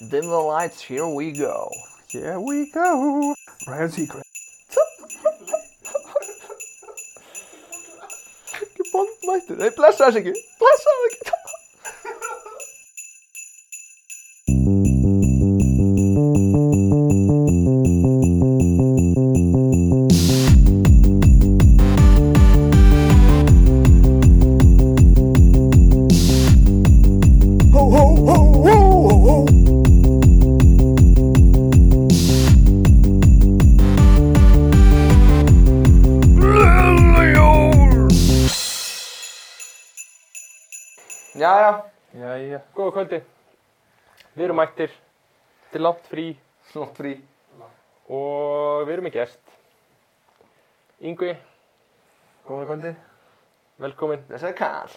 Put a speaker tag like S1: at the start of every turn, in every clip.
S1: Dim the lights, here we go.
S2: Here we go. Brian Secret.
S1: Ekki bondmættur, nei blessa þess ekki, blessa þess ekki.
S2: Ho, ho, ho, ho, ho, ho.
S1: Jæja,
S3: Jæja, góða kvöldi. Við erum mættir til langt frí
S1: slótt frí.
S3: og við erum með gest. Yngvi,
S2: Góða kvöldi.
S3: velkomin.
S1: Þessi er kall.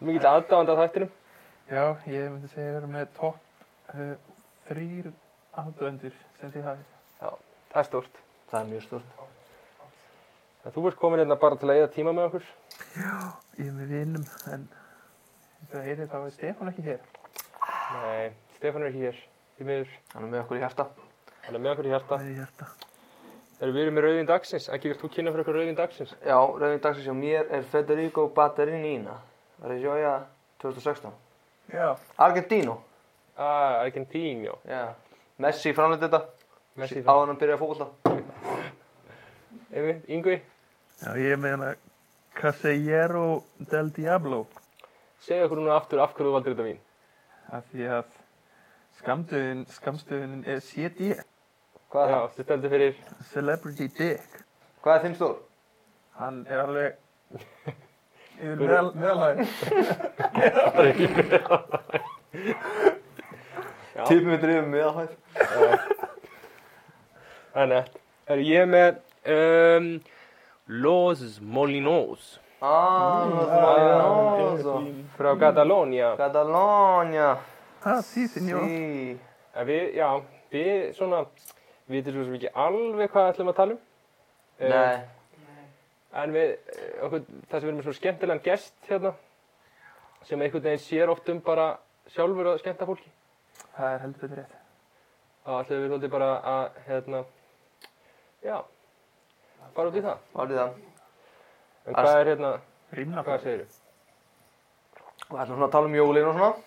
S3: Mikið aðdáðandi að þættinum.
S2: Já, ég myndi segja að við erum með topp uh, þrýr aðdöndir sem þið hafið.
S3: Það er stórt.
S1: Það er mjög stort.
S3: En þú ert komin hérna bara til að eða tíma með okkur.
S2: Ég er með vinnum, en það er það að Stefán ekki hér.
S3: Nei, Stefán er ekki hér. Því miður,
S1: Hann er með okkur í hjarta.
S3: hann er með okkur í hjarta.
S2: Það er hjarta.
S3: Erum við erum með rauðin dagsins. Ekki vilt þú kynna fyrir okkur rauðin dagsins?
S1: Já, rauðin dagsins hjá mér er Federico Battarinina. Það er sjója 2016.
S2: Já.
S1: Argentínu.
S3: Ah, Argentínu.
S1: Já. Messi framleitt þetta.
S3: Messi
S1: Á
S3: það.
S1: hann að byrja að fókbalta.
S3: Einmitt, Yngvi,
S2: Já, ég er með hana Casillero del Diablo.
S3: segja okkur núna aftur af hverju þú valdir þetta vín.
S2: Af því að skamstöðin, skamstöðin er CD.
S1: Hvað er
S3: Já,
S1: það?
S3: þið stendur fyrir
S2: Celebrity Dick.
S1: Hvað er þinn stór?
S2: Hann er alveg yfir
S3: Hver-
S2: meðal- meðalhæðin.
S3: Já.
S1: Tipum við drifum við að hæð.
S3: Það er nett. Það er ég með um, Los Molinos
S1: Ah, Los Molinos.
S3: frá Catalónia.
S1: Catalónia.
S2: Ha, sí, senor.
S1: Sí.
S3: En Við, já, við svona, við veitum svo sem ekki alveg hvað ætlum að tala um. Eh,
S1: Nei.
S3: En við, eh, okkur, það sem við erum með svo skemmtilegan gest hérna, sem einhvern veginn sér oft um bara sjálfur að skemmta fólki.
S2: Það er heldur betur rétt.
S3: Það ætlum við svolítið bara að, hérna, já, fara út í það.
S1: Varði það.
S3: En
S1: Ast-
S3: hvað er hérna,
S2: Rýmna
S3: hvað segir þú?
S1: Og ætlum svona að tala um jólin og svona.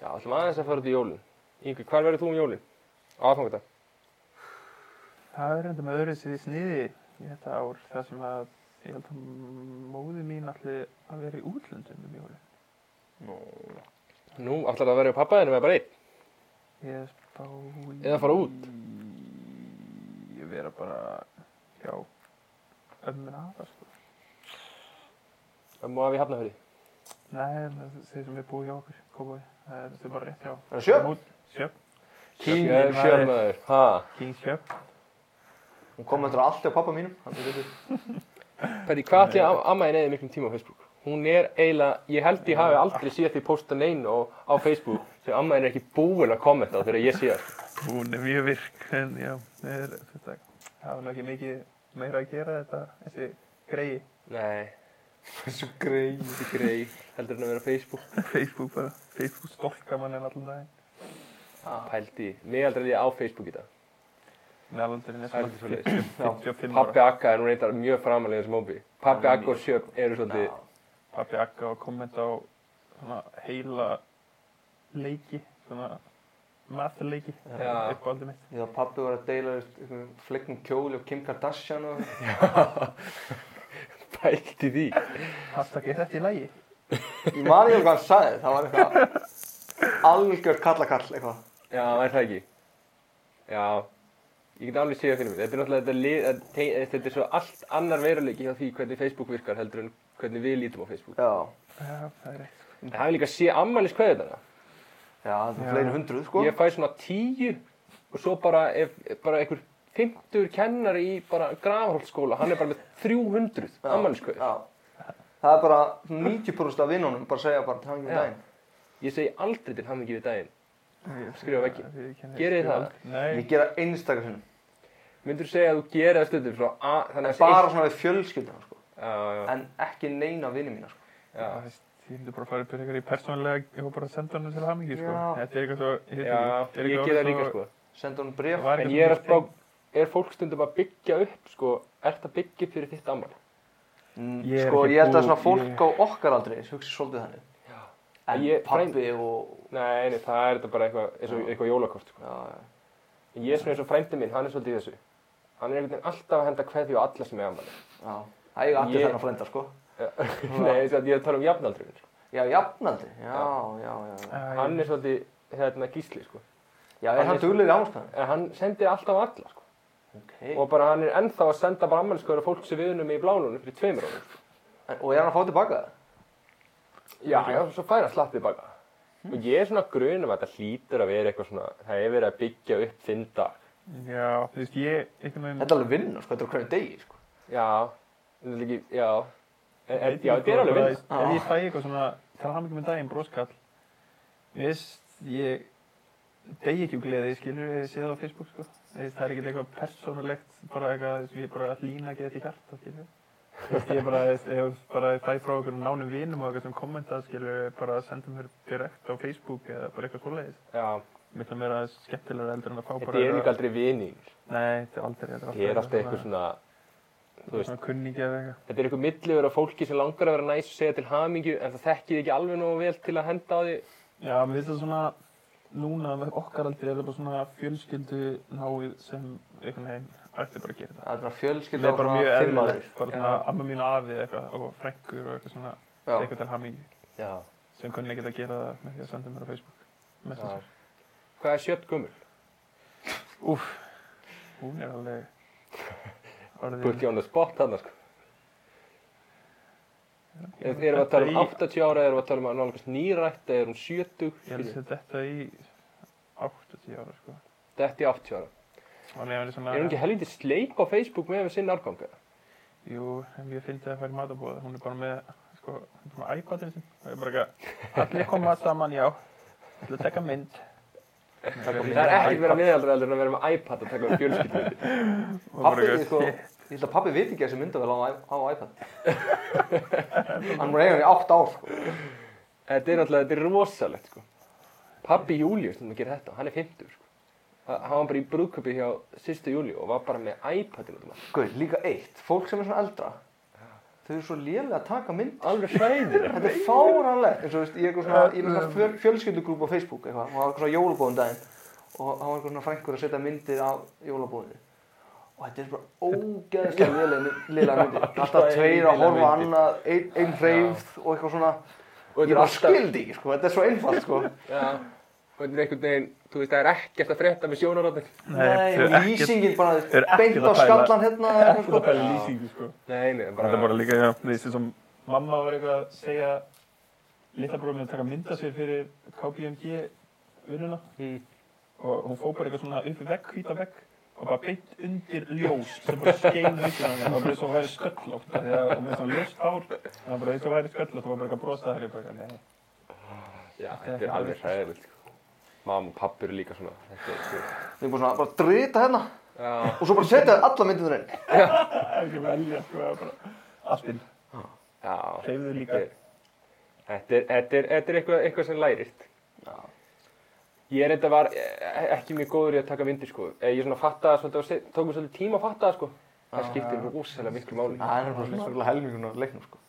S3: Já, ætlum aðeins að fara út í jólinn. Yngvi, hvar verður þú um jólinn? Á aðfangadag.
S2: Það er enda með öðru sér í sniði í þetta ár þar sem að ég held að móði mín allir að vera í útlöndum um jólum.
S3: Nú, ætlar það að vera hjá pappa þinn með bara einn?
S2: Ég spá í...
S3: Eða fara út?
S2: Ég vera bara, já, ömmun aða sko.
S3: Ömmu og afi í Hafnarfirði.
S2: Nei, það er þeir sem er búið hjá okkur, kópaði. Það er þau bara rétt hjá.
S1: Er það sjö?
S2: Mút- Sjöfn.
S1: Kín.
S3: Ég er sjörmaður. Ha?
S2: King Sjöfn.
S1: Hún kom eftir allt hjá pappa mínum. Hann er þetta.
S3: Pæti, hvað ætli að amma þinn eða miklum tíma á Facebook? Hún er eiginlega, ég held ég hafi aldrei séð því posta neina á, á Facebook sem amma þinn er ekki búin að kommenta á þegar ég sé það.
S2: Hún er mjög virk, en já, það er þetta. Það var nú ekki mikið meira að gera þetta, þessi greiði.
S3: Nei,
S1: Þessu grei.
S3: ekki grei, heldur en að vera á Facebook.
S2: Facebook bara, Facebook stolka mann en allan daginn.
S3: Pældi, mig aldrei ég á Facebook í dag.
S2: Meðalaldurinn er
S3: Það er
S2: svona
S3: svolítið svoleiðis.
S2: 55 ára.
S3: Pappi Akka er nú reyndar mjög framalega sem hópi. Pappi Akka og Sjöfn eru svolítið,
S2: Pappi Akka og kommenta á svona heila leiki, svona mathleiki,
S3: Já.
S2: uppáldið mitt.
S1: Ég þá pappi var að deila einhverjum flegnum kjóli og Kim Kardashian og
S3: pældi því.
S2: Hashtag er þetta í lagi?
S1: ég man ekki alveg hvað hann sagði, það var eitthvað algjör kallakall eitthvað.
S3: Já, er það ekki? Já, ég get alveg séð það fyrir mig. Þetta er náttúrulega, þetta, lið, þetta te- þetta er svo allt annar veruleiki hjá því hvernig Facebook virkar heldur en hvernig við lítum á Facebook.
S1: Já,
S2: Já, það er rétt.
S3: En það er líka að sé ammælis kveðið þarna.
S1: já það
S2: Já.
S1: er fleiri hundruð sko.
S3: Ég fæ svona tíu og svo bara, ef, bara einhver 50 kennari í bara grafhóllskóla, hann er bara með 300
S1: Já,
S3: ammælis kveðið.
S1: Já, það er bara 90% af vinnunum bara að segja bara til hann ekki
S3: Já.
S1: daginn.
S3: Ég segi aldrei til hamingi við daginn. Skrifa veggi. Gerið
S2: Gerið
S3: þið það?
S2: það? Nei,
S1: Ég gera einstakar sinnum,
S3: Myndur þú segja að þú gerir það stundum svona að, þannig að...
S1: bara svona við fjölskyldina sko.
S3: Já, já,
S1: En ekki neina vinni mína sko.
S3: já.
S2: það veist, Ég myndi bara að fara upp fyrir eitthvað í persónulega og bara senda hann til hamingi, sko.
S1: Já.
S2: Þetta er eitthvað svo... ég veit
S3: Já,
S2: ekki, þetta er
S3: ég
S2: eitthvað
S3: gera
S2: orðið
S3: líka
S2: svo-
S3: sko
S1: Senda hún bréf.
S2: Það var
S3: En
S2: eitthvað
S3: ég er að
S2: svona-
S3: spá, er fólk stundum að byggja upp sko, ert að byggja upp fyrir þitt ammali?
S1: Mm,
S2: Ég er
S1: sko,
S2: ekki
S1: ég held að
S2: bú-
S1: svona fólk
S2: ég-
S1: á okkar aldrei hugsi svolítið þannig. En
S3: Ég-
S1: pabbi og...
S3: Nei, nei, það er þetta bara eitthvað, eins og
S1: Já.
S3: eitthvað jólakort sko.
S1: Já, já.
S3: En Ég er svona eins og frændi minn, hann er svolítið í þessu. Hann er einhvern veginn alltaf að henda kveðju á alla sem er ammali.
S1: já. Það eiga allir
S3: Ég-
S1: þennan frenda, sko.
S3: nei, eins og að ég er að tala um jafnaldrun. Sko.
S1: Já, jafnaldri. Já,
S3: Já.
S1: já, já. Já,
S2: Æ,
S3: Hann er svolítið hérna gísli sko.
S1: já
S3: Hann
S1: er
S3: er-
S1: hann duglið í ámstæðan?
S3: En hann sendir alltaf á alla sko.
S1: Ok.
S3: Og bara hann er ennþá að senda bara ammaliskoður á fólk sem viðunum í blánunum fyrir tveimur árum. sko.
S1: En- Og er hann að fá tilbaka það?
S3: Já, já, svo fær hann slappið baka. Og ég er svona grunum að þetta hlýtur að vera eitthvað svona, það er verið að byggja upp þinn dag.
S2: Já, þú veist, ég, einhvern
S3: Mm.
S2: veginn...
S1: Þetta er alveg vinna, sko. Þetta er á hverju degi, sko.
S3: Já, þetta er líki, já. Er, er,
S2: Veit
S3: já, þetta
S2: ekki
S3: er
S2: hvað,
S3: alveg
S2: bara
S3: vinn.
S1: Já.
S2: Ef ég fæ eitthvað svona, það er hamingi með daginn, broskall, veist, ég degi ekki úr gleði, skilur, ég sé það á Facebook, sko. Veist, það er ekkert eitthvað persónulegt, bara eitthvað, þú veist, ég er bara að lína að geta þetta í hjarta, skilur. Veist, ég bara, veist, ef bara ég fæ frá okkur nánum vinum og eitthvað sem kommenta, skilur, bara senda mér direkt á Facebook eða bara eitthvað svoleiðis.
S3: Já,
S2: Mér finnst það meira skemmtilega heldur en að fá bara...
S3: þetta er líka aldrei vinningur.
S2: Nei, þetta er aldrei, þetta
S3: Þetta er alltaf eitthvað svona, þú veist,
S2: Svona kunningi eða eitthvað.
S3: þetta er eitthvað milliður af fólki sem langar að vera næs og segja til hamingju en það þekkið ekki alveg nógu vel til að henda á því.
S2: Já, mér finnst það svona, núna með okkar aldrei er það bara svona fjölskyldu náið sem einhvern veginn ætti bara að gera það.
S1: Það er bara fjölskylda
S2: Það er bara mjög
S1: fimm
S2: eðlilegt,
S1: aðrir.
S2: bara svona amma mín og afi eða eitthvað og frængur og eitthvað svona,
S1: Já.
S2: eitthvað til hamingi
S3: Já.
S2: sem kunni ekkert að gera það með því að senda mér á Facebook. Messenger.
S3: Hvað er sjött gummul?
S2: Úff, hún er alveg
S3: Put
S2: orðin,
S3: you on the spot þarna, sko.
S2: Já.
S3: Erum við að tala um
S2: Þetta í-
S3: 80 ára, erum við að tala um að nálgast nýrætt, eða erum 70,
S2: ég held
S3: skilju,
S2: að þetta í 8-10 ára sko.
S3: þetta er 80 ára.
S2: Og ég verði svona,
S3: Erum við ekki helvítið sleik á Facebook með við sinn árganga?
S2: jú, en ég fyndi að fara í matabóða, hún er bara með, sko, hún er bara með iPadin sinn og ég er bara ekki að, allir koma saman, já, ætla að taka mynd.
S3: Það er ekkert verið að miðaldra heldur en að vera með iPad að taka um fjölskyldum.
S1: Pabbi, sko, ég held að pabbi viti ekki þessi myndavel á, á iPad. hann múið eiga hann í 8 ár, sko.
S3: Þetta er náttúrulega, þetta er rosalegt sko. Pabbi Július, þannig að gera þetta, hann er 50 sko. Það- Hann var bara í brúðköpi hjá sýstu Júliu og var bara með iPadin út um allt.
S1: Guð, líka eitt. Fólk sem er svona eldra, þau eru svo lélega að taka mynd.
S3: Alveg hræðir.
S1: Þetta er fáranlegt, eins og þú veist, ég er eitthvað svona, ég er með svona fjör, fjölskyldugrúpa á Facebook eitthvað, og það var eitthvað svona jólabóðum daginn og það var eitthvað svona frænkur að setja myndir af jólabóðinu og þetta er bara ógeðslega lélega lélega myndir, alltaf tveir að horfa á
S3: myndir.
S1: annað, einn ein hreyfð og eitthvað svona,
S3: Og
S1: ég bara skildi ekki sko, þetta er svo einfalt sko.
S3: Já. Og þetta er einhvern veginn, þú veist, það er ekkert að frétta með sjónaróttin.
S1: sko. Nei,
S2: þau ekkert-
S1: lýsingin
S2: þau eru
S1: bara
S2: ekkert
S1: beint á
S2: að pæla-
S1: skallan hérna eða eitthvað
S2: Það
S1: sko.
S2: er lýsingu sko.
S3: Nei, nei, bara...
S2: Þetta er bara líka, já, þessi sem mamma var eitthvað að segja litla bróðum að taka mynda sér fyrir KPMG vinnuna
S3: Mm.
S2: og hún fóð bara eitthvað svona upp í vegg, hvíta vegg og bara beint undir ljós sem bara skein myndina hann og bara eins og hún væri sköllótt af því að hún með svona ljóst hár og það bara eins og hún væri sköllótt og var bara eitthvað brosað þær eitthvað nei,
S3: Já, þetta er alveg hræðilegt sko. Mamma og pappi eru líka svona. Þetta er sko...
S1: Þau er bara svona, bara drita hérna
S3: Já.
S1: og svo bara setja þér alla myndinur inn.
S2: það er ekki velja sko, það er bara allt inn,
S3: Já.
S2: hreyfðu
S3: Þetta
S2: líka
S3: er, þetta er, þetta er, þetta er eitthvað, eitthvað sem lærist.
S1: Já.
S3: Ég er þetta var eh, ekki mjög góður í að taka myndir sko. Eh, Ég svona fattaði svolítið, og se- tók mér svolítið tíma að fatta það sko. Það skiptir rosalega miklu máli.
S1: Það er bara svona helmingun af leiknum sko.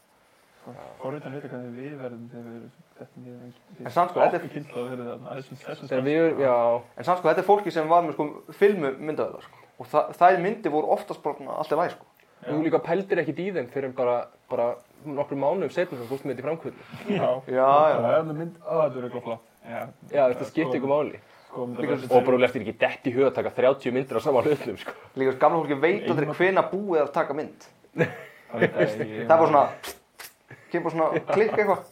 S2: Forritan veit ekki hvað við verðum þegar við erum þetta niður
S1: En samt sko, þetta er
S2: Ekki kynnt að verða þarna, aðeins þessum
S3: Þegar við, já,
S1: En samt sko, þetta er fólki sem var með sko filmu myndaðilega sko. Og þa þær myndi voru oftast bara svona allt í væg sko.
S3: þú líka pældir ekkit í þeim fyrir en bara, bara nokkrum mánuðum setna sem fórstu með þetta í framkvöldu.
S2: Já,
S1: Já, já.
S2: Það er með mynd, að þetta er eitthvað flott. Já,
S3: Já, þetta skiptir ykkur máli.
S2: Sko,
S1: Líka
S2: myndi
S3: Og bara leftir ekki detti í hug að taka 30 myndir á sama hlutnum sko.
S1: Líka þess að gamla fólki veit aldrei hvena búið er að taka mynd.
S2: Það
S1: Það er bara svona, pst, pst, kemur bara svona klikk eitthvað.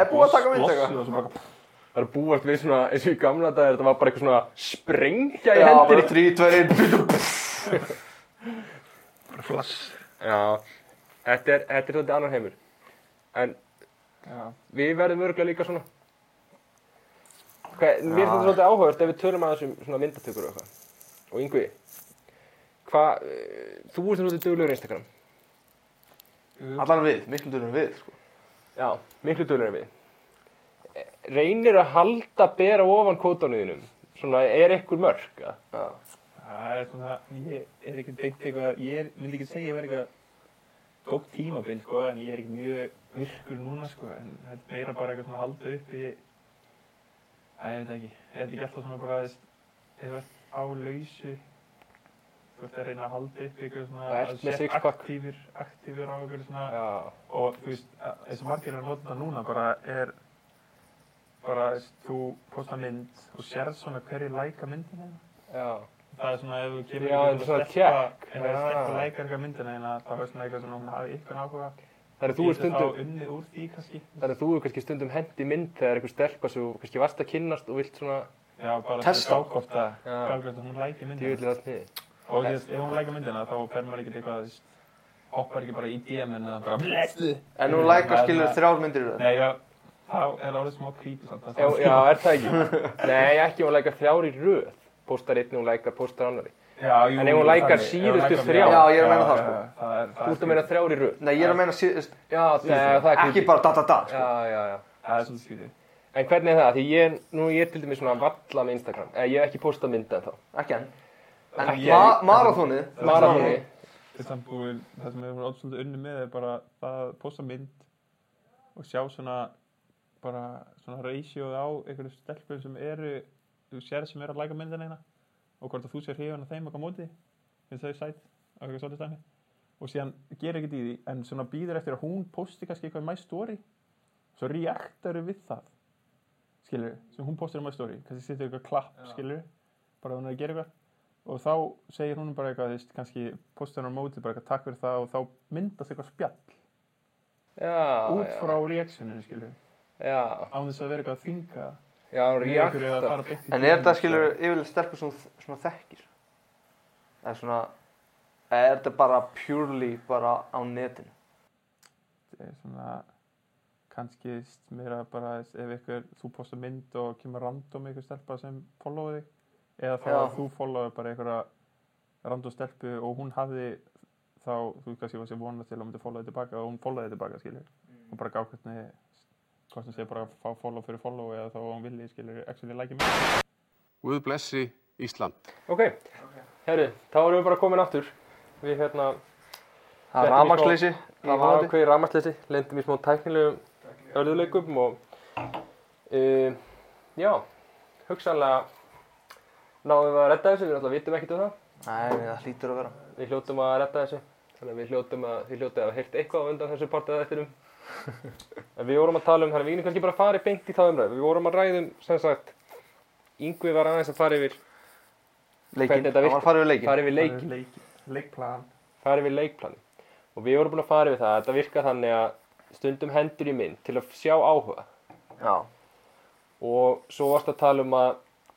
S1: Er búið að taka mynd eitthvað?
S2: eitthvað.
S3: Það er búast við svona, eins og í gamla dagar, þetta var bara eitthvað svona sprengja í
S1: Já, bara
S3: hendinni.
S1: 3, 2, 1,
S2: Bara flass.
S3: Já, þetta er, þetta er svolítið annar heimur. En
S2: Já.
S3: Við verðum örgulega líka svona. Hvað, mér finnst þetta svolítið áhugavert ef við tölum að þessum svona myndatökur og eitthvað. Og yngvi, hvað, eh, þú ert svolítið duglegur á Instagram.
S1: Allan við, miklum durum við sko.
S3: Já, miklu dölur en við. Eh, Reynir að halda bera ofan kvótanuðinum. Svona, er ekkur mörg? Ja?
S1: Já.
S2: Það er svona, ég er ekki beint eitthvað, ég er, vil ekki segja að ég verði eitthvað gótt tímabil, sko, en ég er ekki mjög virkur núna, sko, en þetta er meira bara eitthvað svona að halda upp í, að ég veit það ekki, er þetta ekki alltaf svona bara aðeins, ef þú ert á lausu, þú ert að reyna að halda upp í eitthvað svona,
S3: Og ert
S2: að
S3: með
S2: sé
S3: sixpack.
S2: aktífur, aktífur á eitthvað svona,
S3: Já.
S2: og þú veist, að- eins og margir er að nota núna bara er bara, þú veist, þú posta mynd og sérð svona hverju læka myndina þína.
S3: Já.
S2: það er svona ef þú kemur
S3: Já, þetta
S2: einhver
S3: er svona
S2: stelpa-
S3: tékk.
S2: ef það er
S3: Já.
S2: stelpa að læka eitthvað myndina þína þá er svona eitthvað svona hún hafi eitthvað áhuga
S3: Þannig að þú er
S2: Getur
S3: stundum...
S2: þá unnið úr því kannski
S3: Þannig að þú er kannski stundum hendi mynd þegar einhver stelpa sem þú kannski varst að kynnast og vilt svona
S2: já, bara til að
S1: Testa.
S2: gá hvort að
S3: Já.
S2: gá hvort að hún læki myndina
S3: djúvillir allt niður.
S2: og þú veist, ef hún læka myndina þá fer maður ekkert eitthvað þú veist, hoppar ekki bara í DM-in eða bara blessu
S1: En nú læka skilur þrjár myndir í röð.
S2: nei, já, þá er orðið smá creepy samt, það
S3: Já,
S2: er-
S3: já, er það ekki? Nei, ekki ef hún lækar þrjár í röð. Póstar einni, hún lækar, póstar annari.
S2: Já, jú,
S3: En ef hún lækar
S2: þannig,
S3: síðustu
S2: ef hún lækar-
S3: þrjá.
S1: Já, ég er að meina það, sko.
S2: já, það er-
S3: Þú
S2: það er
S3: ert að meina þrjár í röð.
S1: Nei, ég er að meina síðust,
S3: Já, nei, það er
S1: ekki bara da da da, sko.
S3: Já, já, já.
S2: það er svona skrítið
S3: En hvernig er það? Því ég, nú ég er til dæmis svona valla með Instagram. Eh, Ég hef ekki póstað mynda en þá.
S1: Ekki enn. En
S2: Ekki
S1: ma
S2: enn.
S1: marathónið,
S3: Marathoni.
S2: Þetta er samt búin, það sem hefur ótrúlega unni með er bara það að posta mynd og sjá svona bara svona ratioð á einhverju stelpum sem eru þú sér sem eru að læka myndina eina og hvort að þú sér hrifan að þeim okkar móti finnst þau sætt á eitthvað svolítið stæmi og síðan gerir ekkert í því en svona býður eftir að hún posti kannski eitthvað í my story svo reaktaru við það skilur sem hún postir í my story kannski setur eitthvað klapp
S3: Já.
S2: skilur bara ef hún er að gera eitthvað og þá segir hún bara eitthvað, þú veist, kannski postar hún á móti bara eitthvað takk fyrir það og þá myndast eitthvað spjall
S3: Já,
S2: út
S3: Ah, já.
S2: frá reaksjóninu, skilur
S3: Já,
S2: án þess að vera eitthvað að þynga
S3: já,
S2: með einhverju eða
S3: reakta.
S2: fara beint í
S1: en er
S2: DM,
S1: þetta
S2: sko.
S1: skilur yfirleitt stelpur sem þú- svona þekkir? Það er svona, eða er þetta bara purely bara á netinu?
S2: Þetta er eh, svona kannski veist, meira bara ef ykkur, þú postar mynd og kemur random ykkur stelpa sem followa þig eða þá
S1: Já.
S2: að þú followa bara einhverja random stelpu og hún hafði þá, þú veist kannski var sér vonað til að hún myndi followa þig tilbaka og hún followaði þig tilbaka, skilur og bara gá hvernig hvort sem sé bara að fá follow fyrir follow eða þá að hún vilji, skilur, actually like mig
S4: Guð blessi Ísland.
S3: Ok, herru, þá erum við bara komin aftur. Við
S1: Það
S3: hérna,
S1: er
S3: Þetta er
S1: rafmagnsleysi,
S3: Það
S1: það
S3: var
S1: var
S3: ákveði rafmagsleysi, lendum í smá tæknilegum örðuleikum og uh, já, hugsanlega náðum við að redda þessu, við alltaf vitum ekkert um það,
S1: Nei, það hlýtur að vera.
S3: við hljótum að redda þessu, þannig að við hljótum að, við hljótum að hafa heyrt eitthvað á undan þessu partið eftirum. en við vorum að tala um, þannig að við erum kannski bara farið beint í það umræðu, við vorum að ræðum, sem sagt, Yngvi var aðeins að fara yfir,
S1: Leikinn,
S3: þetta
S1: það
S3: virkar.
S1: var farið við leikinn.
S3: fara yfir leik,
S2: leik, leikplan
S3: fara yfir leikplanin og við vorum búin að fara yfir það, þetta virka þannig að stundum hendur í mynd til að sjá áhuga
S1: Já,
S3: og svo varst að tala um að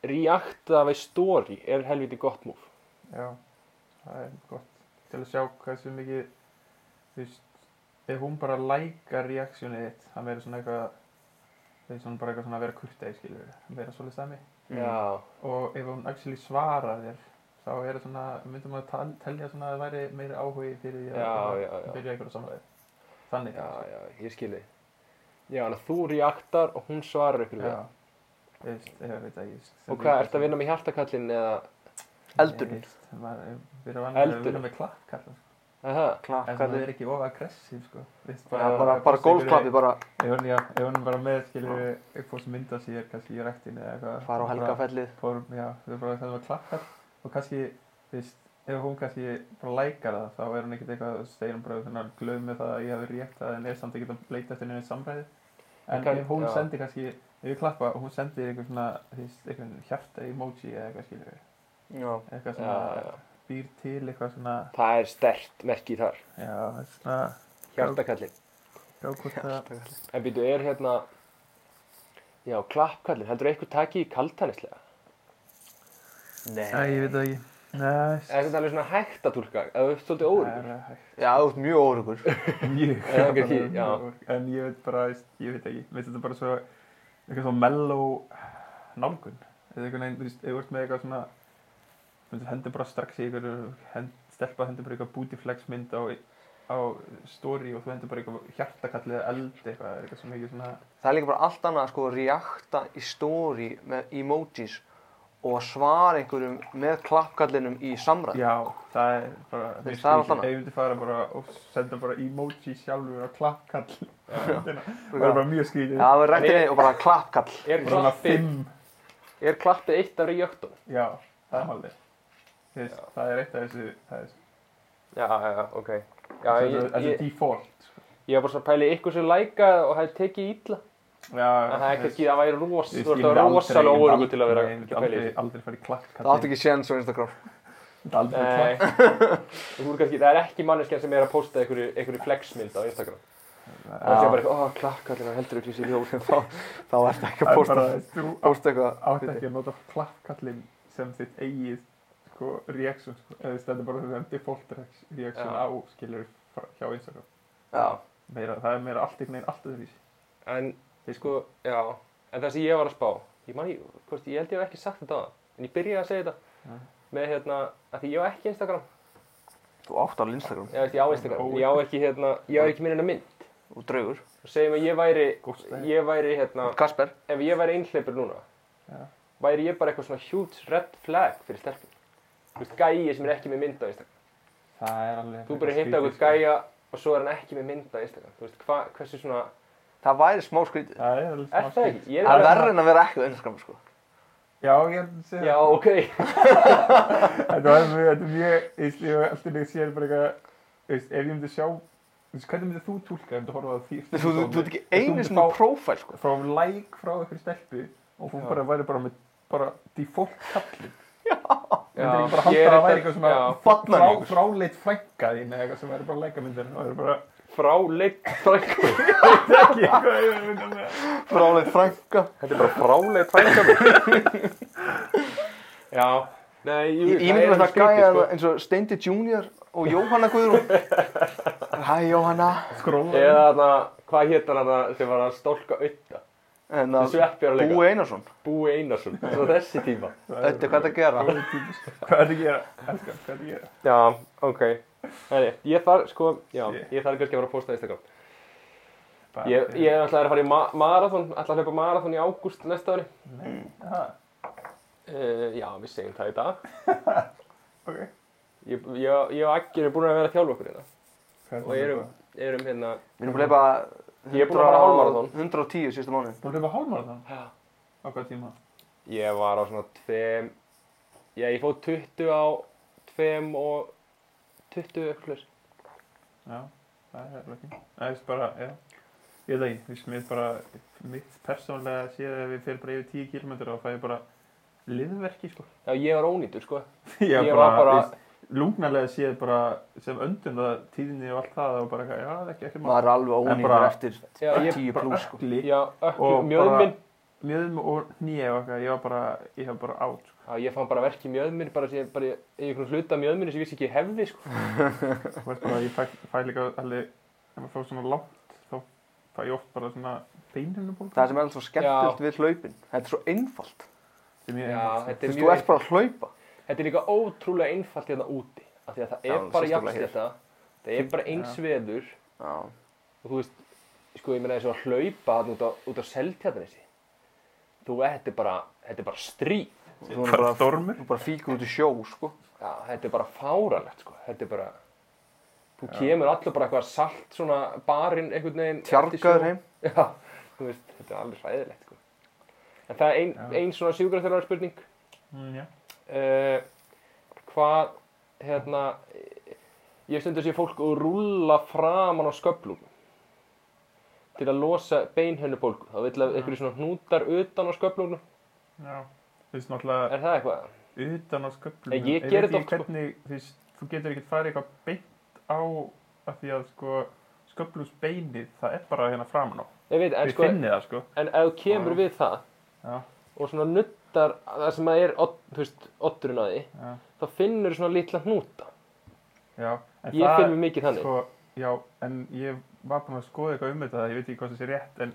S3: reacta við story er helviti gott múf
S2: Já, það er gott til að sjá hversu mikið þú veist, ef hún bara lækar reaksjónið þitt, það verður svona eitthvað það er svona bara eitthvað svona að vera kurtið, skilur það verður svolítið stæmi
S3: já,
S2: og ef hún actually svarar þér þá er það svona, myndum að tal, telja svona að það væri meiri áhugi fyrir því að
S3: Já, já, já.
S2: að byrja eitthvað samræði þannig
S3: já, já, ég skilji já, þannig að þú reactar og hún svarar ykkur við
S2: já. Þú veist, ég veit ekki
S3: það og hvað, ert að vinna með hjartakallin eða
S1: eldur.
S2: Við erum vanlega að
S3: Eldurinn.
S2: vinna með klakkar
S3: aha,
S1: Klapp,
S2: en það er ekki of aggressív sko. Þú veist,
S1: Já, bara, bara gólfklappi, bara
S2: Ef hún, já, ef hún er bara með, skilur við, upp á sem mynda sér, kannski í rættinni eða eitthvað.
S1: fara á helgafellið.
S2: Bara- Fórum, já, við erum bara það var klakkar og kannski, þú veist, ef hún kannski bara lækar það, þá er hún ekkert eitthvað, segir hún bara þannig að glöð með það að ég hafi rétt það en er samt ekkert að leita eftir henni samræði. En
S3: Kann-
S2: ef hún
S3: já.
S2: sendir kannski, ef við klappa og hún sendir eitthvað svona, þú veist, eitthvað hjarta emoji eða eitthvað, skilur við,
S1: Já.
S2: eitthvað
S3: já,
S2: svona,
S3: já.
S2: býr til eitthvað svona,
S3: það er stert merki þar
S2: já, svona,
S3: hjartakallin,
S2: já, hvort það,
S3: en býtu, er hérna já, klappkallin, heldur eitthvað taki í kaltanislega
S2: Æ, ég veit það ekki. Nei,
S3: er þetta alveg svona hægt að tólka eða þú ert svolítið óriður
S2: Það er hægt.
S1: Já, þú ert mjög órugur.
S2: mjög
S3: Já, kannski, já.
S2: en ég veit bara, veist, ég veit ekki veist þetta er bara svo, eitthvað svo mellow nálgun eða einhvern veginn, þú veist, ef þú ert með eitthvað svona þú veist, hendur bara strax í ykkur hend, stelpa hendur bara eitthvað booty flex mynd á á story og þú hendur bara eitthvað hjartakall eða eld eitthvað, eða eitthvað sem ekki svona
S1: það er líka bara allt annað sko að reakta í story með emojis og að svara einhverjum með klappkallinum í samræð
S2: Já, það er bara
S1: Það er allt annað.
S2: Ef ég myndi fara bara og senda bara emoji sjálfur á klappkall myndina, Það
S1: Já.
S2: er bara mjög skrítið
S1: Já, það var
S3: En
S1: rættinni
S3: ég-
S1: og bara klappkall.
S3: Er
S2: Bara svona
S3: klappið,
S2: fimm
S3: er klappið eitt af rejöktunum?
S2: Já, það er málið Þú veist, Það er eitt af þessu Það er
S3: Já, já, já, ok. Já,
S2: þessu
S3: ég,
S2: þessu
S3: ég,
S2: default sko.
S3: ég var bara svona að pæla í ykkur sem læka og það er tekið ítla.
S2: Já,
S3: En það er
S2: þú veist,
S3: kannski, það væri ros,
S2: þú veist,
S3: þú
S2: ég
S3: ert að vera
S2: myndi aldrei- ég
S3: rosalega
S2: myndi
S3: óörugu til að vera
S2: aldrei- Ég myndi
S3: að pæla í
S2: aldrei,
S3: þessu.
S2: aldrei fara í
S1: Það átti
S2: klappkall
S1: ekki séns á Instagram.
S2: Ég myndi aldrei fara í
S3: Nei, þú ert kannski, það er ekki manneskjan sem er að posta einhverju, einhverju flexmynd á Instagram. Það er
S1: Já.
S3: ekki bara eitthvað, ó, klakkallina, heldur ekki sér ljóð.
S1: Þá, þá ertu ekki að
S2: Það er
S1: posta,
S2: bara, þú
S1: posta eitthvað.
S2: átt ekki að nota klappkallin sem þitt eigið sko, reaction, sko, eða þess, þetta er bara þess default reax- reaction
S3: Já.
S2: á skilur hjá Instagram.
S1: Já.
S2: Meira, það er meira allt einhvern veginn allt öðru vísi.
S3: En Sko, já, en það sem ég var að spá, ég, man, ég, hvort, ég held ég hef ekki sagt þetta á það, en ég byrjaði að segja þetta
S2: Já.
S3: með hérna, að því ég á ekki Instagram,
S1: Þú átt alveg Instagram.
S3: ég veist, ég á Instagram,
S2: Ó.
S3: ég á ekki hérna, ég á ekki minna mynd.
S1: Og draugur.
S3: Og segjum að ég væri,
S2: Gott stæði.
S3: ég væri hérna,
S1: Kasper.
S3: ef ég væri einhleipur núna,
S2: Já.
S3: væri ég bara eitthvað svona huge red flag fyrir stelpum. Þú veist, gæi sem er ekki með mynd á Instagram.
S2: Það er alveg...
S3: Þú bara hittar
S2: sko.
S3: eitthvað gæja og svo er hann ekki með mynd á Instagram. Þú veist, hva, hversu svona,
S1: Það væri smá skrítið.
S2: sko. Það er alveg
S3: er
S2: smá
S3: það
S2: skil.
S3: ekki? Ég
S1: Það er
S3: alveg-
S1: verður en að vera ekki á Instagram, sko.
S2: Já, ég held að segja
S3: Já,
S2: það.
S3: ok.
S2: Þetta var mjög, þetta er mjög, þú veist, ég hef alltaf leik sér bara eitthvað, þú veist, ef ég myndi sjá, þú veist, hvernig myndi þú tólka ef þú horfaði á því?
S1: Þú, þú, þú ert ekki
S2: Þú myndir
S1: einu sinni
S2: fá-
S1: prófæl, sko.
S2: Frá like frá einhverju stelpu og hún
S3: Já.
S2: bara væri bara með, bara default kallin.
S3: Já,
S2: myndir ekki bara
S3: ég
S2: halda
S3: er
S2: að það
S3: þetta-
S2: væri eitthvað svona
S3: já.
S1: Barnaníkur.
S2: frá, fráleitt frænka þín eða eitthvað sem væri bara leikamyndir og það er bara
S3: frá leitt frængu.
S2: ekki eitthvað ég veit að segja.
S1: Frálega frænka.
S3: Þetta er bara frálega tvængjafur. já, nei, jú,
S1: Ég myndi með það gæja
S3: sko.
S1: eins og Steindi Junior og Jóhanna Guðrún. Hæ, Jóhanna.
S2: skróla
S3: Eða þarna, hvað hétar hann að- sem var að stólka auða?
S1: En
S3: Það
S1: að
S3: sveppjar að leika.
S1: Búi Einarsson.
S3: Búi Einarsson. Svo þessi tíma.
S1: Þetta er hvað það gera.
S2: hvað er það að gera Elskar, hvað er það að gera
S3: Já, ok. Nei, ég þarf, sko, já,
S2: Shit.
S3: ég þarf kannski að fara að posta Instagram.
S2: Bara-
S3: Ég, ég ætlaði að fara í ma marathon, ætlaði að hlaupa marathon í ágúst næsta ári.
S2: Aha,
S3: Uh, já, við segjum það í dag.
S2: ok.
S3: Ég, ég, ég og Aggi eru búin að vera að þjálfa okkur hérna.
S2: Hvað
S3: Og erum, erum hérna,
S1: Við erum búin að
S3: Ég er búinn að fara
S1: leipa
S3: hálfmaraþon.
S1: 110 síðustu mánuði.
S2: Búin að hlaupa hálmarathon
S3: já.
S2: á hvað tíma?
S3: Ég var á svona tveim, já ég fóð 20 á tveim og 20 öllur.
S2: Já, það er alveg ekki. Það er bara, já. Ég veit það ekki, þú veist, mér er bara, mitt persónlega séð ef ég fer bara yfir 10 km og fæ ég bara liðverki, sko.
S3: Já ég var ónýtur sko.
S2: Ég,
S3: Ég var bara-
S2: lúgnalega séð bara sem öndun það tíðinni og allt það og bara, eitthvað, já, það er ekki ekki
S1: Maður er alveg
S2: En
S1: ónýður
S2: bara-
S1: eftir
S3: Já, ég,
S1: 10 pluss, sko.
S2: ökli,
S3: já öklu,
S2: Og
S3: mjöðminn.
S2: mjöðum um og nýja og eitthvað, ég var bara, ég var bara átt, sko.
S3: Já ég fann bara verk í mjöðminn, bara sem ég, bara í í einhvern hluta mjöðminni sem ég vissi ekki ég hefði sko.
S2: Þú veist bara, ég fæ, fæ líka alveg, ef maður fór svona látt, þá fæ ég oft bara svona beinunum
S1: Það sem er alveg svo skemmtilegt við hlaupin. Þetta er svo einfalt.
S2: Þetta er mjög
S3: Já,
S2: einfalt, sko.
S3: þetta
S1: Þú
S3: er
S1: veist, þú
S3: mjög,
S1: ert bara að hlaupa.
S3: þetta er líka ótrúlega einfalt hérna úti. Af því að það
S1: Já,
S3: er bara
S1: sérstaklega
S3: jafnst þetta, það er bara eins
S2: Já.
S3: veður.
S1: Já.
S3: og þú veist, sko ég meina þessu að hlaupa þarna út á, út á seltjarnesi þú, þetta er bara, þetta er bara stríð
S1: Þú er bara,
S2: stormur.
S1: þú bara fíkur út í sjó, sko.
S3: já, þetta er bara fáralegt, sko þetta er bara, þú kemur allir bara eitthvað salt svona barinn einhvern veginn eftir sjó.
S1: Tjargaður heim.
S3: já, þú veist, þetta er alveg ræðilegt, sko en það er ein,
S2: Já.
S3: ein svona sjúkraþjóðar spurning
S2: Mm, já.
S3: uh, hvað, hérna eh, ég stundur sér fólk og rúlla framan á sköflum til að losa beinhönnubólgu þá vill að einhverju svona hnútar utan á sköflunum
S2: Já, þú veist náttúrulega
S3: er það eitthvað?
S2: utan á
S3: Ég-
S2: sköflum
S3: ég
S2: er
S3: geri
S2: ekki
S3: þetta oft, sko.
S2: hvernig, þú veist, þú getur ekkert farið eitthvað beint á að því að sko sköflusbeinið, það er bara hérna framan á
S3: ég veit, en
S2: við
S3: sko,
S2: finnið það sko
S3: en ef þú kemur við það
S2: já,
S3: og svona nuttar það sem að er, odd- þú veist, otturinn á því
S2: já,
S3: þá finnur svona litla hnúta
S2: já en
S3: ég finn mér mikið þannig
S2: sko, já, en ég var búinn að skoða eitthvað um þetta, ég veit ekki hvað það sé rétt en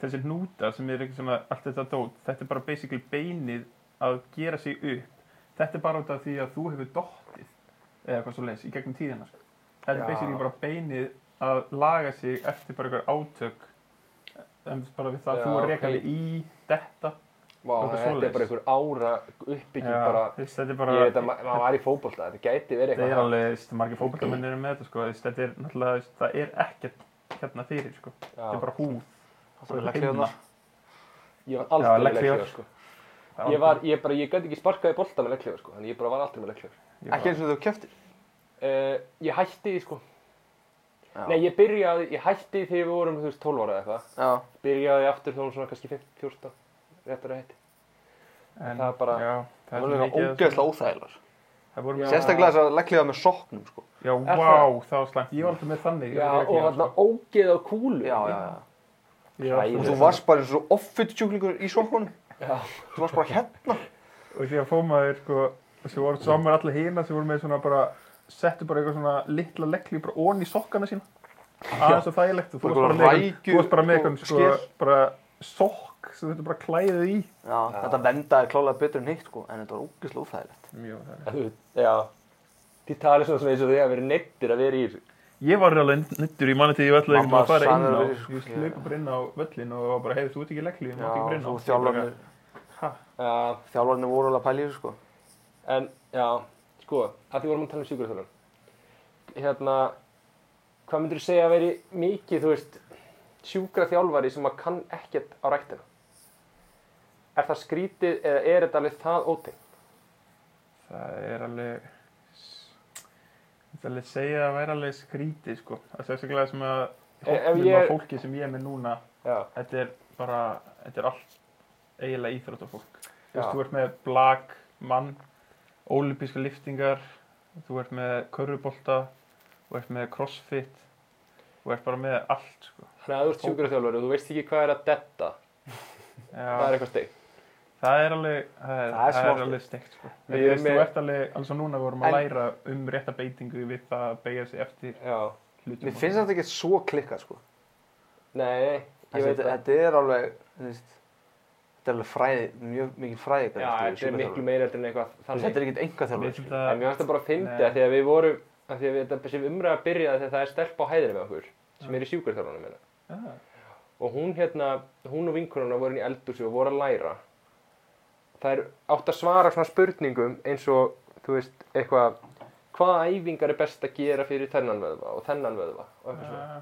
S2: þessi hnútar sem er ekki svona allt þetta dót, þetta er bara basically beinið að gera sig upp þetta er bara út af því að þú hefur dottið eða eitthvað svo í gegnum tíðina sko. Þetta
S3: Já.
S2: er basically bara beinið að laga sig eftir bara einhver átök en bara við það að
S3: Já,
S2: þú er rekali
S3: ok.
S2: í detta
S3: Vá,
S2: Eitthvað
S3: þetta er
S2: svoleiðis.
S3: bara einhver ára uppbygging
S2: Já,
S3: bara,
S2: þú veist, þetta er
S3: bara,
S2: bara
S3: ég veit að ma- maður var í fótbolta, þetta gæti verið
S2: þetta
S3: eitthvað
S2: er alveg, þú veist, margir fókbaltamennir eru með þetta sko, þú veist, þetta er náttúrulega, þú veist, það er ekkert hérna fyrir sko, þetta er
S3: Já,
S2: bara húð
S1: Það er hérna. legglega þarna.
S3: ég var
S2: Já,
S3: aldrei með
S2: legghlífar.
S3: legglífar, sko. Ég var, ég bara, ég gæti ekki sparkað í bolta með legglífar, sko, þannig ég bara var aldrei með legglífar.
S1: Ekki eins og þú keftir.
S3: Uh, ég hætti því, sko. Nei, ég byrjaði, ég hætti þegar við vorum, þú veist, 12 ára eða eitthvað.
S1: Já.
S3: Byrjaði aftur þegar við vorum svona kannski 15, 14, réttar að hætti.
S2: en,
S3: það er hérna. bara-
S2: já,
S1: Það
S2: það
S1: er
S2: er
S1: líka
S2: mikið
S1: ógeðslega óþægilegar.
S2: það voru
S3: Já.
S1: Sérstaklega þess að legglega með soknum, sko.
S2: já,
S3: Er
S2: vá,
S3: það-
S2: það var slæmt, ég var alltaf með þannig
S3: Já, og
S2: hann
S3: þarna ógeð á kúlu.
S1: Já, já, já.
S3: Ég
S1: Og
S3: veit
S1: þú
S3: það.
S1: varst bara eins og offit sjúklingur í sokkunum.
S3: Já.
S1: Þú varst bara hérna.
S2: og því að fómaður sko, og svo voru saman allir hina sem voru með svona bara settu bara eitthvað svona litla leggli bara ón í sokkana sína aðeins og þægilegt og þú
S1: Bara eitthvað
S2: varst bara með einhvern-
S1: rækju
S2: þú varst bara með
S1: og
S2: eitthvað sko,
S1: sker.
S2: bara sokk sem þetta bara klæðið í
S1: Já, þetta vendaði klálega betur en hitt, sko. En þetta var ógeðslega óþægilegt.
S2: Mjög, það er
S3: En þú veist, Já. Þið talið svona svona eins og því að vera neittir að vera í þessu.
S2: Ég var alveg nittur í manni til ég var alltaf
S1: Mamma
S2: að fara inn á,
S1: sannaði, sko,
S2: ég slöpa bara inn á völlin og var bara heiði þú ert ekki legglu, ég
S1: Já,
S2: mátt ekki brinna.
S1: svo þjálfarnir,
S3: Já.
S1: þjálfarnir voru alveg að pæla í þessu, sko.
S3: En, já, sko, að því vorum að tala um sjúkraþjálfun. Hérna, hvað myndur þú segja að veri mikið, þú veist, sjúkraþjálfari sem að kann ekkert á ræktina? Er það skrítið eða er þetta alveg það ótengt?
S2: Það er alveg, það er alveg að segja að það væri alveg skrítið sko. Það er sérstaklega sem að
S3: ef
S2: hópnum
S3: ég-
S2: af fólki sem ég er með núna,
S3: Já.
S2: þetta er bara, þetta er allt eiginlega íþróttafólk. Þú
S3: Já.
S2: veist, þú ert með blag, mann, ólipísku liftingar, þú ert með körfubolta, þú ert með crossfit, þú ert bara með allt sko.
S3: Þannig að þú ert sjúkraþjálfari og þú veist ekki hvað er að detta, það
S2: Já.
S3: er eitthvað steg.
S2: Það er alveg, það
S1: Það
S2: er,
S1: er
S2: það er
S1: svart.
S2: alveg steikt sko.
S3: Við
S2: Þú veist,
S3: erum
S2: þú
S3: með-
S2: ert alveg, alveg svo núna vorum að
S1: En-
S2: læra um rétta beitingu við það að beigja sig eftir
S3: Já.
S2: hlutum.
S1: Mér finnst þetta ekki svo klikkað, sko.
S3: Nei, ég
S1: Þetta,
S3: veit það.
S1: þetta er alveg, þú veist, þetta er alveg fræði, mjög mikið fræði.
S3: Já, þetta er miklu meira heldur en eitthvað þannig.
S1: Þetta er ekkert enga
S2: Mér
S1: þjálfari.
S3: En
S2: finnst
S3: mér
S2: þetta,
S3: finnst það bara að fyndi
S2: Nei.
S3: að því að við vorum, að því að við, þessi umræða byrjaði þegar það er stelp á hæðinni með okkur, sem er í sjúkraþjálfunum hérna. minna.
S2: já,
S3: og hún hérna, hún og vinkonuna voru inn í eldursi og voru að læra það er átt að svara svona spurningum eins og, þú veist, eitthvað hvaða æfingar er best að gera fyrir þennan vöðva og þennan vöðva og eitthvað svona
S2: já,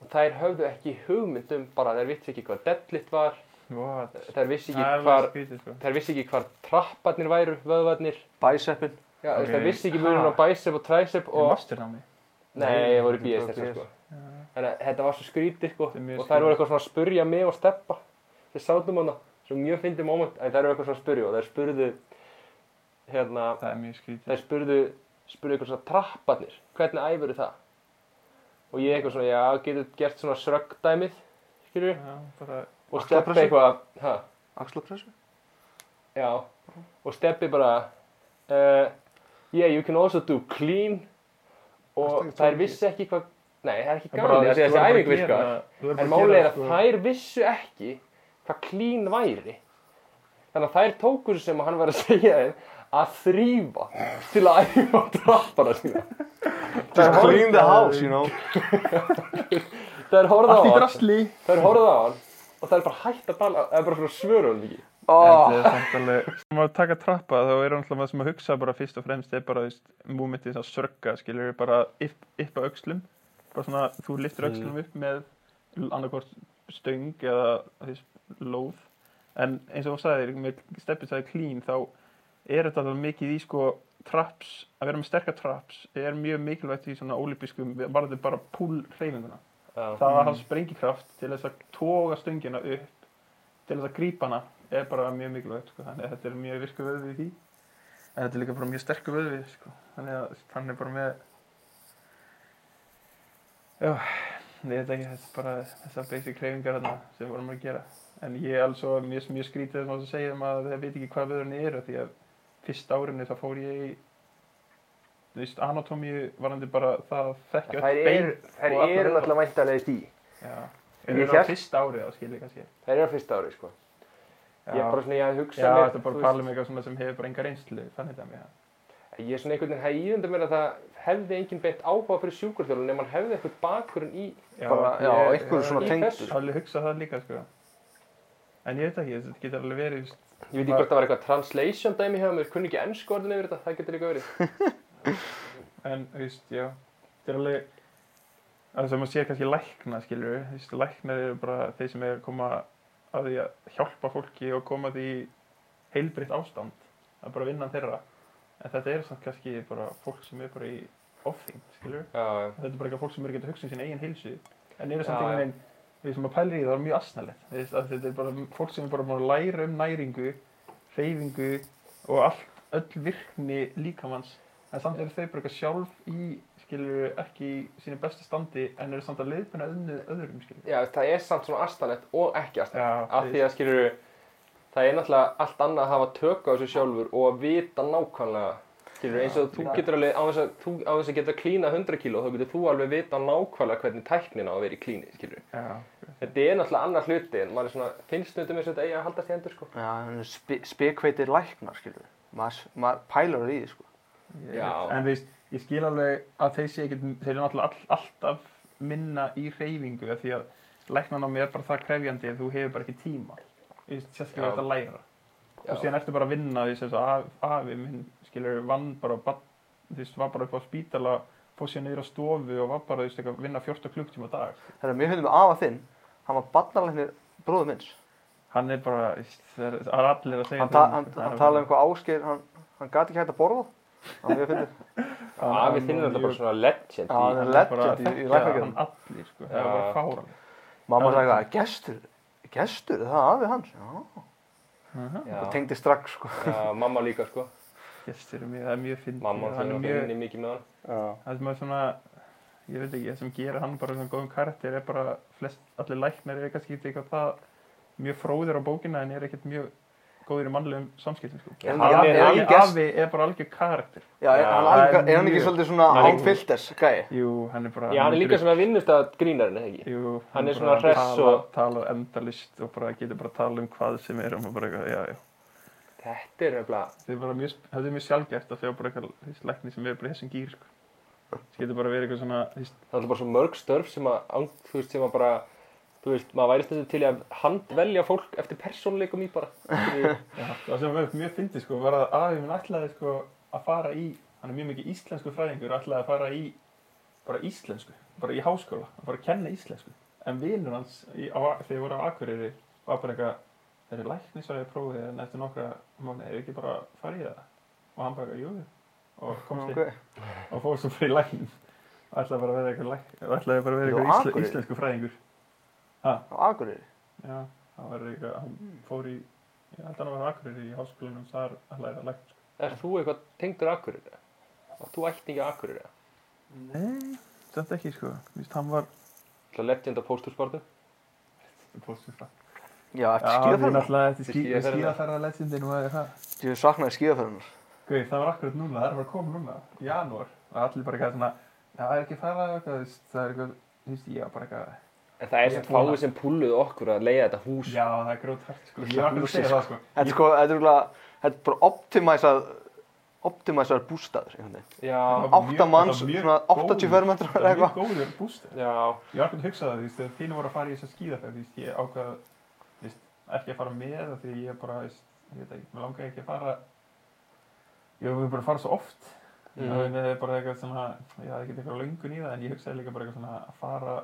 S3: og þær höfðu ekki hugmynd um bara þær vissi ekki hvað deadlift var
S2: what?
S3: þær vissi
S2: Það er
S3: ekki
S2: alveg
S3: hvar
S2: skvítið sko.
S3: þær vissi ekki hvar trapparnir væru vöðvarnir
S1: Bæseppin.
S3: Já, okay. þær
S2: Ok.
S3: vissi ekki munum á bicep og tricep
S2: Og
S3: og
S2: master námi.
S3: Nei, ég voru í
S1: Ég fór
S3: BS
S1: í
S3: þess að
S1: BS.
S3: sko. Þannig að þetta var svo skrítið sko.
S2: Þetta er mjög
S3: Og þær voru
S2: skrítið.
S3: eitthvað svona að spurja mig og steppa. Þeir sátum um hana. Svo mjög fyndið moment. En þær voru eitthvað svona að spurja og þær spurðu, hérna,
S2: Það er mjög skvítið.
S3: þær spurðu, spurðu eitthvað svona trapparnir. Hvernig æfur það? Og ég eitthvað svona, já, getur gert svona sröggdæmið, skilju.
S2: Já, bara,
S3: Og
S1: Axlapressu?
S3: steppi eitthvað, hæ,
S1: Axlapressu.
S3: já. Og steppi bara, uh, yeah, you can also do clean. Og
S1: Ertu ekki
S3: þær
S1: tónlist?
S3: vissi ekki hvað, nei, það er ekki
S2: það er bara,
S3: gaman,
S2: þú
S3: því að
S2: veist,
S3: þessi
S2: þú verður
S3: æfing
S2: bara að
S3: virkar.
S2: gera- þú verður
S3: En
S2: bara að
S3: málið er
S2: gera,
S3: að
S2: sko.
S3: þær vissu ekki hvað klín væri. Þannig að þær tókur þessu sem hann var að segja þeim að þrýfa til að æfa trappana sína.
S1: Það er clean the house, you know.
S3: Þær horfða á
S2: Allt í
S3: hann,
S2: drasli.
S3: þær horfða á hann og þær bara hætt að tala, það er bara svona svörun mikið.
S1: Oh.
S2: Þetta er samt alveg, þegar maður taka trappa þá er náttúrulega maður sem að hugsa bara fyrst og fremst er bara, þú veist, momentið þess að sörga, skilur, bara upp, upp að öxlum, bara svona, þú liftir öxlum upp með annarkvort stöng eða, þú veist, lóð, en eins og þú sagðir, með steppið sagði clean, þá er þetta alveg mikið í, sko, traps, að vera með sterka traps er mjög mikilvægt í svona ólípiskum, varðið bara púl hreyfinguna það að hafa sprengikraft til þess að toga stöngina upp til þess að grípa hana er bara mjög mikilvægt sko. þannig að þetta er mjög virku vöðvi í því en þetta er líka bara mjög sterku vöðvi sko. þannig að hann er bara með já ég veit ekki, þetta er bara þessar basic hreyfingar þarna sem vorum að gera en ég er alls og mjög, mjög skrítið sem að segja um að það veit ekki hvað vöðurinn eru því að fyrst árinni þá fór ég í þú veist, anatómíu varandi bara það að þekkja
S3: Þær
S2: öll
S3: eru, þær
S2: og allar
S3: eru
S2: vöðvar.
S3: náttúrulega væntalega í því.
S2: Já,
S3: En
S2: en
S3: ég
S2: ég hér...
S3: hélt-
S2: fyrst árið á skilja kannski.
S3: Þær eru á fyrsta ári, sko. Ég er bara svona, ég hafði
S2: já
S3: hugsað
S2: þetta er bara
S3: þú
S2: að
S3: veist,
S2: tala um eitthvað svona sem hefur bara enga reynslu, þannig dæmi, já.
S3: Ég er svona einhvern veginn hægirundum mér að það hefði enginn beint áhuga fyrir sjúkurþjálun ef hann hefði eitthvað bakgrunn í
S1: bara, já,
S2: ég-
S1: einhverju
S2: ég-
S1: svona
S3: í
S1: tengdur
S3: þessu.
S2: Ég hef alveg hugsað það líka, sko. En ég veit ekki, þetta getur alveg verið, veist,
S3: Ég veit ekki hvort það var eitthvað translation dæmi hjá mér, kunni ekki ennsku orðin yfir þetta, það getur líka verið.
S2: en, veist, já. Þetta er alveg, að sem að sé kannski lækna, skilur við, veist, læknar eru bara þeir sem er að koma að því að hjálpa fólki og koma því í heilbritt ástand, að bara vinna þeirra. En þetta er samt kannski bara fólk sem er bara í offing, skilur við.
S3: Já, já.
S2: Þetta er bara eitthvað fólk sem er ekki að hugsa um sín eigin heilsu, en eru
S3: Já,
S2: samt
S3: já.
S2: einhvern veginn, við sem að pælir í það er mjög asnalegt, þú veist, að þetta er bara fólk sem er bara búin að læra um næringu, hreyfingu og allt, öll virkni líkamanns, en samt eru þau bara eitthvað sjálf í, skilur, ekki í sínu besta standi, en eru samt að leiðbuna öðnu öðrum, skilur.
S3: Já, það er samt svona astanett og ekki astanett.
S2: Já,
S3: Af því að skilur, það er náttúrulega allt annað að hafa tök á þessu sjálfur og að vita nákvæmlega. Skilur, eins og þú
S1: Já.
S3: getur alveg, á þess að, þú, á þess að geta klína 100 kíló, þá getur þú alveg vita nákvæmlega hvernig tæknin á að vera í klíni, skilur.
S2: já,
S3: Þetta er náttúrulega annar hluti en maður er svona, finnst stundum eins og þetta eigi að haldast í hendur, sko.
S1: Já, en spe- spekveitir læknar, skilur við. Maður maður pælar í því, sko.
S2: já.
S3: Já.
S2: En þú veist, ég skil alveg að þeir sé ekkert, þeir eru náttúrulega all, alltaf minna í hreyfingu, af því að læknanámi er bara það krefjandi að þú hefur bara ekki tíma, þú veist, sérstaklega
S3: Já.
S2: þetta læra.
S3: Já.
S2: og síðan ertu bara að vinna því sem þess að afi minn skilur vann bara bat, þú veist, var bara upp á spítala fór sér niður á stofu og var bara þú veist, eitthvað að vinna 14 klukktíma á dag
S1: Þegar mér höfðum afa þinn, hann var barnalæknir bróðu minns.
S2: hann er bara, þú veist, það er- það er allir að segja
S1: Hann, ta
S2: það um-
S1: hann,
S2: það er
S1: hann
S2: bara-
S1: talaði um eitthvað áskeið, hann, hann gati ekki hægt að borða. Það var mjög fyndið.
S3: Afi
S2: hann- hann-
S3: þinn er
S2: hann-
S3: náttúrulega bara svona legend
S1: Já, um hann
S3: í...
S1: er
S2: hann er bara
S1: legend í,
S2: að
S1: í
S2: þekkja hann
S1: læknagerðum.
S2: allir sko, það er
S3: Já.
S2: bara fáran
S1: Mamma sagði eitthvað, gestur, gestur, það er afi hans. Já, það
S3: Já,
S1: tengdi strax, sko.
S3: já, mamma líka, sko.
S2: gestur er mjög, það er mjög fyndið
S3: Mamma
S2: hann er mjög,
S3: vinni mikið með hann.
S2: það sem er svona ég veit ekki, það sem gerir hann bara svona góðum karakter er bara flest, allir læknar er kannski eitthvað það mjög fróðir á bókina en er ekkert mjög góðir í mannlegum samskiptum sko.
S3: Já,
S1: Er
S3: hann
S1: hann
S2: Afi,
S3: er-
S1: er
S2: afi,
S1: ekki gest?
S2: afi er bara algjör karakter
S1: Já, er
S3: Já,
S1: hann
S2: það er
S1: alveg- er hann ekki
S2: mjög-
S1: svolítið svona
S2: Hann er-
S1: án filters, gæi?
S2: Jú, hann er bara
S3: Já, hann er líka svona vinnustad grínarinn, eða ekki?
S2: Jú,
S3: hann er
S2: bara
S3: svona hress
S2: tala,
S3: og-
S2: Tala endalist og bara getur bara að tala um hvað sem er og maður bara eitthvað, já, já
S3: Þetta er nefnilega,
S2: Það er bara mjög, það er mjög sjálfgert að sjá bara eitthvað þessi lækni sem er bara í þessum gýr sko. Það getur bara verið eitthvað svona, þú veist,
S3: það er bara svo mörg störf sem að, án- þú veist, sem að bara, þú veist, maður væri stundum til í að handvelja fólk eftir persónuleikum í bara. Skilurðu?
S2: já, það sem var mjög fyndið sko, var að afi minn ætlaði sko að fara í, hann er mjög mikið íslensku fræðingur, ætlaði að fara í bara íslensku, bara í háskóla, bara að kenna íslensku. En vinur hans, í, á, þegar ég voru á Akureyri, var bara eitthvað, þeir eru læknisvæði prófið en eftir nokkra mánu, hefur ekki bara farið í það? Og hann bara, eitthvað, jú, jú." og komst
S1: Ok.
S2: inn og fór svo fyrir læknin. Og ætlaði bara að vera eitthvað læk, og ætlaði bara að vera
S1: Jú,
S2: eitthvað ísle,
S1: Akureyri?
S2: íslensku fræðingur.
S1: Á Akureyri.
S2: Já, hann var eitthvað,
S1: Hmm.
S2: hann fór í, ég held að hann var á Akureyri í háskólanum þar að læra læknisvæði.
S3: Er þú eitthvað tengdur akkurir? Og þú ætti ekki akkurir?
S2: Nei, þetta ekki sko, víst, hann var
S3: Það er legend á póstursportu.
S2: Póstur frá.
S1: Já, eftir
S2: Já, hann
S1: skíðaferðunar.
S2: er náttúrulega eftir
S3: Eftir
S2: skí-
S3: skíðaferðina.
S2: skíðaferðarlegendin og það er það.
S1: Ég saknaði skíðaferðunar.
S2: Guð, það var akkurat núna, það er bara að koma núna, í janúar. Og allir bara eitthvað svona, "Já, það er ekki að fara eitthvað, þú veist, það er eitthvað, þú veist, ég var bara eitthvað,
S3: En það
S2: Ég
S3: er samt
S2: vona.
S3: fáið sem púluð okkur að leiða þetta hús.
S2: já, það er grót hægt, sko. Ég var akkurat að segja það, sko.
S1: Þetta er sko, þetta er örugglega- þetta er bara optimæsað, optimæsar bústaður, einhvern veginn.
S3: Já,
S1: átta manns, svona 80 fermetrar
S2: eða
S1: eitthvað.
S2: eitthvað. Mjög góður bústur.
S3: já,
S2: Ég var akkurat að hugsa það, þú veist, þegar þínu voru að fara í þess að skíða þú veist, ég ákvað, þú veist, ekki að fara með það því ég bara, þú veist, ég veit ekki, mér langaði ekki að fara, ég var bara að fara svo oft,
S3: Mhm.
S2: mm. það er bara eitthvað svona, ég hafði ekki eitthvað löngun í það, en ég hugsaði líka bara eitthvað svona að fara,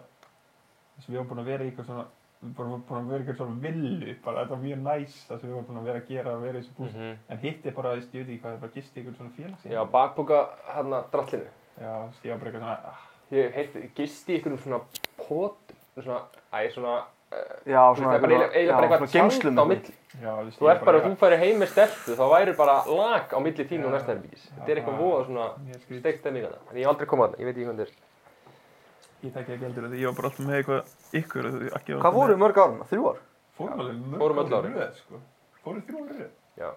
S2: þess að við varum búin að vera í eitthvað svona, við vorum búin að vera í eitthvað svona villu, bara þetta var mjög næs það sem við vorum búin að vera að gera, að vera í þessu búst,
S3: Mhm.
S2: en hitt er bara, þú veist, ég veit ekki hvað, það er bara gist í eitthvað svona félags.
S3: já, bakpoka hérna drallinu.
S2: já, þú veist, ég var bara eitthvað svona, ah,
S3: Ég hef heyrt, gisti ykkur um svona pótum, svona, æ, svona,
S1: Já, svona
S3: Þú veist, það er bara
S1: eitthvað-
S3: eiginlega- eiginlega bara
S1: já, svona
S3: eitthvað
S1: geymslum
S3: tjald á milli.
S2: já, þú veist,
S3: Þú
S2: ég
S3: er bara,
S2: eitthvað-
S3: ef þú færi heim með stelpu, þá væri bara lag á milli þínu og
S2: Já.
S3: næsta herbyggis. Þetta er eitthvað
S2: Já.
S3: voða svona
S2: Mjög skrítið.
S3: steikt stemning að það. En ég hef aldrei komað að það, ég veit ekki hvað þetta er.
S2: Ég tek ekki heldur að ég var bara alltaf með eitthvað ykkur að þið ekki
S1: Hvað voru mörg árum? Þrjú ár?
S2: Fórum alveg mörg
S3: Fórum öll
S2: ár í
S3: árin.
S2: röð, sko. Fórum þrjú ári röð.
S3: Já.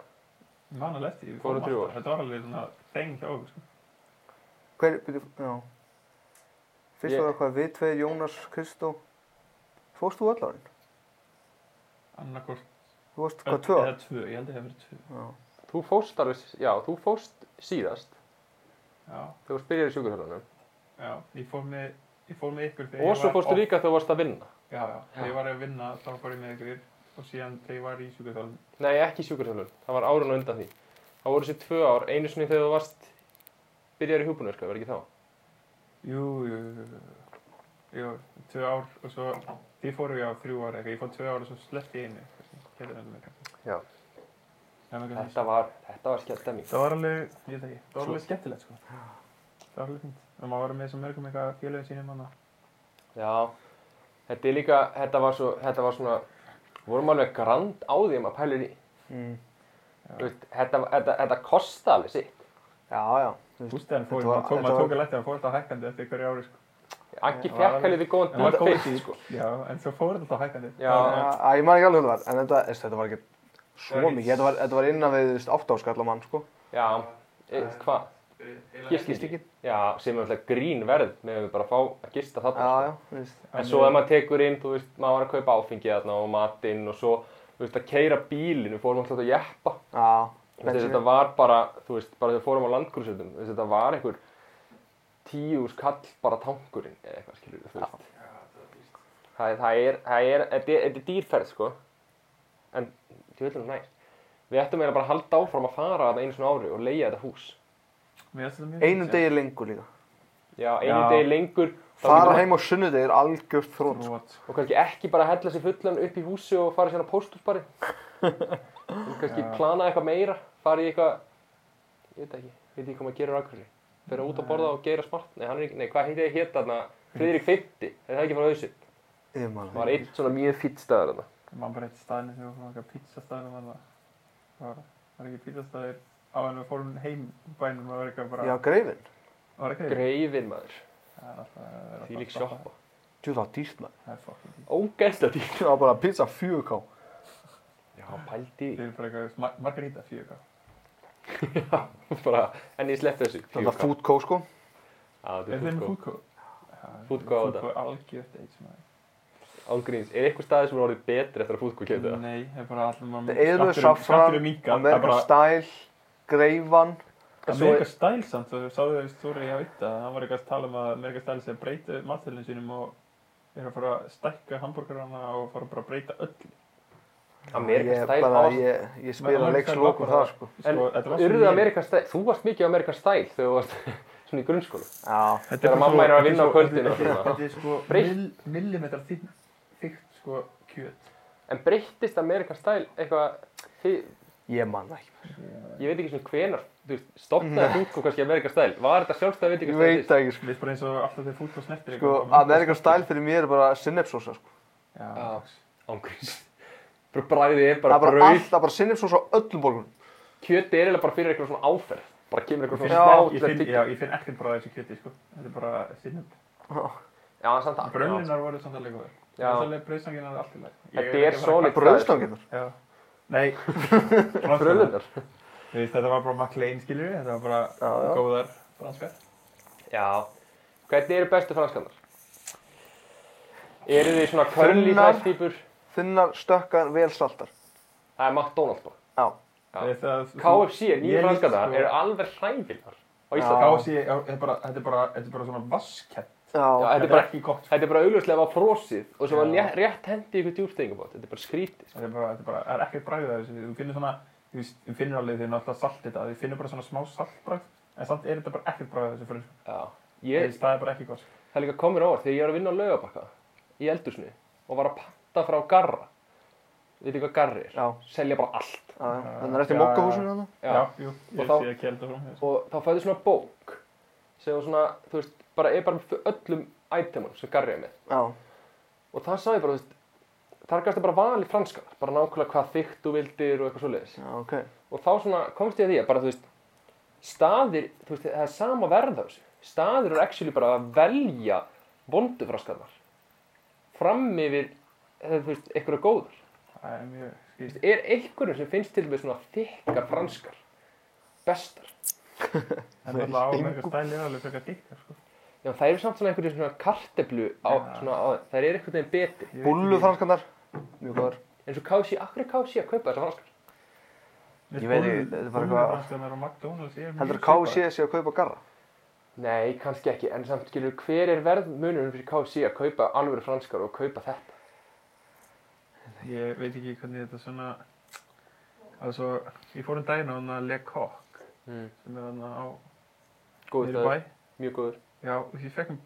S2: Man að leti, við
S3: Fórum þrjú ár.
S2: Þetta var alveg svona þeng hjá okkur, sko.
S1: Hver, byrju, já. Fyrst
S3: Ég-
S1: var eitthvað við tveir, Jónas, Kristó. Fórst þú öll árin?
S2: Annarkort.
S1: Þú varst hvað, tvö ár?
S2: Eða tvö, ég held að það hefur verið tvö.
S1: Já.
S3: Þú fóst alveg, já, þú fóst síðast
S2: já,
S3: þegar þú spyrjar í sjúkurhörðunum.
S2: já, ég fór með, ég fór með ykkur
S3: Og svo
S2: ég var
S3: fórstu
S2: off-
S3: líka þegar þú varst að vinna.
S2: Já, já, þegar ég var að vinna þá fór ég með ykkur og síðan þegar ég var í sjúkvæðalum.
S3: Nei, ekki sjúkurhörðun. Það var árun og undan því. Það voru þessi tvö ár, einu sinni þegar þú varst byrjar í hjúpunverka, verður ekki þá?
S2: Jú, jú, jú, jú, jú, jú, tvö ár og svo, því fóru ég á þrjú ár eitthvað, ég fór tvö ár og svo sleppti ég einu. Þetta er með kannski.
S3: Já.
S2: Það er með kannski.
S3: Þetta var, þetta var skjaldæming.
S2: Það var alveg, ég veit ekki, það var
S3: Svo-
S2: alveg skemmtilegt sko. Það var alveg fint. Og maður var með svo mörgum eitthvað félögum sínum hana.
S3: Já, þetta er líka, þetta var, svo, þetta var svona, vorum alveg grand á því að maður pælir í.
S1: Mm.
S3: Þú veist, Þetta, þetta, þetta kosta alveg sitt.
S1: Já, já. Þú veist,
S2: Bústæðan fór,
S1: Þetta var-
S2: maður tók,
S1: þetta
S2: maður
S1: var-
S2: tók að letta, maður fór alltaf hækkandi eftir hverju ári sko.
S3: Akki
S2: Já,
S3: fekk
S2: alveg.
S3: alveg við góðan
S2: En maður
S3: dúta
S2: tók
S3: fyrst, sko.
S2: Já, en svo fór þetta alltaf hækkandi.
S3: Já.
S2: en-
S1: að, ég man ekki alveg hvað það var, en þetta, veist, þetta var ekki
S2: Það
S1: svo
S2: var ekki-
S1: mikið. Þetta var, þetta var innan við, þú veist, áttáskall á mann, sko.
S3: Já, e, hvað? Gistingin? Já, sem er alltaf grín verð með við bara fá að gista þarna.
S1: Já,
S3: sko.
S1: já, þú veist.
S3: En svo ef maður tekur inn, þú veist, maður var að kaupa áfengi þarna og matinn og svo, þú veist, að keira bílinn, við fórum alltaf að jeppa.
S1: Já,
S3: Þú veist,
S1: bensín.
S3: þetta var bara, þú veist, bara þegar við fórum á landgrúsutum, þú veist, þetta var einhver tíus kall bara tankurinn eða eitthvað, skilur þú veist. Það, það er, það er, þetta er, þetta er dýrferð, sko. En, þú veist, næst. Við ættum eiginlega bara að halda áfram að fara þarna einu svona ári og leigja þetta hús.
S2: Mér finnst þetta mjög
S1: Einum
S2: fínt,
S1: degi lengur líka.
S3: Já, einu
S2: Já.
S3: degi lengur. þá getur
S1: Fara
S3: maður-
S1: heim á sunnudegi er algjört
S2: já.
S1: þrótt, sko.
S2: Rot, sko.
S3: Og kannski ekki bara hella sér fullan upp í húsi og fara sérna pósthúsbari. og kannski
S2: Já.
S3: plana eitthvað meira, fara í eitthvað, ég veit ekki, ég veit ekki hvað maður gerir á Akureyri. Fyrir út að borða og geira smart. Nei, hann er ekki, nei, hvað heiti ég hétt þarna? Friðrik 50, er það ekki frá hausin?
S1: Ég man
S3: Það var einn svona mjög fýtt staður þarna.
S2: Man bara eitt staðinu þegar við fórum okkar pítsastæðinu var það. Var, var ekki pítsastæðir á en við fórum heim bænum og var eitthvað bara...
S1: Já, greifin.
S2: Var ekki greið.
S3: Greifin maður,
S2: Það er alltaf... það er
S3: því lík
S2: alltaf-
S3: sjoppa.
S1: Jú, það var dýrt maður.
S2: Það er fokkin.
S3: Ógæsla dýr.
S1: Það var bara pizza 4K.
S3: Já, pældi
S2: Þið
S3: í.
S2: eru bara eitthvað ma- margarita fjögur.
S3: Bara, en ég sleppti þessu.
S1: Þetta var food co, sko.
S3: Já, þetta
S2: Er
S3: er
S2: þeim
S3: fútkó.
S2: fúkó?
S3: Foodco á þetta.
S2: Fúkó algjört eitt sem það
S3: Ángríns, er eitthvað staði sem er orðið betri eftir að fútkó kemur það?
S2: Nei, það er bara allir um- maður...
S1: Þetta eðlu
S2: skatturinn-
S1: safran,
S2: skatturinn minnkar, það er
S1: Amerikan
S2: bara...
S1: Style, Greifan.
S2: Amerika Style samt, þú sáðu þau stóri á ytta, hann var eitthvað að tala um að Amerika Style sé að breyta matþelinu sínum og er að fara að stækka hambúrgarana og fara bara að breyta öllu.
S3: Amerikan
S1: Mm, Ég
S3: stæl
S1: bara,
S3: ást.
S1: ég, ég spila
S2: American Style var
S1: leikslokum
S2: bara-
S1: það, sko.
S3: En
S2: Sko, þetta var svo
S3: urðu
S2: lélegt.
S3: Amerikan stæl, þú varst mikið á Amerikan stæl þegar þú varst svona í grunnskólu.
S1: Já.
S2: Þetta
S3: Þegar
S2: bara
S3: mamma
S2: svo-
S3: er að vinna á
S2: þetta
S3: kvöldin og
S2: svo-
S3: svona.
S2: Þetta er sko
S3: Breytt.
S2: mill, millimetrar þykkt þykkt, sko kjöt.
S3: En breyttist Amerikan stæl eitthvað, þið,
S1: Ég man það ekki.
S3: ég veit ekki svona hvenar, þú veist, stopnaði fútkó sko, kannski Amerikan stæl. Var þetta sjálfstæða
S1: Ég
S3: veitingar
S1: veit það ekki, sko.
S2: Við erum bara eins og alltaf þegar fútbol snertir
S1: Sko,
S2: þá myndast-
S1: Amerikan Style fyrir mér er bara sinnepsósa, sko.
S2: Já,
S3: Já. Ángríns. Bara bræðið er
S1: Það
S3: bara
S1: er bara
S3: brauð.
S1: allt, það er bara sinnepsósa á öllum borgunum.
S3: Kjöti er eiginlega bara fyrir eitthvað svona áferð. Bara kemur eitthvað
S1: Já,
S3: svona
S2: Ég
S3: smátt
S2: finn,
S3: eftir.
S2: já, ég finn ekkert bara þessu kjöti, sko. Þetta er bara sinnum.
S3: Já, samt að.
S2: Bröðlunar voru samt alveg góður.
S3: Já.
S2: Þessarlega bröðsangina er allt í lagi. Ég
S3: Þetta er
S2: ekki að fara að
S3: solid.
S1: Bröðstanginnar.
S2: Já. Nei. Bröðlunar.
S3: Bröðlunar.
S2: Þú veist, þetta var bara McLean, skilur við. Þetta var bara
S1: Já, já.
S2: góðar franskar.
S3: Já. Hvernig eru bestu franskarnar? Eru þið svona curly
S1: Þunnar.
S3: fræstýpur?
S1: Þunnar, stökkar, vel saltar.
S3: Það er McDonald's bara.
S1: Já.
S3: Já.
S2: Þú veist að-
S3: KFC er
S2: Ég
S3: nýjum
S2: líst
S3: franskandar,
S2: sko-
S3: eru alveg hræðilegar á
S1: Já.
S3: Íslandi.
S2: KFC, já, þetta er bara, þetta er bara, þetta er bara svona vaskett.
S1: Já.
S3: Já, þetta er
S2: Þetta er
S3: bara,
S2: ekki gott. sko.
S3: þetta er bara augljóslega var frosið og svo var
S2: Já.
S3: létt- rétt hendi ykkur djúrstengabót, þetta er bara skrítið.
S2: Þetta er bara, þetta er bara, það er ekkert bragðið af þessu. Þú finnir svona, þú veist, um þú finnir alveg því náttúrulega salt þetta. Þú finnir bara svona smá saltbragð. En samt er þetta bara ekkert bragðið af þessu fyrir.
S3: Já.
S2: Ég,
S3: Ég,
S2: það er bara ekki gott.
S3: það er líka komir á óvart þegar ég var að vinna á laugabakka í eldursni og var að panta frá garra. Við veitum hvað garri er?
S1: Já,
S3: Selja bara allt.
S1: já, já. Þannig er eftir
S2: Já, já.
S1: mokkahúsinu þannig.
S3: Já.
S2: jú,
S3: Og
S2: ég
S3: þá-
S2: sé ekki held að sko. frá mér.
S3: Og þá fæði svona bók sem var svona, þú veist, bara er bara með öllum itemunum sem garri er með.
S1: Já.
S3: Og það sagði bara, þú veist, þar gæstu bara valið franskar, bara nákvæmlega hvað þykkt þú vildir og eitthvað svoleiðis.
S1: Já, ok.
S3: og þá svona komst ég að því að bara þú veist staðir, þú veist, það er sama verð á þessu staðir eru actually bara að velja vondu fraskarnar fram yfir eh, þú veist, einhverju góðar Þú
S2: Það er mjög
S3: veist,
S2: skýrt.
S3: er einhverjum sem finnst til með svona þykkar franskar bestar
S2: En alltaf á mörgur stæli er alveg frekar dikkar, sko.
S3: Já, það eru samt svona einhverjum svona karteblu á,
S2: Já.
S3: svona, á, það eru einhvern veginn beti
S2: Ég veit
S1: Búllu
S2: ekki-
S1: franskannar. Mjög góðar.
S3: eins og kási, akkur er kási að kaupa þessar franskar
S1: Ég veit ekki, þetta er bara eitthvað-
S2: Búllu franskar og McDonalds er mjög
S1: Heldur
S2: svipað.
S1: KFC sé að kaupa garra?
S3: Nei, kannski ekki, en samt skilur hver er verðmunurinn fyrir KFC að kaupa alvöru franskar og kaupa þetta?
S2: Ég veit ekki hvernig þetta svona... Altså, ég fór um daginn á hana Le Coq,
S3: Mm.
S2: sem er hana á
S3: Góður
S2: niður í bæ.
S3: staður, mjög góður.
S2: Já, og ég fekk, um-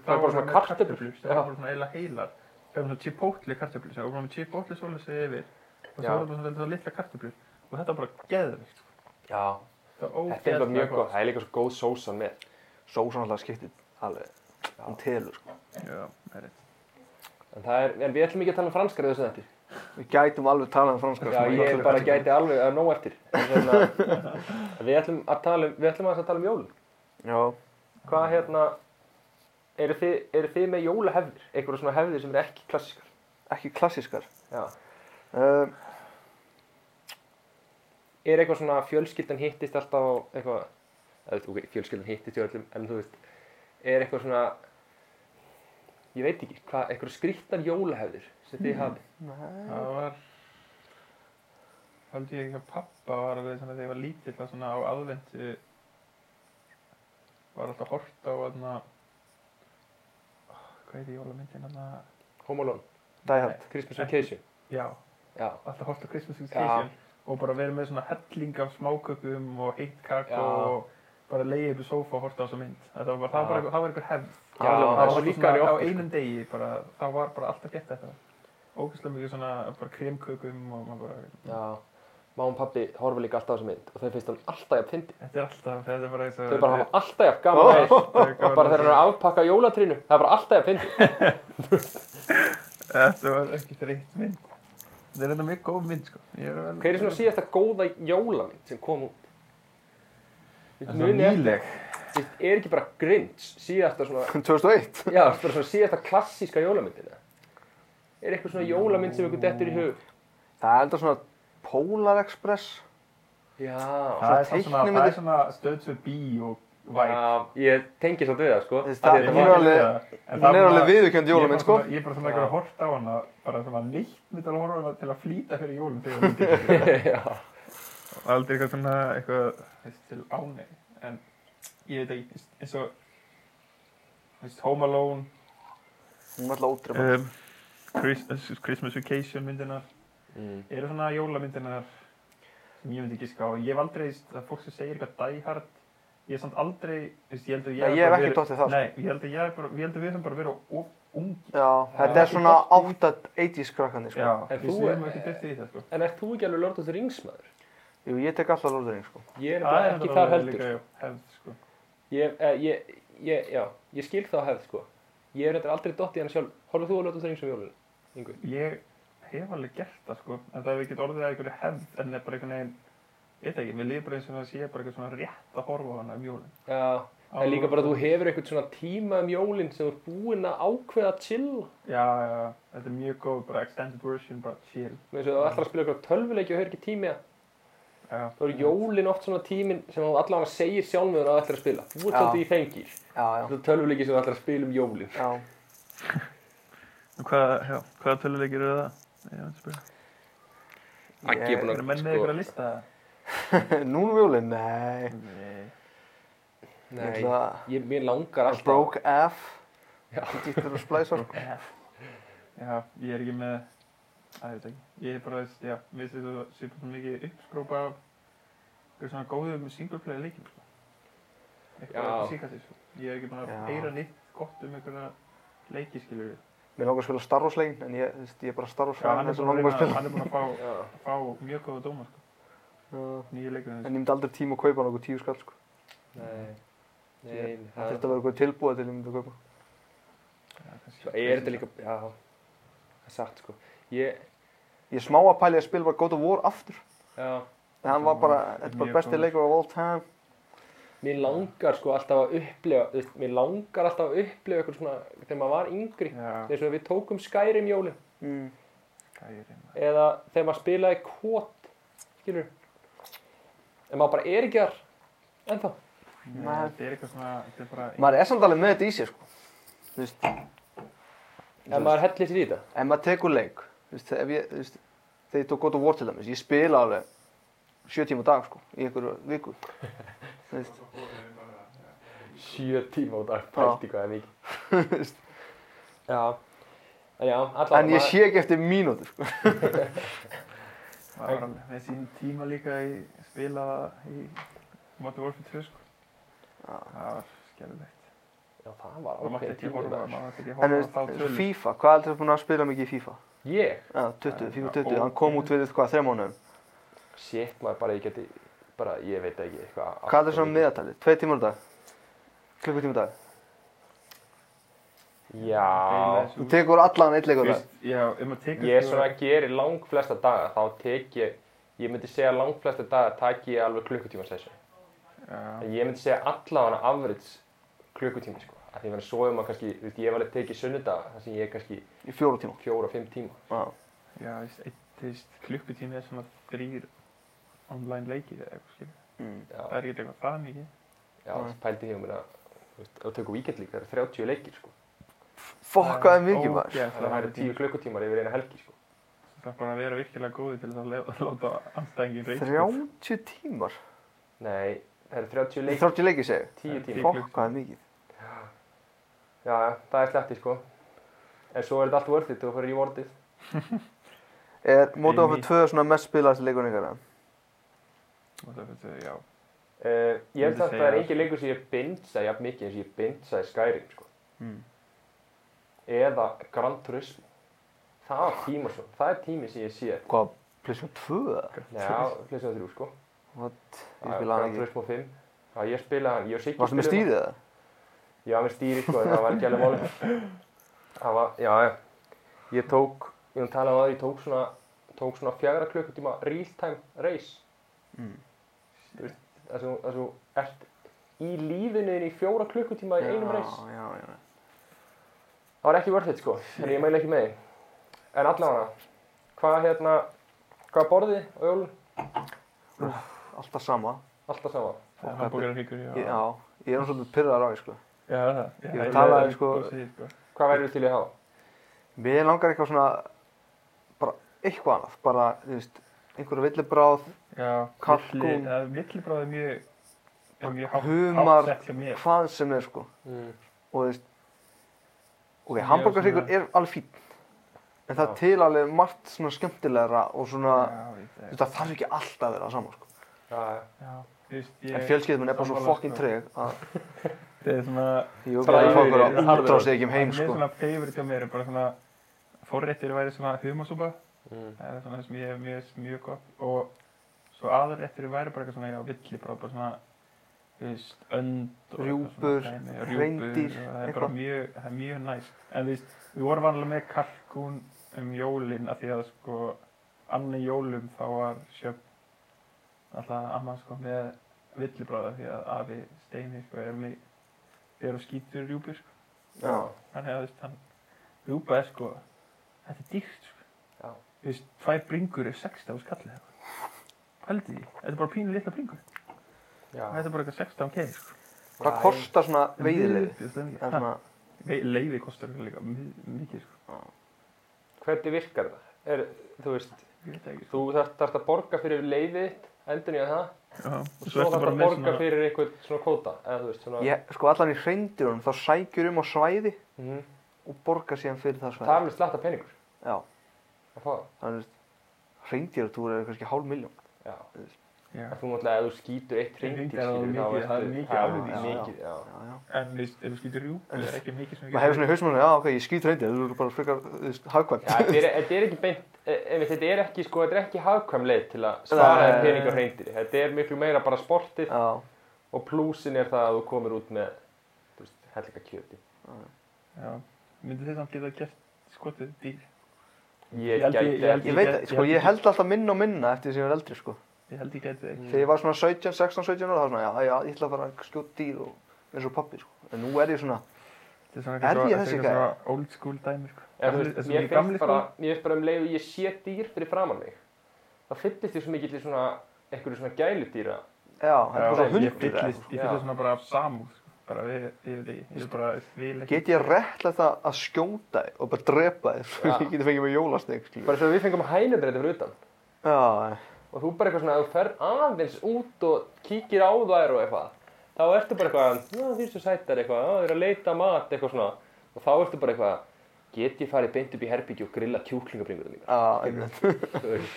S3: Það er bara
S2: voru
S3: svona
S2: með
S3: kartöflur.
S2: Það var
S3: Já.
S2: bara svona eiginlega heilar. Það var svona chipotle kartöflur, sem var bara með chipotle svolítið yfir. Og
S3: Já.
S2: það var bara svona svona litla kartöflur. Og þetta var bara geðvikt.
S3: Já,
S2: Þetta
S3: þetta er bara mjög góð, það er líka svo góð sósan með.
S1: Sósan alltaf skiptir alveg. Hún telur, sko.
S2: Já, það er rétt.
S3: En, það er, en við ætlum ekki að tala um franskar í þessu þetta.
S1: Við gætum alveg talað um franska,
S3: Já,
S1: sko.
S3: ég bara gæti alveg að nóg eftir. En Svona, en við ætlum að tala um, við ætlum aðeins að tala um jólun.
S1: Já,
S3: Hvað hérna, eru þið, eru þið með jólahefðir? Einhverja svona hefðir sem eru ekki klassískar?
S1: ekki klassískar.
S3: Já.
S1: Um,
S3: Er eitthvað svona fjölskyldan hittist alltaf á eitthvað, eða, ok, fjölskyldan hittist í öllum, en þú veist, er eitthvað svona, ég veit ekki, hvað, eitthvað skrýttar jólahefðir sem þið hafið?
S2: Það var... Haldi ég ekki að pappa var alveg svona þegar ég var lítill að svona á aðventu var alltaf hort á hérna hvað heiti jólamyndin hérna
S3: Home Alone,
S1: Dæhald.
S3: Christmas
S2: Ekki.
S3: Vacation,
S2: já,
S3: já.
S2: alltaf hort á Christmas Vacation og bara verið með svona helling af smákökum og heitt kakko
S3: Já.
S2: og bara leiði upp í sófa og horta á þessa mynd þetta var bara, það
S3: Já.
S2: var bara einhver- það var einhver hefð
S1: Alveg,
S3: Já, það
S2: það var
S3: er svo
S2: alltaf
S3: líkari
S2: svona á
S3: okkur, sko.
S2: einum degi bara, það var bara alltaf gett þetta ógæslega mikið svona bara kremkökum og maður bara
S3: Já, má og pabbi horfa líka alltaf á þessa mynd og þau finnst hann alltaf jafn fyndi.
S2: Þetta er alltaf, þetta er bara eins og...
S3: Þau bara hafa alltaf jafn gaman að þessu.
S2: hafa...
S3: Og bara þegar hann er að afpakka jólatrínu, það er bara alltaf jafn fyndi.
S2: Þetta var ekki þreytt mynd. Þetta er þetta mjög góð mynd, sko. Ég er vel...
S3: Hver er svona síðasta góða jólamynd sem kom út? Við
S2: Þetta er
S3: munið eftir-
S2: nýleg.
S3: þú veist, Er ekki bara Grinch síðasta svona,
S1: 2001.
S3: já, bara svona síðasta klassíska jólamyndina? Er eitthvað svona jólamynd sem ykkur dettur í hug?
S1: Það er enda svona Polar Express.
S3: Já,
S2: Það er samt svona, það
S1: teiknimyndir.
S2: er svona stöðs við bí og væk.
S3: já ég tengi svolítið við það, sko.
S1: Þú veist,
S3: Af því
S1: það-
S3: Ah, þetta
S1: hún
S3: var-
S1: er alveg- Hún er alveg viðurkjönd jólamynd, sko.
S2: Ég er bara svona ekki að horta á hana, bara svona nýtt mynd að horfa á hana til að flýta fyrir jólum þegar hún tekur.
S3: Já.
S2: Aldrei eitthvað svona, eitthvað, veist, til ánæg. En ég veit ekki, eins og, veist, Home Alone,
S1: Hún er alltaf ótrefn.
S2: um, Christmas, Christmas Vacation myndinar
S3: Mm.
S2: eru svona jólamyndinar sem ég myndi ekki ská ég hef aldrei, það er fólk sem segir eitthvað Die Hard ég er samt aldrei þú veist, ég held að
S1: Nei, ég
S2: hafi
S1: hef
S2: bara
S1: ekki
S2: verið-
S1: dottið það, sko.
S2: nei, ég held að, ég hef bara, ég held að við höfum bara verið of ungi
S1: Já, þetta er svona 80s krakkandi, sko.
S2: já,
S3: En
S2: þú
S3: þú-
S2: veist, við höfum ekki dyrtið í það sko.
S3: En ert þú ekki alveg Lord of the Rings maður?
S1: Jú, ég tek alltaf lóðurinn, sko.
S3: Ég er nefnilega ekki þar heldur.
S2: líka, held, sko.
S3: Ég, eh, ég, ég, já, ég skil þá hefð, sko. Ég er reyndar aldrei dott í hana sjálf. Horfðu þú að ljóta þrengs um jólun, Yngvi?
S2: ég hef alveg gert það sko. en það hefur ekki orðið að einhverju hefð en er bara einhvern veginn Ég veit ekki, mér líður bara eins og það sé bara eitthvað svona rétt að horfa á hana um jólinn.
S3: Já, en líka bara að þú hefur eitthvað svona tíma um jólun sem þú er búinn að ákveða að chill.
S2: Já, já, já, þetta er mjög góð, bara extended version, bara chill.
S3: Með þess að þú ætlar að spila eitthvað tölvuleiki og hefur ekki tími að.
S2: Já.
S3: Þá er jólin oft svona tíminn sem þú allavega segir sjálfmöður að þú ætlar að spila. Þú ert
S1: Já.
S3: svolítið í þengir.
S1: Já, já.
S3: Þetta er tölvuleiki sem þú ætlar að spila um jólin.
S1: Já.
S2: Hvað, já, hvaða töluleikir eru það? Ég veit að spyrja.
S3: Aggi er búinn
S2: Eru menn með ykkur
S3: sko-
S2: að lista það?
S1: Núna um jólinn? Nei.
S2: Nei.
S1: Ég
S3: Nei,
S1: ætla
S3: ég, mér langar
S1: að
S3: alltaf.
S1: Broke F.
S3: Já.
S1: Dýttur og splæsar.
S2: Já, ég er ekki með, að ég veit ekki. Ég er bara, veist, já, mér finnst þetta sé bara svona mikið uppskrópa af ykkur svona góðum single player leikjum, sko.
S3: Já.
S2: Eitthvað að síka sig, sko. Ég er ekki búinn
S1: Já.
S2: að heyra nýtt gott um ykkur að leiki, skilur við.
S1: Mér langar að spila Star Wars legin, en ég, þú veist, ég er bara Star Wars
S2: Já, hann
S1: fan
S2: er
S1: þess að
S2: búinn að,
S1: langar bara að
S2: reyna-
S1: spila.
S2: hann er búinn að fá,
S3: Já.
S2: fá mjög góða dóma, sko. Nýja leikur
S1: En ég myndi aldrei tíma að kaupa nokkuð tíu skall, sko.
S3: Nei, nei,
S1: Ég- Það
S3: það
S1: þurfti að vera eitthvað tilbúið til ég myndi að kaupa.
S2: sko.
S3: Svo er þetta líka, já, það er satt sko. Ég,
S1: Ég er smá að pæli að spila bara God of War aftur.
S3: já,
S1: En hann var bara, þetta er bara
S2: Mjög
S1: besti
S2: góður.
S1: leikur of all time.
S3: mér langar sko alltaf að upplifa, þú veist, mér langar alltaf að upplifa eitthvað svona, þegar maður var yngri,
S2: Já,
S3: eins og við tókum Skyrim jólin,
S1: Mm.
S2: gæri, maður.
S3: eða þegar maður spilaði kvot, skilur, en maður bara er ekki þar, ennþá.
S2: Nei,
S1: Nei.
S2: Þetta er eitthvað svona, þetta er bara...
S1: Maður er samt alveg með þetta í sér, sko. Þú veist,
S3: En maður hellir sér í þetta.
S1: ef maður tekur leik, þú veist, ef ég, þú veist, þegar ég tók God of War til dæmis, ég spila alveg sjö tíma á dag, sko, í einhverju viku. Þú veist,
S3: sjö tíma á dag, pælt í hvað er mikið. Já, en já, allavega.
S1: En ég sé ekki eftir mínútur, sko.
S2: Það var hann með sín tíma líka í spila í Modern Warfare 2 sko. Það var skelvilegt.
S3: Já, það var
S2: Það mátti
S3: ákveðin
S2: ekki
S3: tíma í
S2: horfa,
S3: dag.
S2: maður mátti ekki
S1: En
S2: horfa á þá
S1: þú veist,
S2: tölur.
S1: FIFA, hvað heldur þú búin að spila mikið í FIFA?
S3: Ég,
S1: Já,
S3: Eh,
S1: 20, FIFA
S2: Já,
S1: 20,
S2: ó-
S1: hann kom út við þetta hvað, þrejum mánuðum.
S3: shit maður, bara ég geti, bara ég veit ekki eitthvað.
S1: Hvað heldur svona meðatalið? Tvei tímar á dag? Klukkutíma á dag?
S3: Já,
S1: Þú tekur allan eitt leikur á dag?
S2: Fyrst- Já, ef maður tekur
S3: ég er svona að gera lang flesta daga, þá tek ég, ég myndi segja lang flesta daga taki ég alveg klukkutíma session.
S2: Já,
S3: En ég myndi segja allavega afrits klukkutíma, sko. Af því að svo er maður kannski, þú veist, ég hef alveg tekið sunnudaga, þar sem ég er kannski
S1: Í fjóra tíma.
S3: fjóra, fimm tíma.
S1: Já.
S2: já, þú veist, einn, þú veist, klukkutími er svona þrýr online leikir eða eitthvað skilur.
S1: Mm.
S2: Það
S3: Já,
S2: er ekki eitthvað það mikið.
S3: já, þess pældi ég um að, þú veist, ef þú tekur weekend líka, það eru 30 leikir, sko.
S1: Fokk,
S3: Eh,
S1: hvað er mikið maður?
S2: Ógeðslega
S3: Það eru
S2: mikið.
S3: 10 klukkutímar yfir eina helgi, sko.
S2: Það er bara að vera virkilega góði til þess að le- láta sko. anstæðingin reyna.
S1: 30 tímar?
S3: Nei, það eru 30
S1: Í
S3: leikir,
S1: 30 leikir segir?
S3: 10 tíma.
S1: Fokk, hvað er mikið?
S3: Já, já, það er sleppti, sko. En svo er þetta allt worth it, þú fyrir í vortið.
S1: Er Modern
S2: Inn í-
S1: Warfare 2 svona mest spilaðast leikurinn ykkar? eða?
S2: Og það finnst þau, já.
S3: Uh, ég held
S2: Myndi
S3: að það er
S2: segja-
S3: engin leikur sem ég bindsa jafn mikið eins og ég bindsa í Skyrim, sko.
S1: Mm.
S3: Eða Gran Turismo. Það var tíma svo. Það er tími sem ég sé.
S1: Hvað, PlayStation 2 eða?
S3: Já, hljóðsum þrjú, sko.
S1: What? Ég
S3: Já,
S1: spilaði hann ekki.
S3: Gran Turismo 5. Já, ég spilaði hann. Ég og Siggi
S1: Varstu með
S3: spiluðum hann.
S1: stýrið eða?
S3: Já, með stýri, sko, en það var ekki alveg málið. Það var, já, já. Ég tók, ég var að tala um það, ég tók svona, tók svona fjagra klukkutíma real time race.
S1: Mm.
S3: Það sem, það sem, þú ert í lífinu þínu í fjóra klukkutíma í einum reis.
S1: Já, já, já.
S3: Það var ekki worth it, sko, en ég mæla ekki með því. En allavega, hvað hérna, hvað borðið á jólun?
S1: Alltaf sama.
S3: Alltaf sama.
S2: Það er
S1: hvað-
S2: hambúrgar hyggur, já.
S1: Ég, já, ég er svolítið pyrrar á því, sko.
S2: Já, það. Já,
S1: Ég
S2: ég
S1: talaði,
S2: veit
S1: sko-
S2: hvað þú segir, sko.
S3: Hvað værið til í að hafa?
S1: Mér langar eitthvað svona, bara eitthvað annað. Bara, þú veist, einhverja villibráð,
S2: Já,
S1: Kalkún.
S2: milli- það er millibráð er mjög, er mjög hátt,
S1: Humar.
S2: hátt sett hjá mér.
S1: hvað sem er, sko.
S3: Mm.
S1: Og þú veist, ok,
S2: Ég er
S1: hambúrgarsikur
S2: svona-
S1: er alveg fín. En það
S3: Já.
S1: er til alveg margt svona skemmtilegra og svona,
S2: Já, ég
S1: þú
S2: veit
S1: veist, það þarf ekki alltaf að vera sama, sko.
S3: Já, já.
S2: það. Þú veist, ég...
S1: En fjölskyldum er bara svo
S2: Sammála,
S1: fokkin
S2: sko.
S1: treg að
S2: Það er svona...
S1: ég
S3: Bara
S1: okkar að fá
S3: yfir-
S1: okkur
S2: yfir-
S1: að útrásið ekki um heim,
S2: Mér er
S1: sko.
S2: svona favorite hjá mér, er bara svona... Forréttir væri svona humasúpa.
S3: Mm.
S2: Það er svona sem ég hef mjög, mjög gott og svo aðrættir væri bara eitthvað svona, já, villi bara, bara svona, þú veist, önd og eitthvað svona
S1: Rjúpur,
S2: dæmi, já,
S1: hreindýr,
S2: og það er bara
S1: eitthvað.
S2: mjög, það er mjög næst. En þú veist, við vorum vanlega með kalkún um jólin af því að sko, annan jólum þá var sjöfn alltaf amma sko með villibráða því að afi Steini sko er með, er á skítur rjúpur sko,
S1: Já,
S2: hann hefði, þú veist, hann rjúpa er sko, þetta er dýrt sko.
S3: Já.
S2: Þú veist, tvær bringur er 16 skallið eitthvað. Pældi því, þetta er bara pínu litla bringur.
S3: Já.
S2: Þetta er bara eitthvað 16 keið, sko.
S1: hvað kostar svona veiðileg? Það er
S2: Veiðilefi.
S1: svona,
S2: Leifi kostar líka mi- mikið, sko.
S3: Hvernig virkar það? Er, þú veist,
S2: Ég veit það ekki, sko.
S3: þú þarft, þarft að borga fyrir leiðið, endurinn í það,
S2: Já,
S3: og
S2: og
S3: svo
S2: svo ertu
S3: þarft
S2: bara
S3: að
S2: með
S3: borga
S2: svona...
S3: fyrir eitthvað svona kvóta, eða þú veist, svona...
S1: ég, sko allan í hreindýrunum, þá sækjur um á svæði
S3: Mhm.
S1: og borgar síðan fyrir það
S3: Það er
S1: svæði.
S3: alveg slatta peningur
S1: Já,
S3: að fá það.
S1: þannig að hreindýratúr er kannski hálf miljón.
S3: Já.
S2: Já.
S3: En þú náttúrulega, ef þú skýtur eitt hreindýr,
S2: Hreindýr er alveg
S3: skilur, þá
S2: mikið- það er
S3: veistu- það
S2: mikið af
S1: því,
S3: er
S1: sko.
S3: mikið, já.
S1: Já, já.
S2: En þú veist, ef þú skýtur rjúpu, það er ekki mikið sem...
S1: Maður hefur svona í hausmannu, já ok, ég skýt hreindýr, þú eru bara frekar, þú veist, hagkvæmt.
S3: Já, þetta er, þetta er ekki beint, ef þetta er ekki, sko, þetta er ekki hagkvæm leið til að spara
S1: Nei.
S3: þér pening á hreindýri. Þetta er miklu meira bara sportið
S1: Já,
S3: og plúsin er það að þú komir út með, þú veist, hellinga kjöti.
S2: Já, myndi þið samt geta gert skotið dýr.
S3: Ég
S2: Ég held ég-
S3: gæti
S2: ég held
S3: ekki,
S1: ég veit, sko, ég held alltaf minna og minna eftir því sem ég er eldri, sko.
S2: Ég held ég geti það
S3: Mm.
S2: ekki.
S1: Þegar ég var svona 17, 16, 17 ára, þá svona, já, já, ég ætla að fara að skjóta dýr og eins og pappi, sko. En nú er ég svona,
S2: Þetta er svona
S1: Er ég
S2: eitthvað svona-
S1: þessi
S2: þetta er eitthvað svona old school dæmi, sko.
S3: en þú veist,
S2: Þetta er
S3: mér
S2: svona
S3: finnst
S2: gamli
S3: bara,
S2: sko.
S3: mér finnst bara um leið og ég sé dýr fyrir framann mig. Það fyllist því svo mikið til svona, einhverju svona gæludýra.
S1: já, þetta er bara
S2: Já, ég
S1: svona hundur sko. eða
S2: fyllist,
S1: eitthvað.
S2: ég
S3: Já.
S2: fyllist svona bara af samúð sko. bara við, ég veit ekki, ég vil bara vil ekki
S1: Get ég réttlega það að skjóta þig og bara drepa þig svo
S3: Já.
S1: ég geti fengið mig jólasteg, skilur.
S3: Bara þegar við fengum hænubreyti fyrir utan.
S1: Já,
S3: og þú bara eitthvað svona, ef þú fer aðeins út og kíkir á þær og eitthvað þá ertu bara eitthvað, já þeir eru svo sættar eitthvað, já þeir eru að leita að mat eitthvað svona og þá ertu bara eitthvað, get ég farið beint upp í herbyggju og grilla kjúklingabringur mína
S1: Já, einmitt.
S3: Þú veist.